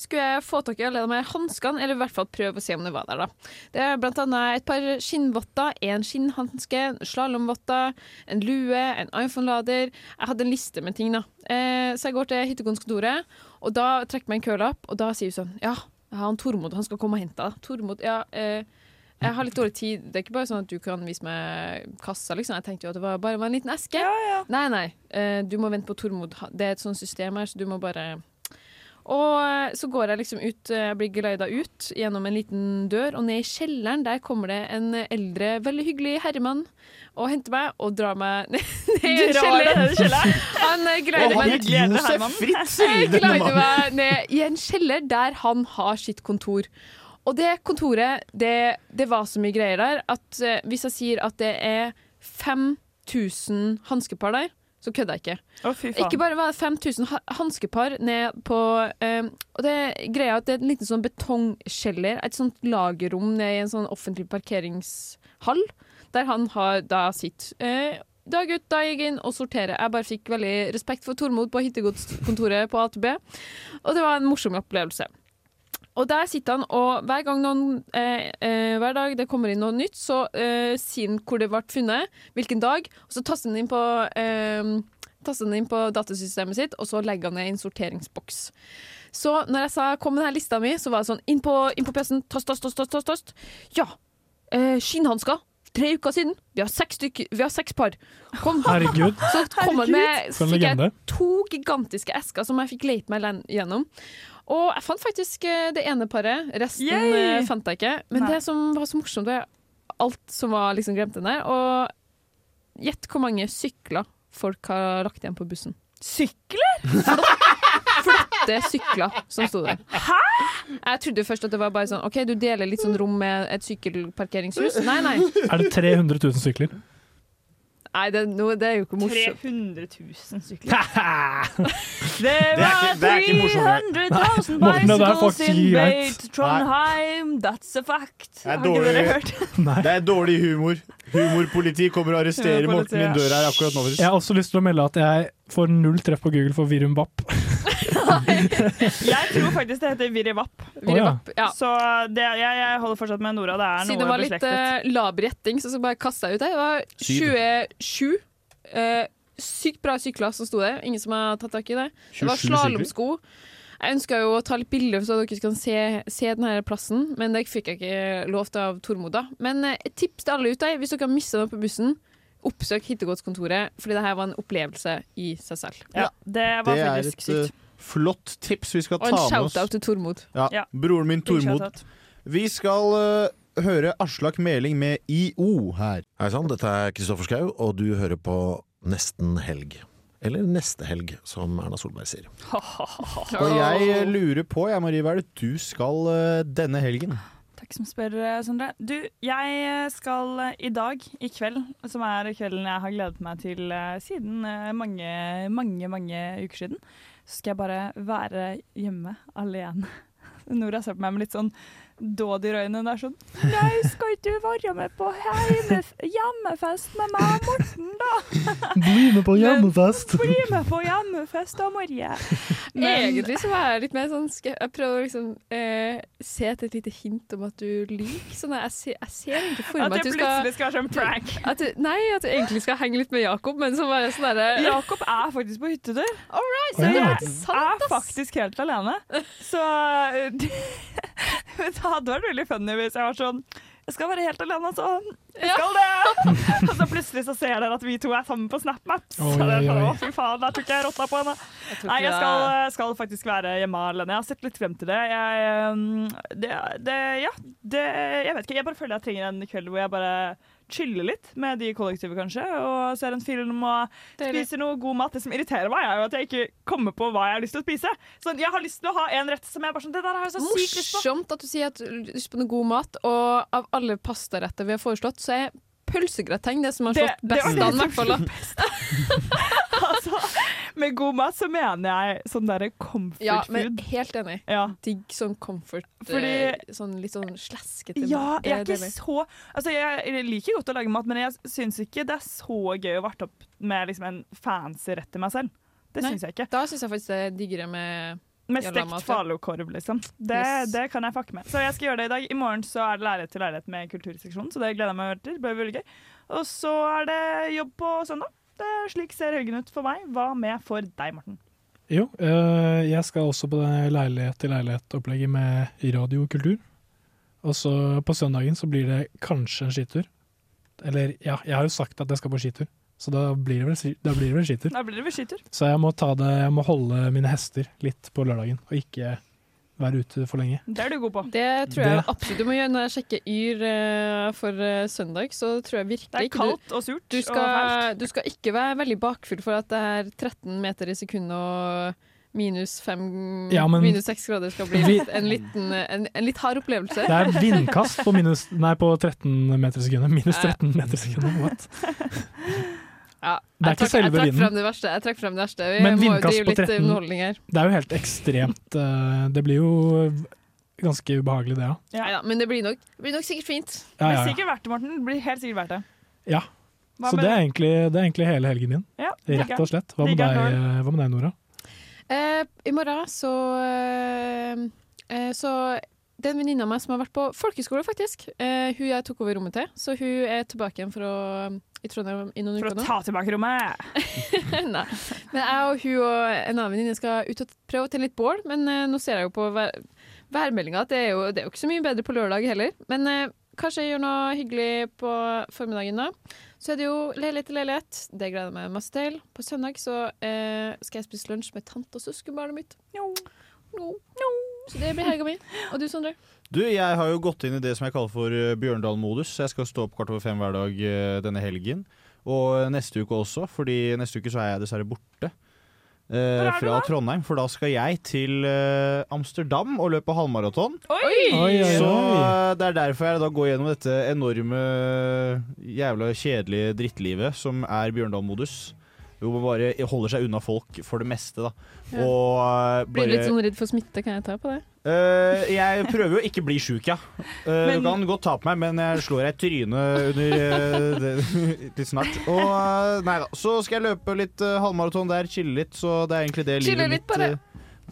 Speaker 10: Skulle jeg få tak i alle de her hanskene, eller i hvert fall prøve å se om det var der, da. Det er blant annet et par skinnvotter, en skinnhanske, slalåmvotter, en lue, en iPhone-lader. Jeg hadde en liste med ting, da. Eh, så jeg går til hyttegårdskontoret, og da trekker meg en kølapp, og da sier hun sånn Ja, jeg har han Tormod, han skal komme og hente deg. Tormod, ja. Eh, jeg har litt dårlig tid. Det er ikke bare sånn at du kan vise meg kassa, liksom. Jeg tenkte jo at det var bare var en liten eske. Nei, nei. eh, Du må vente på Tormod. Det er et sånt system her, så du må bare Og eh, så går jeg liksom ut, eh, jeg blir geleida ut gjennom en liten dør, og ned i kjelleren der kommer det en eldre, veldig hyggelig herremann og henter meg og drar meg ned i
Speaker 11: Drar deg ned i kjelleren?
Speaker 10: Han eh,
Speaker 11: Og
Speaker 10: geleider
Speaker 11: han
Speaker 10: meg
Speaker 11: het Josef Herman. Fritzl,
Speaker 10: Jeg
Speaker 11: denne
Speaker 10: geleider
Speaker 11: mannen.
Speaker 10: meg ned i en kjeller der han har sitt kontor. Og det kontoret, det, det var så mye greier der at eh, hvis jeg sier at det er 5000 hanskepar der, så kødder jeg ikke.
Speaker 11: fy faen.
Speaker 10: ikke bare var det 5000 ha- hanskepar ned på eh, Og det er greia at det er en liten sånn betongkjeller, et sånt lagerrom ned i en sånn offentlig parkeringshall, der han har da sitt. Eh, dag ut, dag inn og sortere. Jeg bare fikk veldig respekt for Tormod på hyttegodskontoret på AtB, og det var en morsom opplevelse. Og der sitter han, og hver gang noen eh, eh, Hver dag det kommer inn noe nytt, så eh, sier han hvor det ble funnet, hvilken dag, og så taster han inn på eh, Taster han inn på datasystemet sitt, og så legger han det i en sorteringsboks. Så når jeg sa 'kom med denne lista mi', så var det sånn inn på, inn på PC-en, tast, tast, tast, tast, tast, tast. Ja. Eh, skinnhansker. Tre uker siden. Vi har seks, stykker- vi har seks par. Kom.
Speaker 9: Herregud.
Speaker 10: Så kom jeg med
Speaker 9: For en
Speaker 10: fikk jeg
Speaker 9: legende.
Speaker 10: to gigantiske esker som jeg fikk lete meg len- gjennom. Og jeg fant faktisk eh, det ene paret. Resten
Speaker 11: Yay!
Speaker 10: eh, fant jeg ikke. Men
Speaker 11: Nei.
Speaker 10: det som var så morsomt, var alt som var liksom glemt inn der. Og gjett hvor mange sykler folk har lagt igjen på bussen. Sykler?! Flotte sykler som sto der. Hæ?! Jeg trodde først at det var bare sånn OK, du deler litt sånn rom med et sykkelparkeringshus. Nei, nei.
Speaker 9: Er det 300 000 sykler?
Speaker 10: Nei, det, nå- det er jo ikke morsomt.
Speaker 11: 300 000 sykler. Det
Speaker 9: Det er ikke- det er ikke morsomt, nei.
Speaker 11: 300.000
Speaker 9: Nei, Morten, det der er
Speaker 11: bicycles
Speaker 9: faktisk
Speaker 11: in
Speaker 9: ikke greit.
Speaker 11: Beit Trondheim, that's a fact.
Speaker 8: Det er
Speaker 11: Har ikke
Speaker 8: dårlig,
Speaker 11: dere hørt?
Speaker 8: det er dårlig humor. Humorpoliti kommer og arresterer Morten. Min dør er akkurat nå. faktisk.
Speaker 9: Jeg har også lyst til å melde at jeg får null treff på Google for virumvapp.
Speaker 11: Jeg tror faktisk det heter Virrevapp.
Speaker 9: Virrevapp,
Speaker 10: ja.
Speaker 11: Så det, jeg, jeg holder fortsatt med Nora. Det er
Speaker 10: Siden det
Speaker 11: noe
Speaker 10: var litt
Speaker 11: beslektet.
Speaker 10: uh, laber gjetting, så skal jeg bare kaste deg ut her.
Speaker 11: Syv.
Speaker 10: Det var 27 eh, sykt bra sykler som sto der. Ingen som har tatt tak i det. Det
Speaker 11: 27
Speaker 10: var
Speaker 11: sykler?
Speaker 10: slalåmsko. Jeg ønska jo å ta litt bilder så dere kan se, se denne plassen, men det fikk jeg ikke lov til av Tormod. da. Men eh, et tips til alle ut der, hvis dere har mista noe på bussen, oppsøk hittegodskontoret, fordi dette var en opplevelse i seg selv.
Speaker 11: Ja, det var
Speaker 8: Det er
Speaker 11: faktisk
Speaker 8: et eh,
Speaker 11: sykt.
Speaker 8: flott tips vi skal
Speaker 10: Og
Speaker 8: ta
Speaker 10: en
Speaker 8: med oss.
Speaker 10: shout-out til Tormod.
Speaker 8: Ja, Broren min Tormod. Vi skal eh, høre Aslak Meling med IO her.
Speaker 21: Hei sann, dette er Kristoffer Schau, og du hører på Nesten helg. Eller Neste helg, som Erna Solberg sier.
Speaker 8: Og jeg eh, lurer på, jeg Marie, hva er det du skal eh, denne helgen?
Speaker 11: Takk som spør, eh, Sondre. Du, jeg skal eh, i dag, i kveld, som er kvelden jeg har gledet meg til eh, siden eh, mange, mange, mange uker siden, så skal jeg bare være hjemme alene. Nora ser på meg med litt sånn dådyrøyne. Hun er sånn Nei, skal ikke du være med på heime, hjemmefest med meg og Morten, da?
Speaker 14: Bli med på hjemmefest!
Speaker 11: Bli med på hjemmefest da, Marie.
Speaker 10: Egentlig så var jeg litt mer sånn skep- Jeg prøver å liksom eh, se etter et lite hint om at du liker sånn Jeg, ser- jeg ser egentlig for
Speaker 11: At
Speaker 10: meg
Speaker 11: det
Speaker 10: at du skal
Speaker 11: plutselig skal være sånn prank.
Speaker 10: At du, nei, at du egentlig skal henge litt med Jakob, men så bare sånn derre
Speaker 11: Jakob er faktisk på hyttetur.
Speaker 10: All right,
Speaker 11: Så
Speaker 10: så
Speaker 11: jeg
Speaker 10: det er
Speaker 11: er
Speaker 10: ikke sant, ass!
Speaker 11: faktisk helt alene. Så eh, Men det hadde vært veldig funny hvis jeg var sånn Jeg skal være helt alene, altså. Jeg skal det! Og så plutselig så ser dere at vi to er sammen på SnapMaps.
Speaker 14: Oi,
Speaker 11: Og det er sånn,
Speaker 14: oi, oi.
Speaker 11: Å, fy faen, der tok jeg rotta på henne.
Speaker 14: tok
Speaker 11: Nei, jeg
Speaker 14: det-
Speaker 11: skal, skal faktisk være hjemme alene. Jeg har sett litt frem til det. Jeg, ehm, eh, det, det ja. Det, jeg vet ikke. Jeg bare føler jeg trenger en kveld hvor jeg bare chille litt med de i kollektivet, kanskje, og ser en film og spiser noe god mat. Det som irriterer meg, er jo at jeg ikke kommer på hva jeg har lyst til å spise. Sånn, jeg har lyst til å ha en rett som jeg bare sånn Det der har jeg så sykt lyst på!
Speaker 10: Morsomt at du sier at du har lyst på noe god mat, og av alle pastaretter vi har foreslått, så er pølsegrateng det som har
Speaker 11: Det-
Speaker 10: slått
Speaker 11: det var
Speaker 10: best
Speaker 11: det
Speaker 10: an, i
Speaker 11: som
Speaker 10: hvert fall. da.
Speaker 11: Med god mat så mener jeg sånn derre comfort
Speaker 10: Ja, men
Speaker 11: food.
Speaker 10: helt enig. Digg sånn comfort,
Speaker 11: Fordi-
Speaker 10: eh, sånn litt sånn slaskete
Speaker 11: Ja,
Speaker 10: mat. Det
Speaker 11: jeg er ikke
Speaker 10: deilig.
Speaker 11: så Altså, jeg liker godt å lage mat, men jeg syns ikke det er så gøy å varte opp med liksom en fancy rett til meg selv. Det
Speaker 10: Nei,
Speaker 11: syns jeg ikke.
Speaker 10: Da syns jeg faktisk det er diggere med
Speaker 11: Med
Speaker 10: jalla
Speaker 11: stekt
Speaker 10: mat, ja.
Speaker 11: falukorv, liksom. Det,
Speaker 10: Yes.
Speaker 11: det kan jeg fucke med. Så jeg skal gjøre det i dag. I morgen så er det Lærlighet til lærlighet med kulturseksjonen, så det gleder jeg meg til. Det blir veldig gøy. Og så er det jobb på søndag. Det er slik ser helgen ut for meg. Hva med for deg, Morten?
Speaker 9: Jo, øh, jeg skal også på det leilighet til leilighet-opplegget med radiokultur. Og så på søndagen så blir det kanskje en skitur. Eller ja, jeg har jo sagt at jeg skal på skitur, så da blir det vel, si- da blir det vel skitur.
Speaker 11: Da blir det vel skitur.
Speaker 9: Så jeg må, ta det, jeg må holde mine hester litt på lørdagen, og ikke være ute for lenge.
Speaker 11: Det er du god på.
Speaker 10: Det tror jeg
Speaker 9: Det-
Speaker 10: absolutt du må gjøre. Når jeg sjekker Yr eh, for eh, søndag, så tror jeg virkelig
Speaker 11: Det er
Speaker 10: ikke du-
Speaker 11: kaldt og surt
Speaker 10: Du
Speaker 11: og
Speaker 10: skal,
Speaker 11: fælt.
Speaker 10: du skal ikke være veldig bakfull for at det er 13 meter i sekundet og minus 5
Speaker 9: Ja, men-
Speaker 10: minus 6 grader skal bli
Speaker 9: Vi-
Speaker 10: en, liten, en, en litt hard opplevelse.
Speaker 9: Det er vindkast på, minus, nei, på 13 meter i sekundet. Minus 13 meter i sekundet, what?
Speaker 10: Ja,
Speaker 9: Det er
Speaker 10: jeg
Speaker 9: ikke
Speaker 10: trakk-
Speaker 9: selve
Speaker 10: Jeg trakk
Speaker 9: vinden.
Speaker 10: fram det verste. Jeg trakk frem det verste. Vi
Speaker 9: Men
Speaker 10: må jo
Speaker 9: vindkast
Speaker 10: drive
Speaker 9: på
Speaker 10: litt
Speaker 9: 13
Speaker 10: underholdning her.
Speaker 9: Det er jo helt ekstremt. eh, Det blir jo ganske ubehagelig, det, ja.
Speaker 10: Neida, men det blir, nok, det blir nok sikkert fint.
Speaker 9: Ja, ja, ja.
Speaker 11: Det blir sikkert verdt det, Morten. Det blir helt sikkert verdt det.
Speaker 9: ja.
Speaker 11: Hva
Speaker 9: Så
Speaker 11: med
Speaker 9: det er,
Speaker 11: deg?
Speaker 9: egentlig, det er egentlig hele helgen din.
Speaker 11: Ja,
Speaker 9: Rett og slett. Hva med,
Speaker 11: digger
Speaker 9: deg,
Speaker 11: jeg
Speaker 9: eh, hva med deg, Nora?
Speaker 10: Eh, I morgen så eh, eh, Så det er en venninne av meg som har vært på folkeskole, faktisk. Eh, hun jeg tok over rommet til, så hun er tilbake igjen for å, i Trondheim i noen
Speaker 11: For å
Speaker 10: uker nå.
Speaker 11: ta tilbake rommet!
Speaker 10: Nei. Men jeg og hun og en annen venninne skal ut og prøve å tenne litt bål, men eh, nå ser jeg jo på vær værmeldinga at det er, jo, det er jo ikke så mye bedre på lørdag heller. Men eh, kanskje jeg gjør noe hyggelig på formiddagen da. Så er det jo leilighet til leilighet. Det gleder jeg meg masse til. På søndag så eh, skal jeg spise lunsj med tante og søskenbarnet mitt. Jo. Så det blir helga mi. Og du, Sondre?
Speaker 8: Du, jeg har jo gått inn i det som jeg kaller for eh, Bjørndalen-modus. Jeg skal stå opp kvart over fem hver dag eh, denne helgen. Og eh, neste uke også, fordi neste uke så er jeg dessverre borte. eh, fra Trondheim, for da skal jeg til eh, Amsterdam og løpe halvmaraton.
Speaker 11: Oi!
Speaker 9: Oi, oi,
Speaker 8: Så
Speaker 9: oi.
Speaker 8: eh, det er derfor jeg da går gjennom dette enorme, eh, jævla kjedelige drittlivet som er Bjørndal-modus. Hvor man bare holder seg unna folk for det meste, da.
Speaker 10: Ja.
Speaker 8: Og eh,
Speaker 10: Blir du litt
Speaker 8: bare-
Speaker 10: sånn redd for smitte? Kan jeg ta på det?
Speaker 8: Eh, jeg prøver jo ikke bli sjuk, ja. Eh,
Speaker 10: Men-
Speaker 8: du kan godt ta på meg, men jeg slår deg i trynet under eh, det, litt snart. Og eh, nei da. Så skal jeg løpe litt eh, halvmaraton der, chille litt, så det er egentlig det
Speaker 10: Chille
Speaker 8: livet mitt
Speaker 10: litt bare.
Speaker 8: eh,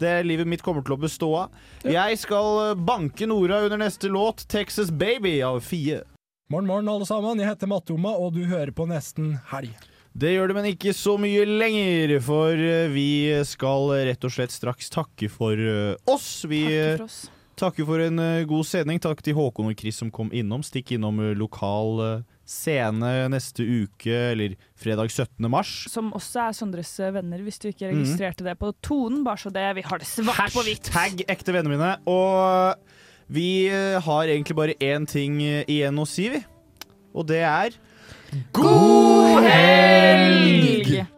Speaker 8: det livet mitt kommer til å bestå av. Jeg skal eh, banke Nora under neste låt, 'Texas Baby' av Fie.
Speaker 4: Morgen, morgen, alle sammen. Jeg heter Matoma, og du hører på Nesten Helg.
Speaker 8: Det gjør det, men ikke så mye lenger, for eh, vi skal rett og slett straks takke for eh, oss. Vi
Speaker 1: Takke for
Speaker 8: eh, takker for en eh, god sending. Takk til Håkon og Chris som kom innom. Stikk innom eh, lokal eh, scene neste uke, eller fredag 17. mars.
Speaker 11: Som også er Sondres venner, hvis du
Speaker 9: Mhm.
Speaker 11: ikke registrerte det på tonen. Bare så det, vi har det svart på hvitt.
Speaker 8: Hashtag ekte vennene mine. Og vi eh, har egentlig bare én ting eh, igjen å si, vi. Og det er God
Speaker 11: helg!